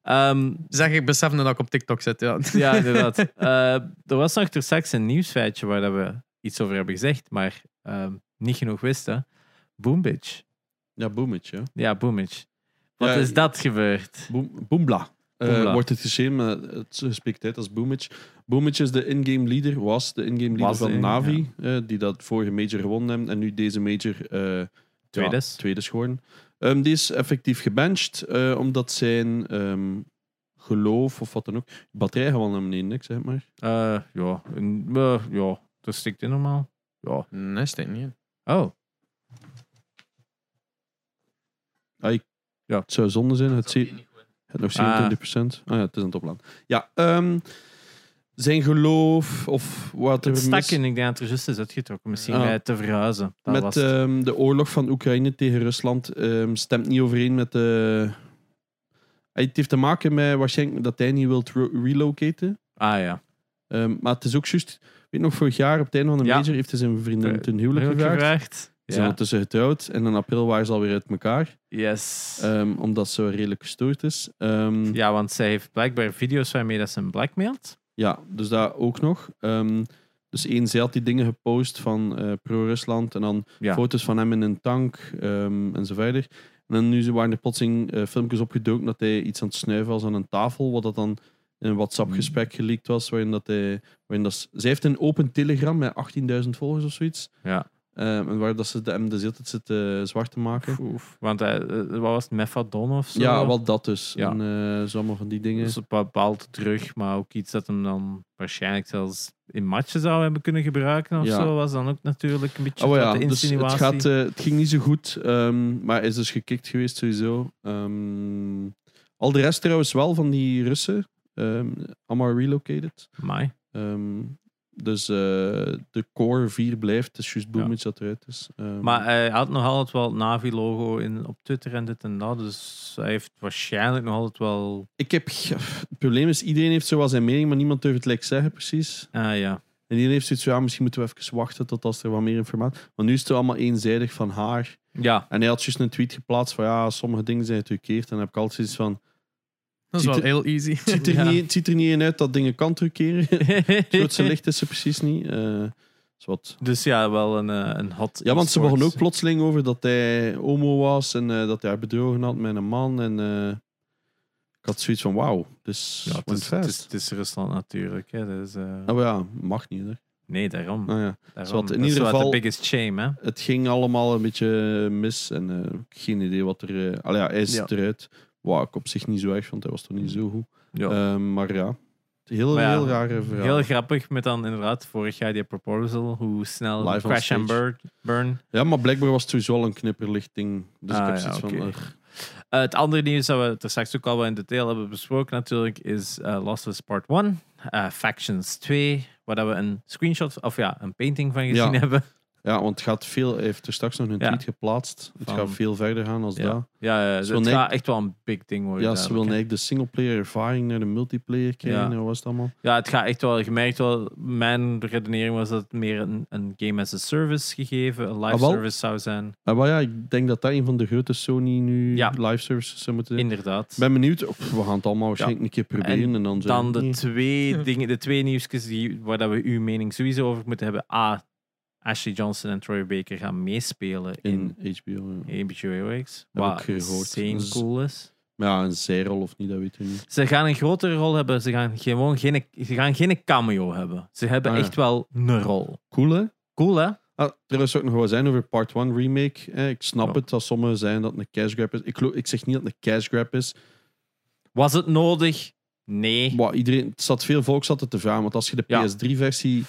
Ehm, Zeg, ik besef nu dat ik op TikTok zit. Ja. ja, inderdaad. Eh, er was nog ter straks een nieuwsfeitje waar dat we iets over hebben gezegd, maar ehm, niet genoeg wisten. Boombitch. Ja, boometje. Ja, Boomage. Wat Ja, is dat gebeurd? Boom, Boombla. Eh, Boombla. wordt het geschreven, maar het spreekt uit als Boomage. Boomage is de in-game leader, was de in-game leader Was de van in- Navi, eh, die dat vorige major gewonnen heeft en nu deze major eh, Tweede is. ja, tweede is geworden. Ehm, die is effectief gebenched, eh, omdat zijn ehm, geloof of wat dan ook, batterij gewoon naar beneden, niks zeg maar. Eh, ja, een- eh, ja, dat stikt in normaal. Ja. Nee, steekt niet. Oh, Het zou Ah zonde zijn, het, zie- het nog 27%. Ah ja, het is aan het oplaan. Ja, ehm, zijn geloof of Het wat er stak mis in, ik denk dat er juist is uitgetrokken. Misschien Ah. bij te verhuizen. Dat was met het. ehm, de oorlog van Oekraïne tegen Rusland ehm, stemt niet overeen met de. het heeft te maken met waarschijnlijk dat hij niet wilt ro- relocaten. Ah ja. Ehm, maar het is ook juist, ik weet nog, vorig jaar op het einde van de Ja. major heeft hij zijn vriendin Eh, ten huwelijk gevraagd. Ze zijn Ja. ondertussen getrouwd en in april waren ze alweer uit elkaar, Yes. ehm, omdat ze redelijk gestoord is. Ehm, ja. ja, want zij heeft blijkbaar video's waarmee dat ze hem blackmailt. dus dat ook nog. Ehm, dus één, zij had die dingen gepost van eh, pro-Rusland en dan Ja. foto's van hem in een tank ehm en zo verder. En dan nu ze waren er plotseling eh, filmpjes opgedoken dat hij iets aan het snuiven was aan een tafel, wat dat dan in een WhatsApp-gesprek Hmm. geleakt was, waarin dat hij... Waarin dat, ze- zij heeft een open telegram met 18.000 volgers of zoiets. Ja. Ehm, en waar dat ze de, hem de hele tijd zitten eh, zwart te maken. Oef. Want hij, eh, wat was het? Methadon of zo? Ja, wat dat dus. Ja. En eh, zo allemaal van die dingen. Dus een bepaald terug, maar ook iets dat hem dan waarschijnlijk zelfs in matchen zou hebben kunnen gebruiken of Ja. zo, was dan ook natuurlijk een beetje oh ja, de dus het, insinuatie. gaat, eh, het ging niet zo goed. ehm, maar hij is dus gekikt geweest sowieso. Ehm, al de rest trouwens wel van die Russen. ehm, allemaal relocated. Amai. Ehm, dus eh, de core 4 blijft. Dus juist Boomits dat eruit is. Ehm, Maar eh, hij had nog altijd wel het Navi-logo in- op Twitter en dit en dat, dus hij heeft waarschijnlijk nog altijd wel... ik heb... ge- Het probleem is, iedereen heeft zo wel zijn mening, maar niemand durft het like zeggen precies. Ah ja, En die heeft zoiets van, ja, misschien moeten we even wachten tot als er wat meer informatie... Maar nu is het allemaal eenzijdig van haar. ja. En hij had juist een tweet geplaatst van, ja, sommige dingen zijn geturkeerd. En dan heb ik altijd zoiets van, Dat is Ziet wel er- heel easy. het ziet er, Ja. niet, het ziet er niet in uit dat dingen kan truceren. Grootste licht is ze precies niet. Eh, is wat... dus ja, wel een, eh, een hot Ja, want ze e-sport. begon ook plotseling over dat hij homo was en eh, dat hij haar bedrogen had met een man. En eh, ik had zoiets van, wauw, dus Ja, het, is, het, is, het is Rusland natuurlijk. Hè. Dat is, eh, Nou ja, mag niet, hè. Nee, daarom. Nou ja. daarom. wat, in dat ieder is wel geval- de biggest shame, hè. het ging allemaal een beetje mis en eh, ik heb geen idee wat er. eh, allee, ja, hij is Ja. Mm. eruit. Wauw, ik op zich niet zo erg, want hij was toch niet zo goed. Ja. Ehm, maar ja, heel, Maar ja, heel rare verhaal. Heel grappig met dan inderdaad vorig jaar die proposal, hoe snel Live on crash and stage. burn. burn. Ja, maar blijkbaar was het sowieso al een knipperlichting. Dus Ah, ik heb ja, zoiets oké. van. eh, Eh, het andere nieuws dat we het er straks ook al wel in detail hebben besproken natuurlijk is eh, Last of Us Part 1, eh, Factions 2, waar dat we een screenshot, of ja, een painting van gezien Ja. hebben. ja, want het gaat veel. Hij heeft er straks nog een Ja. tweet geplaatst. Het Van- gaat veel verder gaan als dat. Ja, ja, ja, Ze het wil gaat echt wel een big ding worden. Ja, ze duidelijk, willen hè. eigenlijk de singleplayer ervaring naar de multiplayer krijgen. Ja. En wat was het allemaal? Ja, het gaat echt wel, je merkt wel, mijn redenering was dat het meer een, een game as a service gegeven, een live Ah, wel. service zou zijn. Ah, maar ja, ik denk dat dat een van de grote Sony nu Ja. live services zou moeten zijn. Inderdaad. Ik ben benieuwd. Pff, we gaan het allemaal waarschijnlijk een keer proberen. En, dan, zo- Dan de Nee. twee dingen, de twee nieuwsjes die, waar dat we uw mening sowieso over moeten hebben. A. Ashley Johnson en Troy Baker gaan meespelen in, In HBO. Ja. HBO X. Heb Wat ik gehoord. insane Dus- cool is. Maar ja, een zijrol of niet, dat weet je niet. Ze gaan een grotere rol hebben. Ze gaan, gewoon geen, ze gaan geen cameo hebben. Ze hebben Ah, ja. echt wel een rol. Cool, hè? Cool, hè? Ah, trouwens, zou ik nog wel zijn over Part 1 Remake. hè. ik snap Ja. het dat sommigen zijn dat het een cash grab is. Ik, geloof- ik zeg niet dat het een cash grab is. Was het nodig? Nee. Maar iedereen, het zat veel volk zat het te vragen. Want als je de Ja. PS3-versie,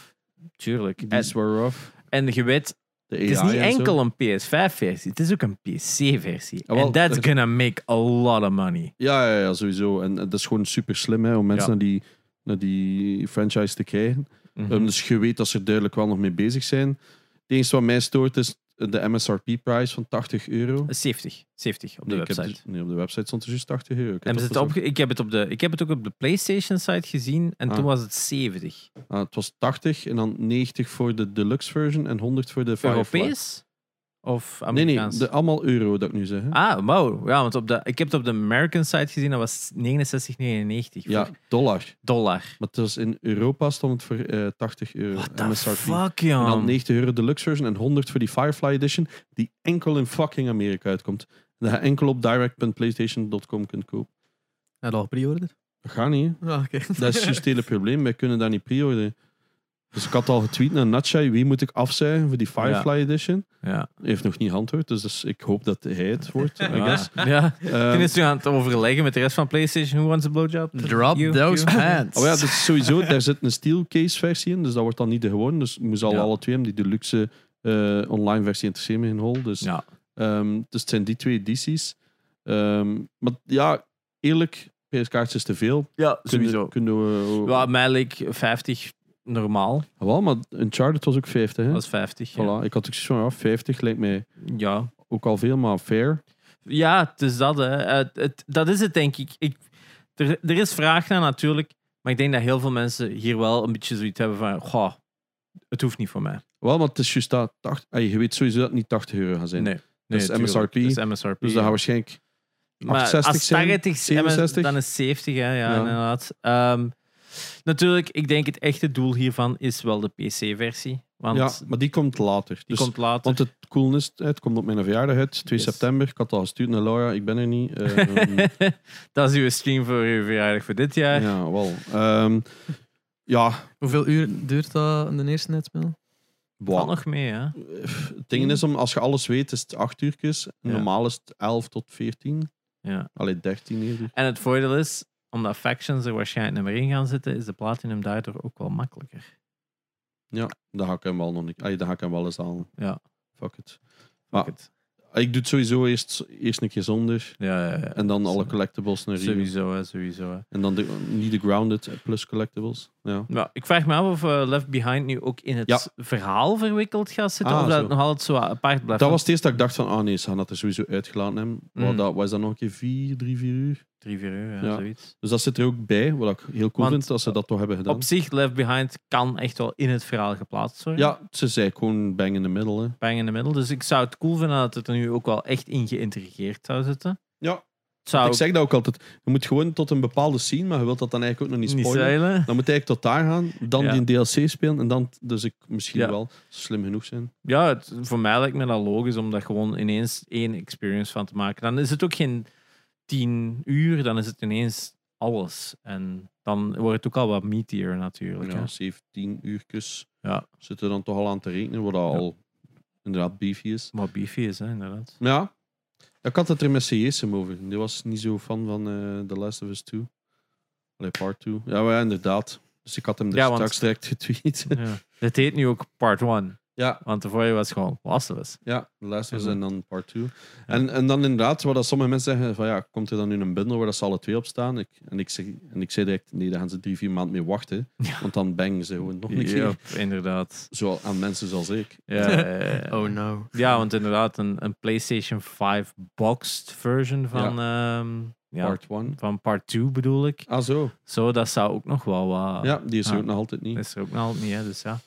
Tuurlijk. die En, is were rough. en je weet, De het is AI niet en zo. enkel een PS5-versie. Het is ook een PC-versie. Ah, wel, And that's er- gonna make a lot of money. Ja, ja, ja, sowieso. En, en dat is gewoon super slim hè, om mensen Ja. naar, die, naar die franchise te krijgen. Mhm. Um, dus je weet dat ze er duidelijk wel nog mee bezig zijn. Het enige wat mij stoort is eh, de MSRP-prijs van 80 euro. 70. 70 op de Nee, ik heb website. dus- nee, op de website stond er juist 80 euro. Ik had Hebben ze dat het opge- ik, heb het op de, ik heb het ook op de PlayStation-site gezien en Ah. toen was het 70. Ah, het was 80 en dan 90 voor de deluxe version en 100 voor de Firefly. Europees? Of Nee, nee, Amerikaans? de, allemaal euro dat ik nu zeg. hè. Ah, wow. Ja, want op de, ik heb het op de American-site gezien, dat was 69,99 ja, voor dollar. dollar. Maar het was in Europa stond het voor eh, 80 euro. What the MSRP. fuck, En dan joh. 90 euro deluxe version en 100 voor die Firefly edition, die enkel in fucking Amerika uitkomt. En dat je enkel op direct.playstation.com kunt kopen. Had al pre-order? Dat gaat niet, hè. Ah, oké. Dat is juist het hele probleem. Wij kunnen daar niet pre-orderen. Dus ik had al getweet naar Natchai, wie moet ik afzeggen voor die Firefly edition? Ja. Hij heeft nog niet geantwoord, dus, dus ik hoop dat hij het wordt, I guess. Ah, Ja. ja. Ehm, Toen is nu aan het overleggen met de rest van PlayStation. Who wants a blowjob? Drop You, those you. pants. Oh ja, dus sowieso, daar zit een steelcase versie in, dus dat wordt dan niet de gewone. Dus moest al Ja. alle twee hebben, die deluxe eh, online versie interesseren me geen hol. Dus, Ja. ehm, dus het zijn die twee edities. Ehm, maar ja, eerlijk, PS-kaartjes te veel. Ja, Kunnen- sowieso. Kunnen we... Ah, Ja, mij leek 50 normaal. Wel, maar Uncharted was ook 50, hè? Dat is 50. voilà. Ik had ook zoiets van, ja, 50 lijkt mij Ja. ook al veel, maar fair. ja, het is dat. Hè. Het, het- dat is het, denk ik. ik er, er is vraag naar natuurlijk. Maar ik denk dat heel veel mensen hier wel een beetje zoiets hebben van... Goh, het hoeft niet voor mij. Wel, maar het is juist dat... 80, ey, je weet sowieso dat het niet 80 euro gaat zijn. Nee. Dat is tuurlijk. MSRP. Dat is MSRP. Dus dat gaat waarschijnlijk... Maar 68 als zijn, 80 67. dan is 70, hè, ja, Ja. inderdaad. Ehm, natuurlijk, ik denk het echte doel hiervan is wel de PC-versie. Want Ja, die maar die komt later. Dus- komt later. want het cool is, het komt op mijn verjaardag uit, 2 Yes. september. Ik had al gestuurd naar Laura, ik ben er niet. Eh, dat is uw stream voor uw verjaardag voor dit jaar. ja, wel. Ehm, ja, Hoeveel uur duurt dat in de eerste netspel? boah. Valt nog mee, hè? Het ding is, om, als je alles weet, is het 8 uur. Normaal is het 11 tot 14. Ja. Allee, 13 uur. En het voordeel is, omdat factions er waarschijnlijk nummer in gaan zitten, is de platinum daardoor ook wel makkelijker. Dan ga ik hem wel nog niet. Allee, dan ga ik hem wel eens halen. Ja. Fuck it. Fuck Ah. it. Ik doe het sowieso eerst, eerst een keer zonder. Ja, ja, ja. En dan alle Sowieso. collectibles naar hier. Sowieso, hè, sowieso. Hè. En dan de, niet de grounded plus collectibles. Ja. Nou, ik vraag me af of eh, Left Behind nu ook in het Ja. verhaal verwikkeld gaat zitten. Ah, of dat zo. het nog altijd zo apart blijft. Dat was het eerst dat ik dacht van, ah nee, ze gaan dat er sowieso uitgelaten hebben. Wat Mm. dat, wat is dat nog een keer? 4, 3, 4 uur? Drie, vier uur, ja, Ja. zoiets. Dus dat zit er ook bij, wat ik heel Want- cool vind, dat ze dat toch hebben gedaan. Op zich, Left Behind kan echt wel in het verhaal geplaatst worden. Ja, ze zei gewoon bang in the middle. Hè. Bang in the middle. Dus ik zou het cool vinden dat het er nu ook wel echt in geïntrigeerd zou zitten. Ja. Het zou Ik zeg dat ook altijd. Je moet gewoon tot een bepaalde scene, maar je wilt dat dan eigenlijk ook nog niet niet spoilen. zeilen. Dan moet je eigenlijk tot daar gaan, dan Ja. die DLC spelen en dan... Dus ik misschien Ja. wel slim genoeg zijn. Ja, het- voor mij lijkt me dat logisch om daar gewoon ineens één experience van te maken. Dan is het ook geen tien uur, dan is het ineens alles. En dan wordt het ook al wat meatier natuurlijk. hè. Ja, 17 uurtjes Ja. zitten dan toch al aan te rekenen, wat dat al inderdaad beefy is. Wat beefy is, hè, inderdaad. Maar Ja. Ik had het er met CSM over. Die was niet zo fan van eh The Last of Us 2. Allee, part 2. Ja, maar ja, inderdaad. Dus ik had hem er Ja, want- straks direct getweet. Ja. Het heet nu ook part one, ja, want de vorige was gewoon Last of Us. ja, The Last of Us Ja. en dan part 2. En, en dan inderdaad, wat dat sommige mensen zeggen, van ja, komt er dan nu een bundel waar dat ze alle twee op staan? Ik, en, ik zeg, en ik zei direct, nee, daar gaan ze drie, vier maanden mee wachten. Ja. Want dan bangen ze gewoon nog een Ja, keer. inderdaad. Zo aan mensen zoals ik. Ja, ja, ja, ja. Oh no. Ja, want inderdaad, een, een PlayStation 5 boxed version van, ehm, ja, Part 1. van part 2 bedoel ik. Ah, zo. Zo, dat zou ook nog wel wat... ja, die is er ah. ook nog altijd niet. Dat is er ook nog altijd niet, hè, dus ja.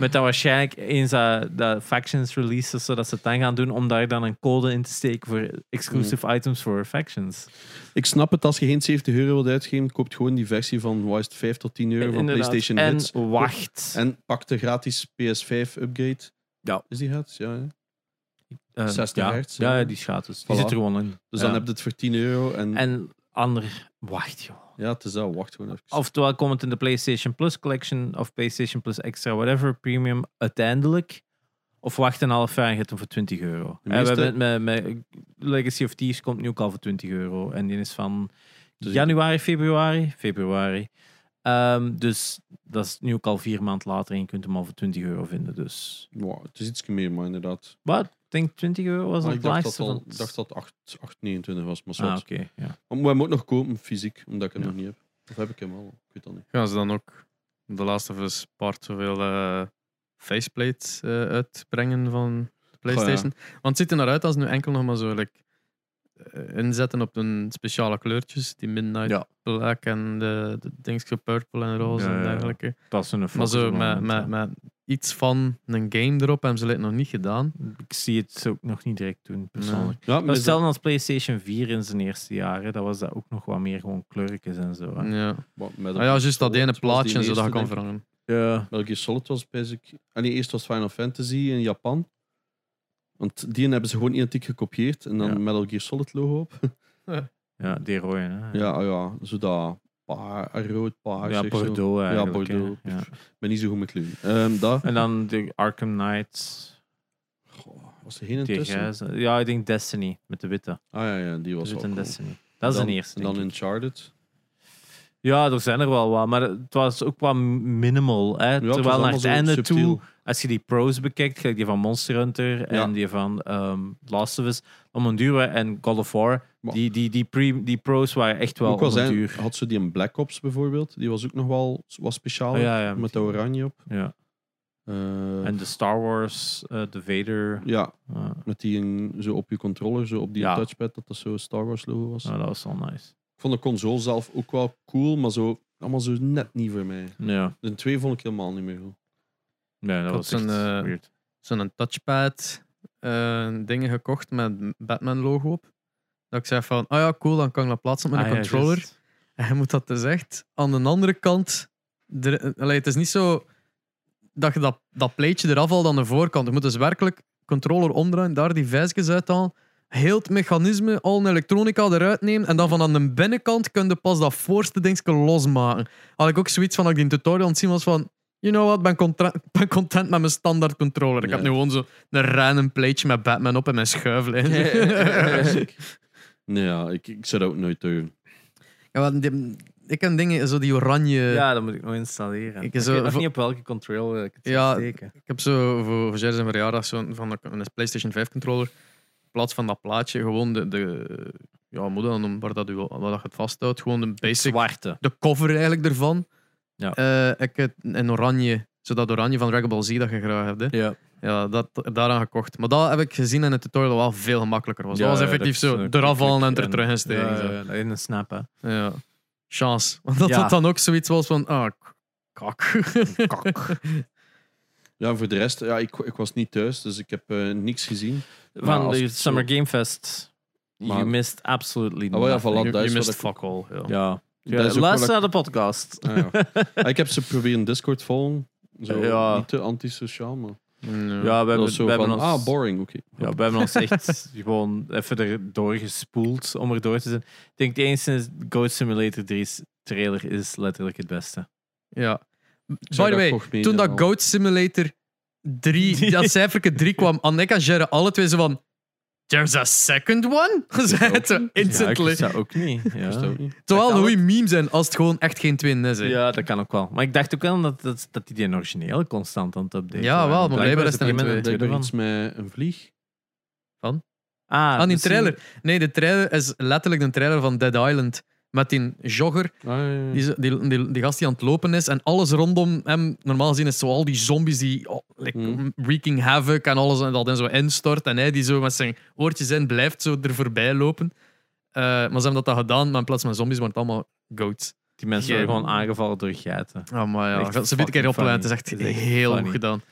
Met dan waarschijnlijk eens dat, dat factions releasen, zodat ze het dan gaan doen om daar dan een code in te steken voor Mm. exclusive items voor factions. Ik snap het, als je geen 70 euro wilt uitgeven, koopt gewoon die versie van wat is het, 5 tot 10 euro van Eh, Inderdaad. PlayStation en Hits. wacht. En pak de gratis PS5 upgrade. Ja. Is die gratis? Ja. hè? Eh, 60 ja. hertz, Ja, ja. ja, die is gratis. Die Voilà. zit er gewoon in. Dus Ja. dan heb je het voor 10 euro. En, En ander, wacht joh. ja, het is dat. Wacht gewoon even. Oftewel komt het in de PlayStation Plus Collection of PlayStation Plus Extra, whatever, Premium, uiteindelijk. Of wacht een half jaar en je hebt hem voor 20 euro. De Eh, We meeste- hebben het met, met Legacy of Thieves komt nu ook al voor 20 euro. En die is van Dus ik- januari, februari, februari. Ehm, dus dat is nu ook al vier maanden later en je kunt hem al voor 20 euro vinden. Dus Wow, het is iets meer, maar inderdaad. wat? Ik denk 20 euro was Maar het ik dacht dat, laagste. al, van- ik dacht dat 8, 8,29 was, maar zo. ah, oké. ja. Maar we moeten nog kopen, fysiek, omdat ik hem Ja. nog niet heb. Of heb ik hem al? Ik weet dat niet. Gaan ze dan ook de Last of Us Part zoveel eh faceplate eh, uitbrengen van de PlayStation? Want het ziet er naar uit als nu enkel nog maar zo like, eh, inzetten op hun speciale kleurtjes. Die Midnight Ja. Black en de, de dingetjes Purple en Roze Ja, ja, en ja. dergelijke. Dat is een Maar focus zo op het met, moment, met, ja. met iets van een game erop hebben ze het nog niet gedaan. Ik zie het ook nog niet direct doen, persoonlijk. Ja, Maar maar stel als PlayStation 4 in zijn eerste jaren, dat was dat ook nog wat meer gewoon kleurtjes en zo. hè. Ja. wat- met Ah ja, juist dat Solid ene was die plaatje en zo eerste, dat ik kan denk ik. verhangen. Ja. Metal Gear Solid was basic. Ah nee, eerst was Final Fantasy in Japan. Want die hebben ze gewoon identiek gekopieerd en dan Ja. Metal Gear Solid logo op. Ja, die rode. Hè. Ja, ah ja zo dat paar, rood paars. ja zeg zo. Bordeaux eigenlijk. Bordeaux. hè. Ja. Ik ben niet zo goed met kleuren. Ehm dat En dan de Arkham Knights. Goh, was er geen Die intussen. grijze. Ja, ik denk Destiny, met de witte. Ah ja, ja die De was witte ook en cool. Destiny. Dat is dan, een eerste. En dan denk ik. Uncharted. Ja, er zijn er wel wat, maar het was ook wat minimal. Hè? het was Terwijl naar allemaal het zo einde subtiel. toe, als je die pros bekijkt, gelijk die van Monster Hunter en die van ehm Last of Us, om een duur wa- en God of War, Maar- die, die, die, pre, die pros waren echt wel ook wel om een zijn, duur. had ze die in Black Ops bijvoorbeeld. Die was ook nog wel was speciaal. Oh, ja, ja, met de oranje op. Ja. Eh, En de Star Wars, eh, de Vader. ja, eh, met die in- zo op je controller, zo op die Ja. touchpad, dat dat zo Star Wars logo was. nou, dat was wel nice. Ik vond de console zelf ook wel cool, maar zo, allemaal zo net niet voor mij. Ja, De twee vond ik helemaal niet meer goed. ja dat had was echt zo'n, eh, weird. Zo'n touchpad eh, dingen gekocht met Batman logo op. Dat ik zei van, ah ja, cool, dan kan ik dat plaatsen op mijn Ah, ja, controller. juist. En je moet dat dus echt aan de andere kant. Er, eh, allee, het is niet zo dat je dat, dat pleitje eraf haalt aan de voorkant. Je moet dus werkelijk controller omdraaien, daar die vijsjes uit halen. Heel het mechanisme, al een elektronica eruit nemen. En dan van aan de binnenkant kun je pas dat voorste dingetje losmaken. Had ik ook zoiets van dat ik die tutorial aan het zien was van. You know what, ben, contra- ben content met mijn standaard controller. Ik Ja. heb nu gewoon zo een random pleitje met Batman op en mijn schuiflijn. nee, ja, ik, ik zou dat ook nooit doen. ja, want die- ik ken dingen, zo die oranje. ja, dat moet ik nog installeren. ik Ik, is zo- weet nog voor- niet op welke control ik het Ja, ja, steken. Ik heb zo voor, voor Jerry zijn verjaardag zo'n van een, een PlayStation 5 controller. In plaats van dat plaatje, gewoon de. de ja, hoe moet dat noemen, waar, dat u, waar dat je het vasthoudt. Gewoon de basic. Zwarte. De cover eigenlijk ervan. Ja. Eh, ik heb een oranje. Zodat oranje van Dragon Ball Z dat je graag hebt. Hè. Ja. Ja, dat daaraan gekocht. Maar dat heb ik gezien in het tutorial wel veel gemakkelijker was. Ja, dat was ja, effectief dat is zo. een Eraf halen en klik er terug in steken. Ja, zo. ja, in een snap, hè. Ja. Chance. Want dat Ja. dat dan ook zoiets was van. Ah, k- kak. Kak. Ja, voor de rest, ja, ik, ik was niet thuis, dus ik heb eh, niks gezien. Maar Van als de ik zo- Summer Game Fest. Maar- you missed absolutely Ah, wel, ja, nothing. voilà, Je- dat je is wat mist ik... fuck all. Ja. Ja. dat is ook wat Luister ik- naar de podcast. Ah, ja. Ah, ik heb ze proberen Discord volgen. Zo, Ja. Niet te antisociaal, maar... Mm, Ja. Ja, we Dat hebben, was zo we hebben van, ons, ah, boring, oké. ja, we hebben ons echt gewoon even erdoor gespoeld om erdoor te zijn. Ik denk de enige Goat Simulator 3 trailer is letterlijk het beste. Ja. By zou the dat way, toch meenemen toen dat al. Goat Simulator 3, dat cijferke 3 kwam, Annek en Jerry alle twee zo van... There's a second one? Zei het zo Dus Ja, instantly. ik wist dat ook niet. Ja. Is dat ook niet? Terwijl dat het kan goede meme zijn als het gewoon echt geen twin is. hè. Ja, dat kan ook wel. Maar ik dacht ook wel dat, dat, dat die die origineel constant aan het updaten Ja, waren. wel, maar Blijkbaar blijkbaar is is er op een een gegeven moment Blijkbaar een iets tweede met een vlieg. van. Ah, Aan die misschien- trailer. Nee, de trailer is letterlijk de trailer van Dead Island. Met die jogger, Ah, ja, ja. die, zo- die, die, die gast die aan het lopen is. En alles rondom hem, normaal gezien, is zo al die zombies die oh, like, Hmm. wreaking havoc en alles en dat in zo instort. En hij die zo met zijn oortjes in blijft zo er voorbij lopen. Eh, maar ze hebben dat dan gedaan, maar in plaats van zombies waren het allemaal goats. Die mensen Geen- worden gewoon aangevallen door geiten. Ah, maar ja, Echt ze biedt een keer fucking op, het is funny. echt Het is echt heel funny. goed gedaan.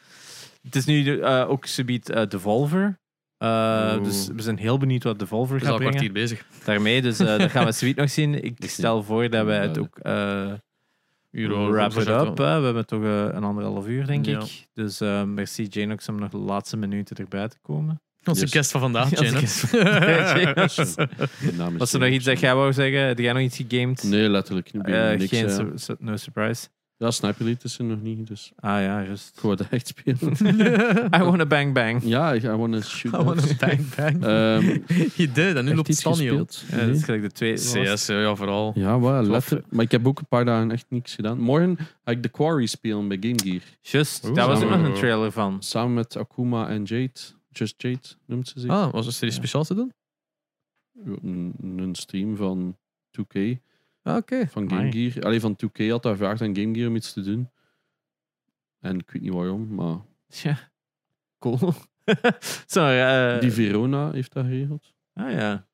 Het is nu eh, ook subiet eh Devolver. Eh, Oeh. dus we zijn heel benieuwd wat Devolver We zijn gaat al een brengen. kwartier bezig. Daarmee, dus eh dat gaan we subiet nog zien. Ik zie- stel voor dat wij het Ja, ook eh Uur over wrap it zitten. up. hè. We hebben toch eh, een anderhalf uur, denk Ja. ik. Dus eh, merci Janox om nog de laatste minuten erbij te komen. Onze Yes. guest van vandaag, Ja, Jane. onze guest van Mijn naam is Was er nog James. iets dat jij wou zeggen? Heb jij nog iets gegamed? Nee, letterlijk. niet Eh, niks, geen ja. sur- sur- no surprise. Ja, Sniper Elite is er nog niet, dus Ah ja, rust. ik wou dat echt spelen. I wanna bang bang. ja, ik- I wanna shoot. I want bang bang. Ehm, Oh, Je deed dat, nu echt loopt iets Stanio. gespeeld? Ja, Nee. dat is gelijk de tweede. CS, ja, vooral. Ja, wel, Klopt. letterlijk. Maar ik heb ook een paar dagen echt niks gedaan. Morgen ga ik The Quarry spelen bij Game Gear. Just, Oeh. daar was ook nog Samen. een trailer van. Samen met Akuma en Jade. Just Jade noemt ze zich. Ah, was er iets Ja. speciaals te doen? Een, een stream van 2K. Ah, oké. Van Game Amai. Gear. Allee, van 2K had daar gevraagd aan Game Gear om iets te doen. En ik weet niet waarom, maar... Tja, cool. Sorry. eh, Die Verona heeft dat geregeld. ah, ja.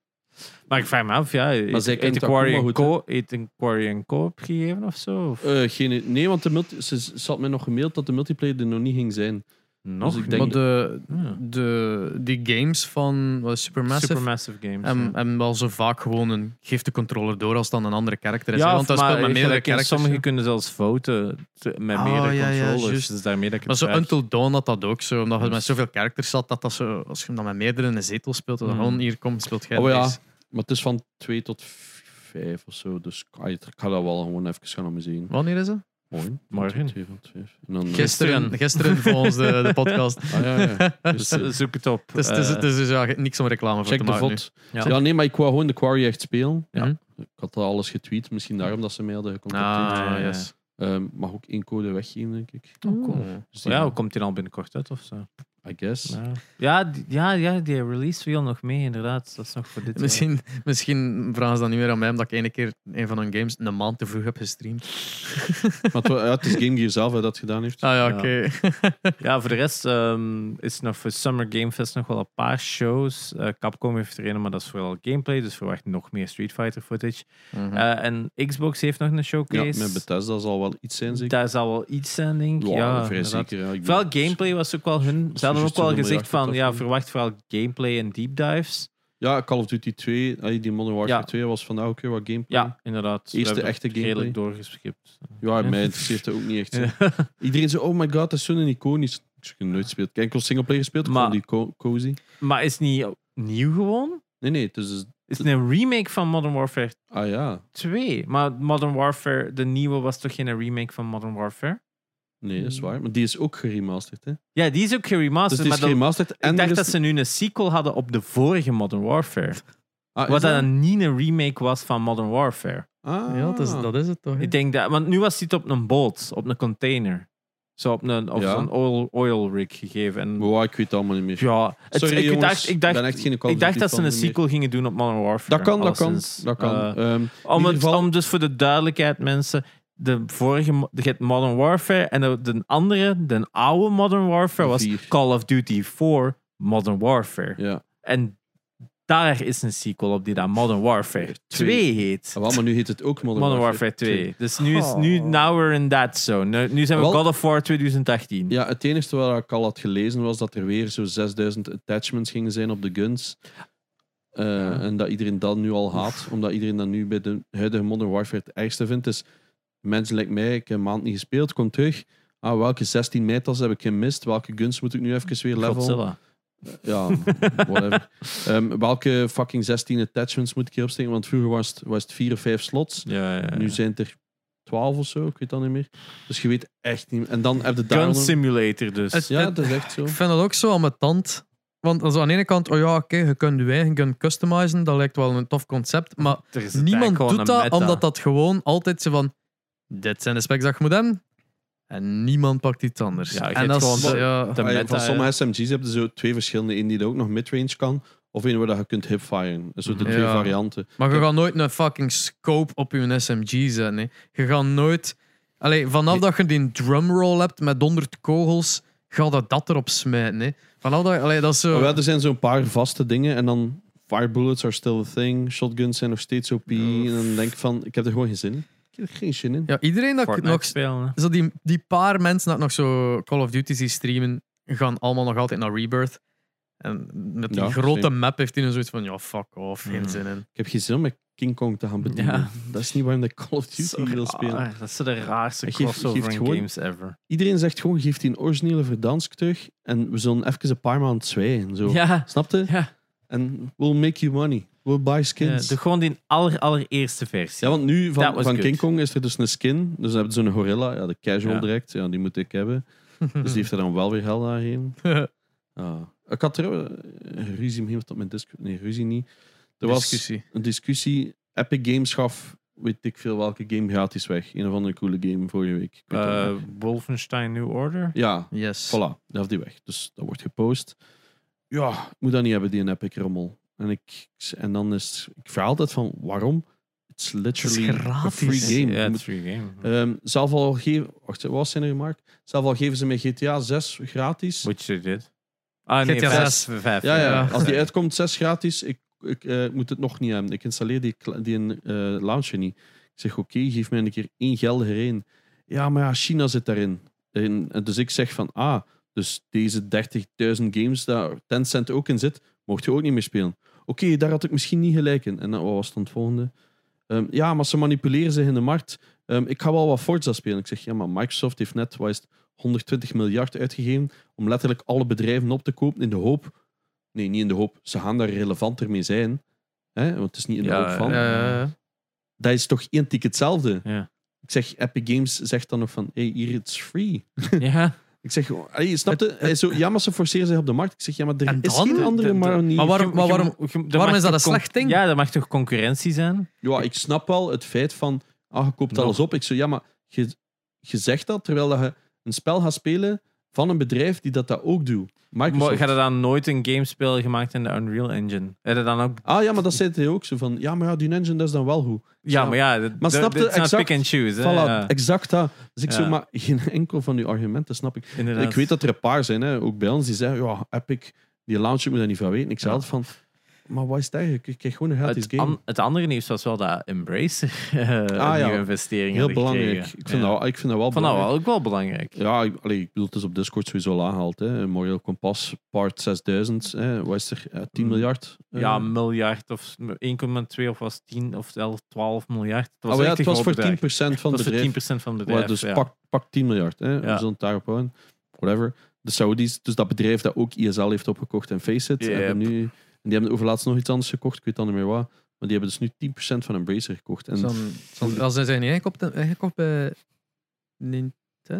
Maar ik vraag me af, ja, eet, zij eet kent een Takuma quarry en goed, co eet een quarry en koop gegeven of zo? Of Eh, geen, nee, want de multi, ze ze had mij nog gemaild dat de multiplayer er nog niet ging zijn. nog? ik Maar denk- de, Ja. de, die games van wat is Supermassive, Ehm, Supermassive Games. hebben, ja. hebben wel zo vaak gewoon een... Geef de controller door als het dan een andere karakter is. hè, Ja, want dat maar speelt met gelijk meerdere in characters. Sommigen hè. kunnen zelfs fouten te- met Ah, meerdere ja, ja, controllers. juist. dus daarmee dat ik Maar het zo vraag. Until Dawn had dat ook zo. Omdat je Dus- met zoveel characters zat, dat, dat zo, als je hem dan met meerdere in een zetel speelt, dat Hmm. gewoon hier komt, speelt jij Oh ja. deze. Maar het is van 2 tot 5 of zo. Dus ik ah, ik ga dat wel gewoon even gaan omzien. Wanneer is het? Mooi. Morgen. Twee van vijf. En dan, eh, Gisteren, Gisteren. gisteren volgens de, de podcast. Ah, ja, ja. Dus, Dus, eh, eh, zoek het op. Dus, eh, dus, dus, ja, niks om reclame voor check te de maken. nu. vod. nu. Ja. Ja. nee, maar ik wou gewoon de Quarry echt spelen. Ja. Ik had al alles getweet, misschien daarom dat ze mij hadden gecontacteerd. Ah, Ah, ja. yes. Ehm, mag ook incoden weggeven, denk ik. Oh, cool. Cool. Dus die- Ja, hoe komt die al binnenkort uit of zo? I guess. Ja, ja, die- ja, ja die release viel nog mee, inderdaad. Dat is nog voor dit jaar. Misschien, misschien vragen ze dan nu weer aan mij omdat ik ene keer een van hun games een maand te vroeg heb gestreamd. Maar het, wa- ja, het is Game Gear zelf hè, dat het gedaan heeft. Ah ja, Ja. oké. Ja, voor de rest ehm, is er nog voor Summer Game Fest nog wel een paar shows. Eh, Capcom heeft er een, maar dat is vooral gameplay, dus verwacht nog meer Street Fighter footage. Mhm. Eh, en Xbox heeft nog een ja, showcase. met Bethesda zal wel iets zijn, zeker? Daar zal wel iets zijn, denk ik. Ja, Ja, vrij inderdaad. zeker. Ja, ik Vooral bedoel- gameplay was ook wel hun. is Ze hadden ook juist wel een gezegd miljard van, ja, aflevering. verwacht vooral gameplay en deep dives. Ja, Call of Duty 2, eh, die Modern Warfare Ja. 2 was vandaag ook weer wat gameplay. Ja, inderdaad. Eerste We hebben echte het Redelijk doorgeschipt. Ja, Ja. mij interesseert dat ook niet echt. hè. Iedereen zei, oh my god, dat is zo'n iconisch. Ik heb nooit gespeeld. Ik heb enkel singleplayer gespeeld, ik Maar- vond die co- cozy. Maar is het niet nieuw gewoon? Nee, nee, het is... Is het een remake van Modern Warfare Ah ja, 2? Maar Modern Warfare, de nieuwe, was toch geen remake van Modern Warfare? nee, dat is waar. Maar die is ook geremasterd, hè. Ja, die is ook Dus geremasterd. die is Hmm. Ah, maar dan- geremasterd en... ik er dacht is- dat ze nu een sequel hadden op de vorige Modern Warfare. Ah, Wat is dat- dat dan niet een remake was van Modern Warfare. Ah. Ja, dat is, dat is het toch? hè? Ik denk dat, want nu was dit op een boot, op een container. Zo op een, of Ja. zo'n oil, oil rig gegeven. En, Maar waar, ik weet het allemaal niet meer. ja, het- Sorry, ik, jongens, dacht, ik dacht, ben echt geen Call of ik dacht Duty dat ze fan een meer. sequel gingen doen op Modern Warfare. Dat kan, dat kan. alleszins. Dat kan. Eh, Ehm, om ieder het, geval- om dus voor de duidelijkheid, mensen. De vorige, mo- je hebt Modern Warfare en de, de andere, de oude Modern Warfare, was Vier. Call of Duty 4 Modern Warfare. ja. En daar is een sequel op die dan Modern Warfare 2 Twee. heet. Ah, wel, maar nu heet het ook Modern, Modern Warfare 2. Dus nu is nu, Oh. now we're in that zone. Nu, nu zijn we Wel- God of War 2018. Ja, het enige wat ik al had gelezen was dat er weer zo'n 6000 attachments gingen zijn op de guns. Eh, En dat iedereen dat nu al haat, omdat iedereen dat nu bij de huidige Modern Warfare het ergste vindt. Dus mensen like mij, ik heb een maand niet gespeeld, kom terug. Ah, welke 16 meters heb ik gemist? Welke guns moet ik nu even weer level? Godzilla. Ja, whatever. Ehm, welke fucking 16 attachments moet ik hier opsteken? Want vroeger was het, was het 4 of 5 slots. Ja, ja, ja. Nu zijn het er 12 of zo, ik weet dat niet meer. Dus je weet echt niet meer. En dan heb je daar Gun nog- Simulator dus. Het- Ja, dat is echt zo. Ik vind dat ook zo aan mijn tand. Want als aan de ene kant, oh ja, oké, je kunt je eigen gun customizen, dat lijkt wel een tof concept. Maar Er is niemand eigenlijk gewoon doet een dat, meta. omdat dat gewoon altijd zo van... Dit zijn de specs dat je moet hebben. En niemand pakt iets anders. Ja, je en hebt dat is... gewoon de- Ja, de Ah, ja, meta, van ja. sommige SMG's hebben ze zo twee verschillende. Eén die dat ook nog midrange kan, of één waar dat je kunt hipfiren. Dus zo de Mhm. twee Ja. varianten. Maar je gaat nooit een fucking scope op je SMG zetten. hè. Je gaat nooit. Allee, vanaf dat je die drumroll hebt met 100 kogels, gaat dat dat erop smijten. Hè. Vanaf dat, allee, dat is zo. Maar wel, er zijn zo'n paar vaste dingen en dan fire bullets are still a thing, shotguns zijn nog steeds OP. En dan denk ik van, ik heb er gewoon geen zin in. Ik heb er geen zin in. Ja, iedereen dat ik Fortnite nog. spelen. hè. Zo die, die paar mensen dat ik nog zo Call of Duty zie streamen, gaan allemaal nog altijd naar Rebirth. En met die Ja, grote same. Mm. map heeft hij dan zoiets van: ja, fuck off, geen Mhm. zin in. Ik heb geen zin om met King Kong te gaan bedienen. Ja. Dat is niet waarom ik Call of Duty Sorry. wil spelen. Ah, dat zijn de raarste Geef- geef crossover in gewoon- games ever. Iedereen zegt gewoon, geef die een originele verdansk terug en we zullen even een paar maanden zwijgen. Zo. Ja, Snap je? ja. En we'll make you money. We'll buy ja skins. doe gewoon die aller, allereerste versie. Ja, want nu That van, was van good. King Kong is er dus een skin. Dus dan hebben ze een gorilla. Ja, de casual Ja. direct. Ja, die moet ik hebben. Dus die heeft er dan wel weer hel daarheen. Ja. Ah. Ik had er eh, een ruzie mee op mijn disc. Nee, ruzie niet. Er was Discussie. een discussie. Epic Games gaf, weet ik veel welke game gratis weg. Een of andere coole game vorige week. Ik weet het Eh, niet. Wolfenstein New Order. ja, Yes. voilà. Dat heeft die weg. Dus dat wordt gepost. Ja, ik moet dat niet hebben, die een Epic rommel. En, ik, en dan is... Ik vraag altijd van, waarom? It's literally a gratis. free game. Ja, Je het moet is free game. Ehm, zelf al geven, wacht, wat was zijn er gemaakt? Zelf al geven ze mij GTA 6 gratis. Witcher dit. Ah nee, GTA vijf. zes. Vijf, Ja, ja, Ja. als die uitkomt 6 gratis, ik, ik eh, moet het nog niet hebben. Ik installeer die, kla- die een, eh, launcher niet. Ik zeg oké, geef mij een keer één geldige reen. Ja, maar ja, China zit daarin. En, en dus ik zeg van ah, dus deze 30.000 games daar Tencent ook in zit, mocht je ook niet meer spelen. Oké, daar had ik misschien niet gelijk in. En dan, wat was dan het volgende? Ehm, ja, maar ze manipuleren zich in de markt. Ehm, ik ga wel wat Forza spelen. Ik zeg, ja, maar Microsoft heeft net wat is het, 120 miljard uitgegeven om letterlijk alle bedrijven op te kopen in de hoop... Nee, niet in de hoop. Ze gaan daar relevanter mee zijn. Hè? Want het is niet in de Ja, hoop van. Ja, ja, ja. Dat is toch één tik hetzelfde? Ja. Ik zeg, Epic Games zegt dan nog van, hey, hier, it's free. Ja. Ik zeg, gewoon, hey, snap je? Hij is zo, ja, maar ze forceren zich op de markt. Ik zeg, ja, maar er En is dan? geen andere De- de- manier. Maar waarom- maar waarom- waarom is dat een slecht ding? Ja, dat mag toch concurrentie zijn? Ja, ik snap wel het feit van, ah, je koopt Nog. alles op. Ik zo, ja, maar je, je zegt dat terwijl dat je een spel gaat spelen van een bedrijf die dat, dat ook doet. Maar Microsoft. gaat er dan nooit een gamespel gemaakt in de Unreal Engine? Heb je dan ook... Ah ja, maar dat zei hij ook zo van, ja, maar ja, die engine, dat is dan wel goed. Ja, Ja. maar ja, dat, Maar dat- snap je dat zijn exact- nou pick and choose. Voilà, hè? Ja, exact dat. Dus ik Ja. zo, maar geen enkel van uw argumenten snap ik. inderdaad. Ik weet dat er een paar zijn, hè, ook bij ons, die zeggen, ja, Epic, die launcher moet daar niet van weten. Ik zei altijd van, maar wat is het eigenlijk? Ik krijg gewoon een gratis het, game. Ah, an- het andere nieuws was wel dat Embracer eh ja. nieuwe investeringen Heel hadden belangrijk. gekregen. Ik vind, Ja. dat, ik vind dat wel Van nou, belangrijk. wel- ook wel belangrijk. Ja, ik, allee, ik bedoel, het is op Discord sowieso al aangehaald. Hè. Moreel Kompas, part 6000. Hè. Wat is er? Eh, 10 Mm. miljard? eh. Ja, Ah, een miljard of 1,2 of was 10 of 11, 12 miljard. Het was, Ah, maar ja, echt het een was groot voor 10% bedrag. van Het het was bedrijf. voor 10% van het Ja, bedrijf. dus ja. pak, pak 10 miljard. Hè. Ja. We zullen het daarop houden. Whatever. De Saudis, dus dat bedrijf dat ook ISL heeft opgekocht en Faceit, Yep. hebben nu... En die hebben overlaatst nog iets anders gekocht, ik weet dan niet meer wat. Maar die hebben dus nu 10% van Embracer gekocht. En Zo'n- zo'n- Als ze zijn ingekocht, ingekocht bij Nintendo?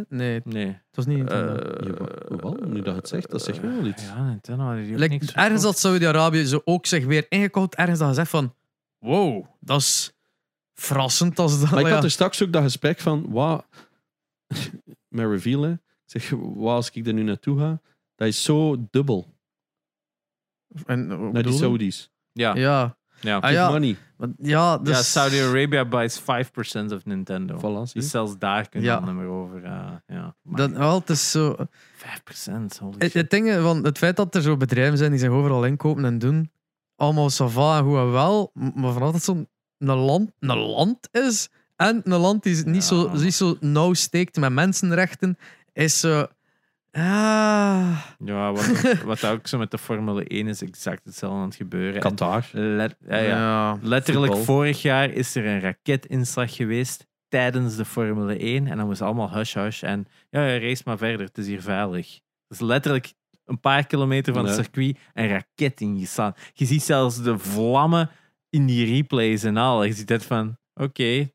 Nee, het Nee. Eh, was Eh, niet Nintendo. Ja, wa- wel, nu dat je het zegt, dat zegt me wel iets. Ja, Nintendo hadden die ook Like, niks ergens verkocht. had Saudi-Arabië zo ook zich weer ingekocht. Ergens dat gezegd van, wow, dat is verrassend. Als dat, Maar ik Oh, ja. had dus er straks ook dat gesprek van, wat, met reveal, hè. Ik zeg, wat als ik er nu naartoe ga, dat is zo dubbel En, wat naar die bedoel je? Saudis. Ja, ja. Ja. Ah, Give ja. money. want- ja, dus... Ja, Saudi-Arabia buys 5% of Nintendo. Voilà, zie Dus je. zelfs daar kun je Ja. dan nummer over. eh, ja. Maar Dat, wel, het is zo... 5%. Holy Eh, Het, shit. het, ding, van het feit dat er zo bedrijven zijn die zich overal inkopen en doen, allemaal sava en goed en wel, m- maar vanaf dat het zo'n een land, een land is en een land die niet, zo, Ja. niet zo nauw steekt met mensenrechten, is zo. Ah, Ja, wat, wat ook zo met de Formule 1 is exact hetzelfde aan het gebeuren. En Qatar. let- ja, ja. ja. Letterlijk Voetbal. vorig jaar is er een raketinslag geweest tijdens de Formule 1. En dan was allemaal hush hush. En ja, ja, race maar verder, het is hier veilig. Dus letterlijk een paar kilometer van het Ja. circuit een raket ingeslaan. Je ziet zelfs de vlammen in die replays en al. Je ziet dat van, oké,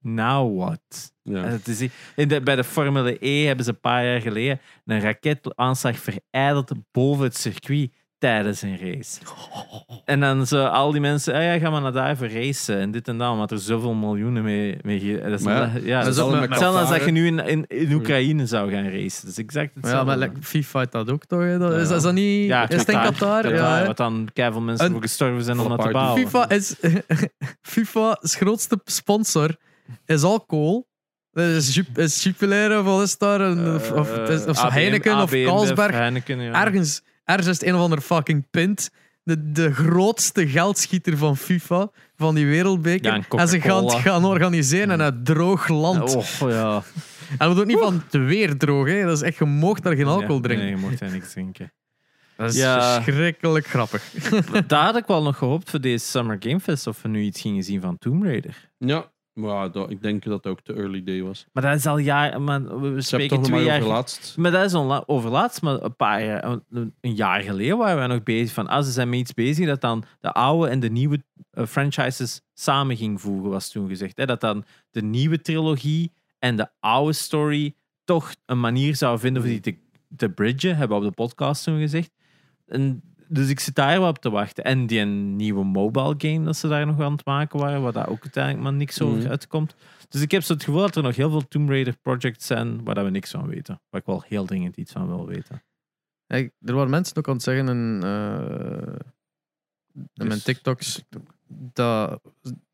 now what? En Ja. het is, in de- bij de Formule E hebben ze een paar jaar geleden een raketaanslag verijdeld boven het circuit tijdens een race. En dan zo al die mensen, ah ja, ga maar naar daar voor racen en dit en dat, omdat er zoveel miljoenen mee... mee ge- dat is Maar ja, ja, ja, dat dat is is ook met- met hetzelfde als dat je Qatar, nu in, in, in Oekraïne zou gaan racen. Dus exact Maar ja, hetzelfde. maar like, FIFA heeft dat ook toch? hè? Dat, is, Ja. is dat niet. Ja, is het in Qatar? Ja, hè? wat dan keiveel mensen Een- voor gestorven zijn om dat te Apart. bouwen. FIFA is. FIFA's grootste sponsor is alcohol. Dat Is, Ju- is Jupiler of wat is daar? Een- Of, of, het is- of zo Eh, ABM, Heineken of ABM, Carlsberg. Heineken, ja. ergens, ergens is het een of ander fucking pint. De, de grootste geldschieter van FIFA, van die Ja, wereldbeker. en en ze gaan het Coca-Cola. gaan organiseren in een droog land. Oh, ja. En we doen niet van te weer droog, hè. Dat is echt, je mag daar geen alcohol Ja, drinken. Nee, je mocht daar niks drinken. Dat is Ja. verschrikkelijk grappig. Daar had ik wel nog gehoopt voor deze Summer Game Fest of we nu iets gingen zien van Tomb Raider. ja. Maar dat, ik denk dat dat ook de early day was. Maar dat is al jaar, maar we- we Ze hebben spreken toch nog twee maar jaar. overlaatst. Maar dat is onla- overlaatst, maar een paar jaar, een- een jaar geleden waren we nog bezig van, ah, ze zijn mee iets bezig dat dan de oude en de nieuwe eh, franchises samen ging voegen, was toen gezegd. Hè? Dat dan de nieuwe trilogie en de oude story toch een manier zou vinden om die te, te bridgen, hebben we op de podcast toen gezegd. En, dus ik zit daar wel op te wachten. En die nieuwe mobile game dat ze daar nog aan het maken waren, waar daar ook uiteindelijk maar niks over Mhm. uitkomt. Dus ik heb zo het gevoel dat er nog heel veel Tomb Raider projects zijn waar dat we niks van weten. Waar ik wel heel dringend iets van wil weten. Ja, ik- er waren mensen ook aan het zeggen in, eh, in mijn Dus- TikToks dat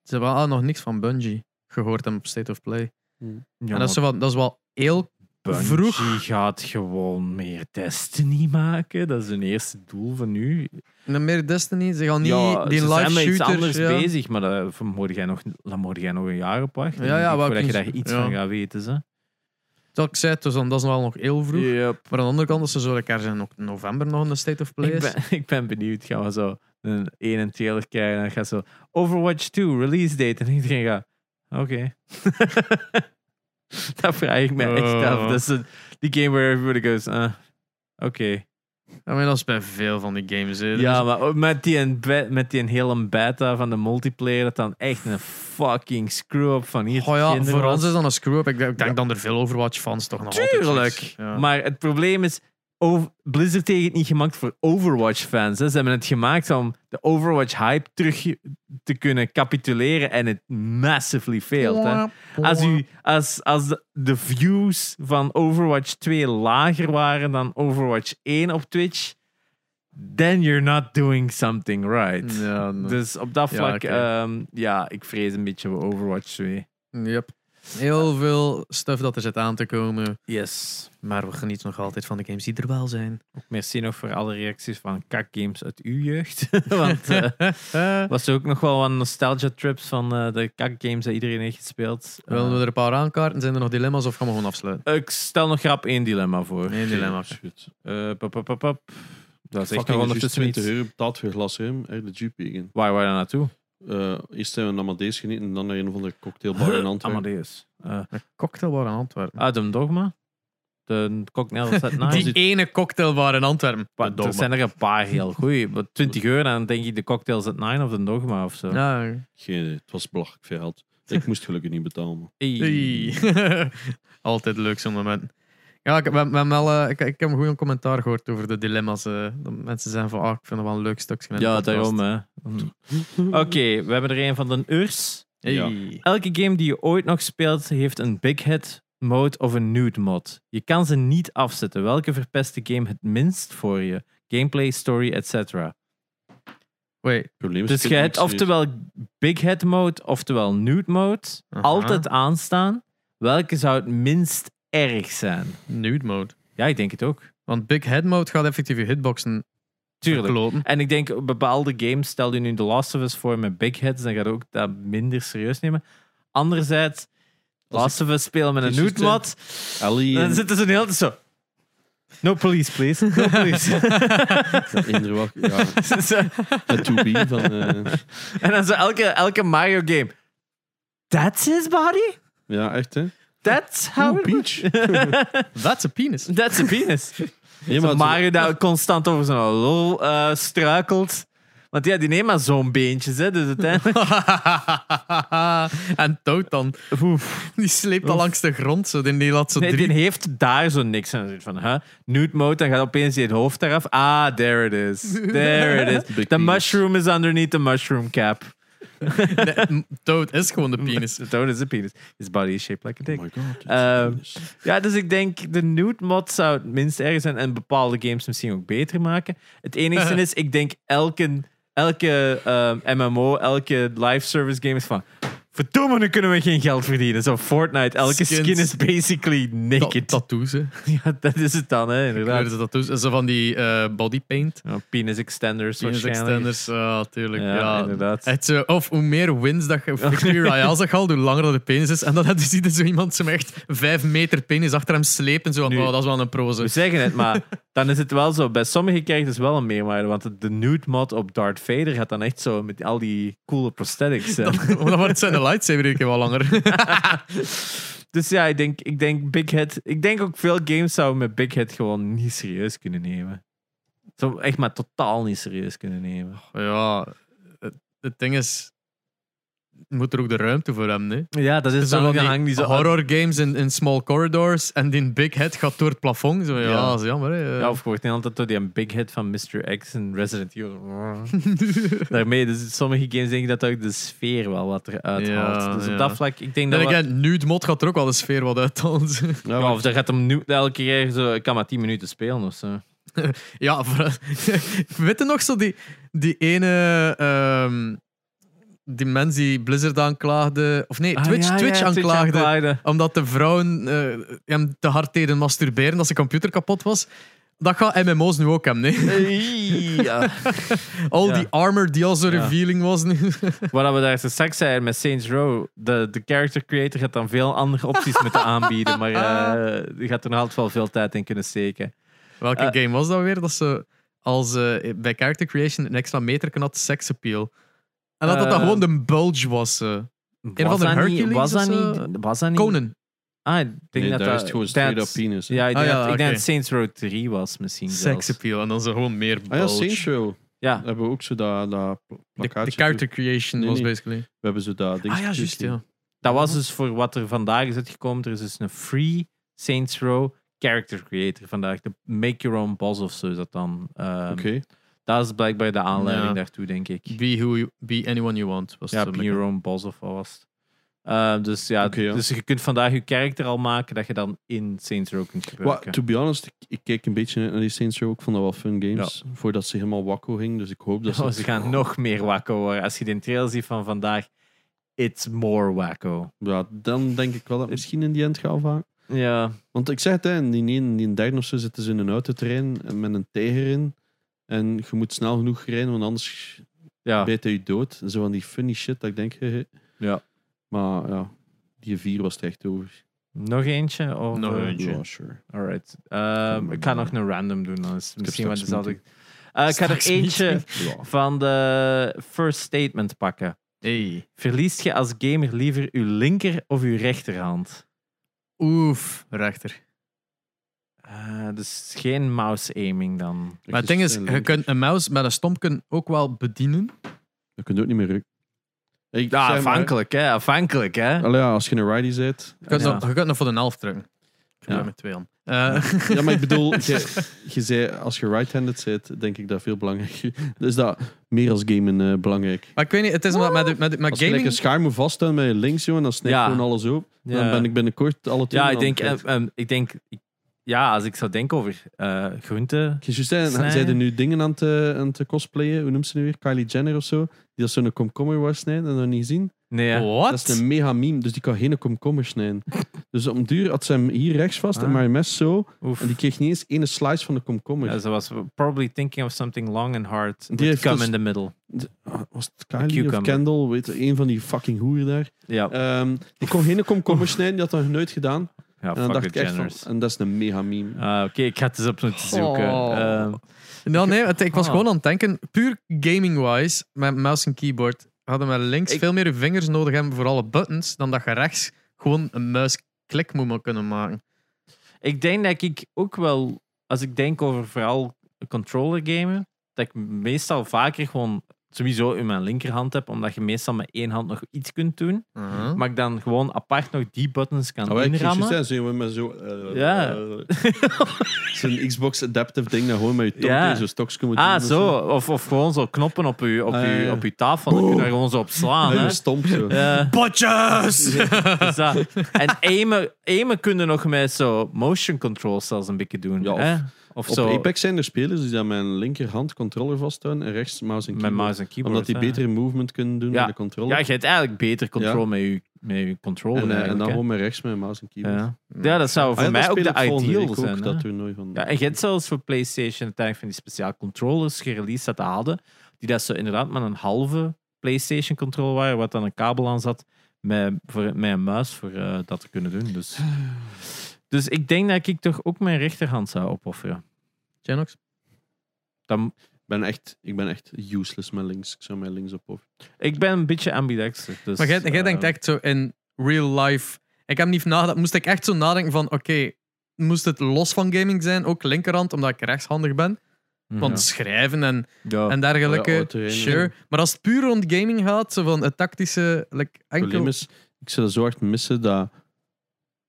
ze hebben ah, nog niks van Bungie gehoord hebben op State of Play. Ja, en dat is, zo maar van, dat is wel heel Bungie vroeg. gaat gewoon meer Destiny maken. Dat is hun eerste doel van nu. En meer Destiny, ze gaan niet ja, die ze live zijn met shooters. iets anders ja. bezig, maar daar moet jij, nog- daar moet jij nog een jaar op wachten. Ja, ja, denk ik, wel, voordat je kun- daar iets ja. van gaat weten. Ze. Dat ik zei, dus dan, dat is wel nog heel vroeg. Yep. Maar aan de andere kant, als ze zo elkaar zijn, ook in november nog in de State of Play Ik is. ben, ik ben benieuwd. Gaan we zo een 1 trailer krijgen en dan gaat zo Overwatch 2 release date. En iedereen gaat, oké. dat vraag ik me echt af. Oh. Oh. Dat is een- die game waar everybody goes, eh, "Ah, oké. Dus I mean, dat is bij veel van die games. hè. Dus- Dat Ja, is- maar ook met die, een be- met die een hele beta van de multiplayer, dat dan echt een fucking screw-up van hier. oh ja, tot voor ginder was. ons is dat een screw-up. Ik denk, ik denk dan er veel Overwatch-fans toch nog altijd Tuurlijk. zoiets- Ja. Maar het probleem is, Ov- Blizzard heeft het niet gemaakt voor Overwatch-fans. hè. Ze hebben het gemaakt om de Overwatch-hype terug te kunnen capituleren en het massively failed. Hè. Als, u, als, als de, de views van Overwatch 2 lager waren dan Overwatch 1 op Twitch, then you're not doing something right. Ja, nee. Dus op dat Mm. Ja, vlak, oké. ja, ja ik vrees een beetje voor Overwatch 2. Yep. Heel veel stuff dat er zit aan te komen. Yes. Maar we genieten nog altijd van de games die er wel zijn. Merci nog voor alle reacties van kakgames uit uw jeugd. Want eh, was er ook nog wel wat nostalgia trips van eh, de kakgames die iedereen heeft gespeeld. Eh, Willen we er een paar aankaarten? Zijn er nog dilemma's of gaan we gewoon afsluiten? ik stel nog grap één dilemma voor. Nee, dilemma's. Goed. Eh, pap, pap, pap, pap. Dat is echt nog Fucking juist ondertussen 20 iets. euro betaald voor glas ruim. Echt de Jeep vegan. Waar waren we naartoe? Eh, eerst zijn we naar Amadeus genieten en dan naar een of andere cocktailbar in Antwerpen. Amadeus. Eh, Cocktailbar in Antwerpen. Adam Dogma. De cocktail set na. die ene cocktailbar in Antwerpen. Maar Er zijn er een paar heel goeie. Maar 20 euro, dan denk ik de cocktails at 9 of de Dogma of zo. Ja. Geen idee. Het was belachelijk veel geld. Ik moest gelukkig niet betalen. maar Ey. Oei. Altijd leuk zo'n moment. Ja, ik, we, we hebben wel, eh, ik, ik heb een goede commentaar gehoord over de dilemma's. eh, dat mensen zeggen van, ah, ik vind het wel een leuk stukje. in de Ja, podcast. daarom hè. Hm. Oké, we hebben er een van de Urs. Hey. Elke game die je ooit nog speelt, heeft een big hit mode of een nude mod. Je kan ze niet afzetten. Welke verpest de game het minst voor je? Gameplay, story, etc. Wait, Het probleem is... Dus ik je heb hebt niks meer. oftewel big head mode, oftewel nude mode. Aha. Altijd aanstaan. Welke zou het minst erg zijn? nude mode. Ja, ik denk het ook. Want big head mode gaat effectief je hitboxen Tuurlijk. kloten. En ik denk, bepaalde games, stel je nu The Last of Us voor met big heads, dan ga je ook dat minder serieus nemen. Anderzijds, The Last of Us spelen met een Kies nude systeem. mod, Ellie dan en zitten ze een hele tijd zo... No police, please. No police. Eender Wacht- Ja, het 2B van... eh, en dan zo elke, elke Mario game. That's his body? ja, echt hè. That's how it Peach. That's a penis. That's a penis. Ja, maar maar Mario daar constant over zo'n lol eh, struikelt. Want ja, die neemt maar zo'n beentjes, hè. Dus uiteindelijk... en Toad dan. Die sleept al langs de grond. Zo. Die, die laat zo Nee, drie... die heeft daar zo niks aan. Zoiets Van, huh? Nude mode, dan gaat opeens die het hoofd eraf. Ah, there it is. There it is. Big The penis. mushroom is underneath the mushroom cap. Nee, Toad is gewoon de penis. The toad is a penis. His body is shaped like a dick. Oh my god. dit is Eh, penis. Ja, dus ik denk de nude mod zou het minst erg zijn en bepaalde games misschien ook beter maken. Het enige is, ik denk elke, elke ehm, MMO, elke live service game is van. Verdomme, nu kunnen we geen geld verdienen. Zo Fortnite, elke Skins. skin is basically Ta naked. tattoos, hè. ja, dat is het dan, hè, Kleurde inderdaad. ze tattoos. Zo van die eh, body paint. Ja, penis extenders Penis waarschijnlijk. extenders, ja, tuurlijk. Ja, Ja, inderdaad. Het, eh, of hoe meer wins dat je Victory Royale zag haalt, hoe langer dat de penis is. En dan had je ziet er zo iemand zo met echt vijf meter penis achter hem slepen. Zo van, Nu- oh, dat is wel een proze. We zeggen het, maar dan is het wel zo. Bij sommige characters wel een meerwaarde. Want de- de nude mod op Darth Vader gaat dan echt zo met al die coole prosthetics. hè. Want dan wordt zijn lightsaber een keer wel langer. Dus ja, ik denk, ik denk Big Head. Ik denk ook veel games zouden met Big Head gewoon niet serieus kunnen nemen. Zo echt maar totaal niet serieus kunnen nemen. ja, het, het ding is... je Moet er ook de ruimte voor hebben, hè? Ja, dat is Zo zo'n van hang die zo. horror games in, in small corridors en die big head gaat door het plafond. Zo, ja, Ja. dat is jammer. Hè. Eh, Ja, of je wordt niet altijd door die een Big Head van Mr. X en Resident Evil. Daarmee, dus sommige games denk ik dat ook de sfeer wel wat eruit Ja, haalt. Dus op ja. dat vlak, ik denk dat. En we- again, nu het mod gaat er ook wel de sfeer wat uit. Ons. Ja, Ja, maar- of dat gaat hem nu elke keer zo. Ik kan maar 10 minuten spelen of zo. Ja, voor, weet je nog zo die, die ene. ehm, die mens die Blizzard aanklaagde. Of Ah, nee, Twitch, Twitch aanklaagde. omdat de vrouwen eh, hem te hard deden masturberen dat zijn computer kapot was. Dat gaat MMO's nu ook hebben. Nee? Ja. Al Ja. die armor die al zo Ja. revealing was nu. Wat we daar straks zeiden met Saints Row, de, de character creator gaat dan veel andere opties moeten aanbieden, maar eh, je gaat er nog altijd wel veel tijd in kunnen steken. Welke Eh. game was dat weer? Dat ze als, eh, bij character creation een extra meter had seksappeal. En dat dat dan Eh. gewoon de bulge was. eh. was van de dat niet- Hercules was of dat zo? niet, was dat niet, Conan. Ah, ik denk Nee, dat daar dat, is het gewoon ik straight denk up penis. hè. Ja, ik Ah, denk, ja, dat, ik denk oké. dat Saints Row 3 was misschien zelfs. Seksappeal. En dan zo gewoon meer Ah ja, bulge. Saints Row. Ja. Daar hebben we ook zo dat, dat pl- De, plakkaatje. de toe. character creation Nee, was nee. basically. We hebben zo dat ding. Ah ja, juist, ja. Dat was dus voor wat er vandaag is uitgekomen. Er is dus een free Saints Row character creator vandaag. De Make Your Own Boss of zo is dat dan. Ehm, Oké. Dat is blijkbaar de aanleiding Ja. daartoe, denk ik. Be, who you, be anyone you want. Was Ja, zo Be Your Own Boss of wat was het? Ehm, dus ja, Oké, ja. dus je kunt vandaag je character al maken dat je dan in Saints Row kunt Wa- gebruiken. to be honest, ik, ik keek een beetje naar die Saints Row. Ik vond dat wel fun games. Voordat ze helemaal wakko ging. Dus ik hoop dat ze... Oh, ze gaan nog meer wacko worden. Als je de trail ziet van vandaag, it's more wacko. Ja, dan denk ik wel dat misschien in die end gaan vaak. Ja, Want ik zeg het, hè, in die, ene- die derde of zo zitten ze in een autoterrein en met een tijger in. En je moet snel genoeg rijden, want anders ja. bijt hij je dood. En zo van die funny shit dat ik denk... hehe. Ja. Maar ja, die vier was het echt over. nog eentje? Of, Nog eh, eentje. Ja, sure. Alright. Ehm, ik ga nog een random doen, dan is het misschien wat straks dezelfde. Eh, ik ga er Straks eentje meeting. Ja. van de first statement pakken. Hey. Verliest je als gamer liever uw linker of uw rechterhand? Oef, rechter. Eh, dus geen mouse aiming dan. Maar het ding is, Dan je kunt een mouse met een stomp kun ook wel bedienen. kun je ook niet meer rukken. Ik Ja, zeg maar, afhankelijk, hè? Afhankelijk, hè? Allee, ja, als je een righty zit. Je kunt, Ja. nog, je kunt nog voor de helft drukken. Ik Ja. ja. met twee aan. Eh, Ja, maar ik bedoel, je, je zei, als je right-handed zit, denk ik dat veel belangrijker is. dat meer als gamen eh, belangrijk. maar ik weet niet, het is omdat met, de- met, de- met Als je gaming... lekker schaar moet vasthouden met je links, jongen, dan snijdt Ja. gewoon alles op. Dan ben ik binnenkort alle twee. Ja, in ik denk, handen kwijt. eh, ehm, ik denk, ik- ja, als ik zou denken over eh groenten. Je zou zeggen, Snijden. zijn er nu dingen aan te, aan te cosplayen? Hoe noemt ze nu weer? Kylie Jenner of zo? Die dat zo'n komkommer was snijden en dat niet gezien. Nee, What? Dat is een mega meme, dus die kan geen komkommer snijden. Dus om duur had ze hem hier rechts vast en Ah. maar een mes zo. oef. En die kreeg niet eens ene slice van de komkommer. Ja, ze was probably thinking of something long and hard. Die Die heeft come dus- in the middle. De- ah, was het Kylie of cucumber. Kendall? Weet je, een van die fucking hoeren daar. Ja, Ehm, die kon geen komkommer snijden, die had dat nooit gedaan. ja en dan Ah, fuck dacht the ik echt van, Jenners. en dat is een mega meme. Ah, Oké, ik ga het eens op moeten zoeken. Oh. Ehm, Ja, nee, het- ik was Ah. gewoon aan het denken, puur gaming-wise, met mouse en keyboard, hadden we links Ik- veel meer je vingers nodig hebben voor alle buttons, dan dat je rechts gewoon een muisklik moet ma- kunnen maken. ik denk dat ik ook wel, als ik denk over vooral controller gamen, dat ik meestal vaker gewoon sowieso in mijn linkerhand heb, omdat je meestal met één hand nog iets kunt doen, maar ik dan gewoon apart nog die buttons kan Nou, ik ging juist inrammen. zeggen, zo, met zo... eh, Ja. eh, Zo'n Xbox Adaptive ding, dat gewoon met je tong Ja. tegen zo'n stokje moet doen Ah, of zo. Of, of gewoon zo knoppen op je op Ah, ja, uw- ja. op uw tafel. Dan kun je daar gewoon zo op slaan. Met Ah, Hè? je stomp zo. Ja, Potjes! dus dat. En aimen, aimen kunnen nog met zo motion controls zelfs een beetje doen. Ja, of- hè? of Op zo Apex zijn er spelers die dan met een linkerhand controller vasthouden en rechts mouse en met keyboard. mouse en keyboard. Omdat die hè. betere movement kunnen doen Ja. met de Ja, controller. je hebt eigenlijk beter controle Ja. met, je, met je controller. en, eh, en eigenlijk, dan hè. gewoon met rechts met mouse en keyboard. ja. ja, dat zou voor Ah ja, mij dat ook speel de ik volgende ideal week zijn. Ook, hè. dat toernooi van. Ja, en je hebt zelfs voor PlayStation uiteindelijk van die speciaal controllers gereleased dat hadden, die dat zo inderdaad met een halve PlayStation controller waren, wat dan een kabel aan zat met, voor, met een muis voor eh, dat te kunnen doen. Dus. dus ik denk dat ik toch ook mijn rechterhand zou opofferen. Genox? Dan, ik, ben echt, ik ben echt useless met links. Ik zou mijn links op. ik ben een beetje ambidexter. Dus, Maar jij, jij eh, denkt echt zo in real life. Ik heb niet nagedacht, moest ik echt zo nadenken van, oké, moest het los van gaming zijn, ook linkerhand, omdat ik rechtshandig ben, mhm. want schrijven en ja. en dergelijke. Oh ja, autoherinnering. sure. Maar als het puur rond gaming gaat, zo van het tactische, like, Het probleem enkel... is, ik zou zo hard missen dat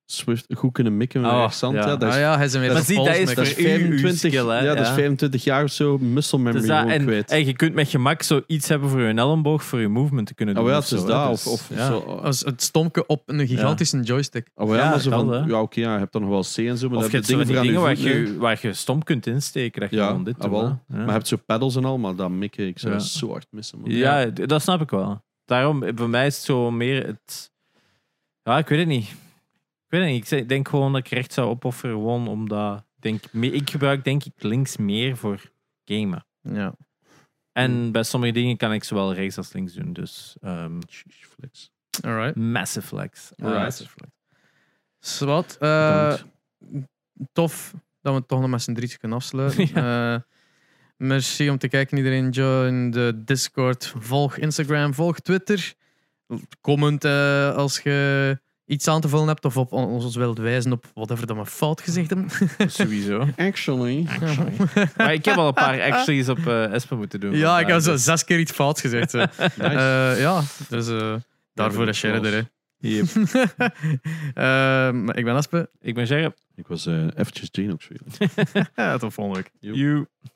Swift goed kunnen mikken met Oh, rechtshand. ja. hè. Dat Ah is, ja, hij is weer Maar een zie, dat volsmaker. is dat is voor u uw 25, skill, hè. ja, dat is Ja. 25 jaar of zo muscle memory Dus dat- gewoon en, kwijt. en je kunt met gemak zoiets hebben voor je elleboog, voor je movement te kunnen Oh doen. ja, of het is zo, dat. hè. Of, Dus, of ja. zo. Als het stomken op een gigantische joystick. Oh ja, Ja, maar zo dat, van, hè. ja, oké, ja, je hebt dan nog wel C en zo, maar Of dat je heb hebt je zo van dingen die voor aan je dingen waar voeten, hè. je, waar je stom kunt insteken, dat je Ja, gewoon dit doet. ah, wel. hè. Ja. Maar je hebt zo pedals en al, maar dat mikken, ik zou Ja. dat zo hard missen. man. Ja, d- dat snap ik wel. Daarom, eh, voor mij is het zo meer het... Ja, ik weet het niet. Ik weet het niet. Ik zeg- denk gewoon dat ik recht zou opofferen, gewoon omdat... ik Denk, me- ik gebruik denk ik links meer voor gamen. Ja. Hmm. En bij sommige dingen kan ik zowel rechts als links doen, dus... ehm, Sheesh, flex. Alright. massive flex. Eh, Right. Zwat. eh, Bedankt. tof dat we het toch nog met z'n drietje kunnen afsluiten. Eh, merci om te kijken, iedereen. Join de Discord. Volg Instagram, volg Twitter. Comment eh, als je iets aan te vullen hebt of op on- ons wilt wijzen op whatever dat we fout gezegd hebben. Eh, Sowieso. Actually. Maar ik heb al een paar actuallys op eh Espen moeten doen. ja, ik heb vandaag, zo dus- zes keer iets fout gezegd. zo. Eh, ja, dus eh, daarvoor dat is Sherry er. hè. Yep. Eh, maar ik ben Aspe. Ik ben Gerrit. Ik was eh eventjes Genox weer. Ja, tot volgende week. Joep. You.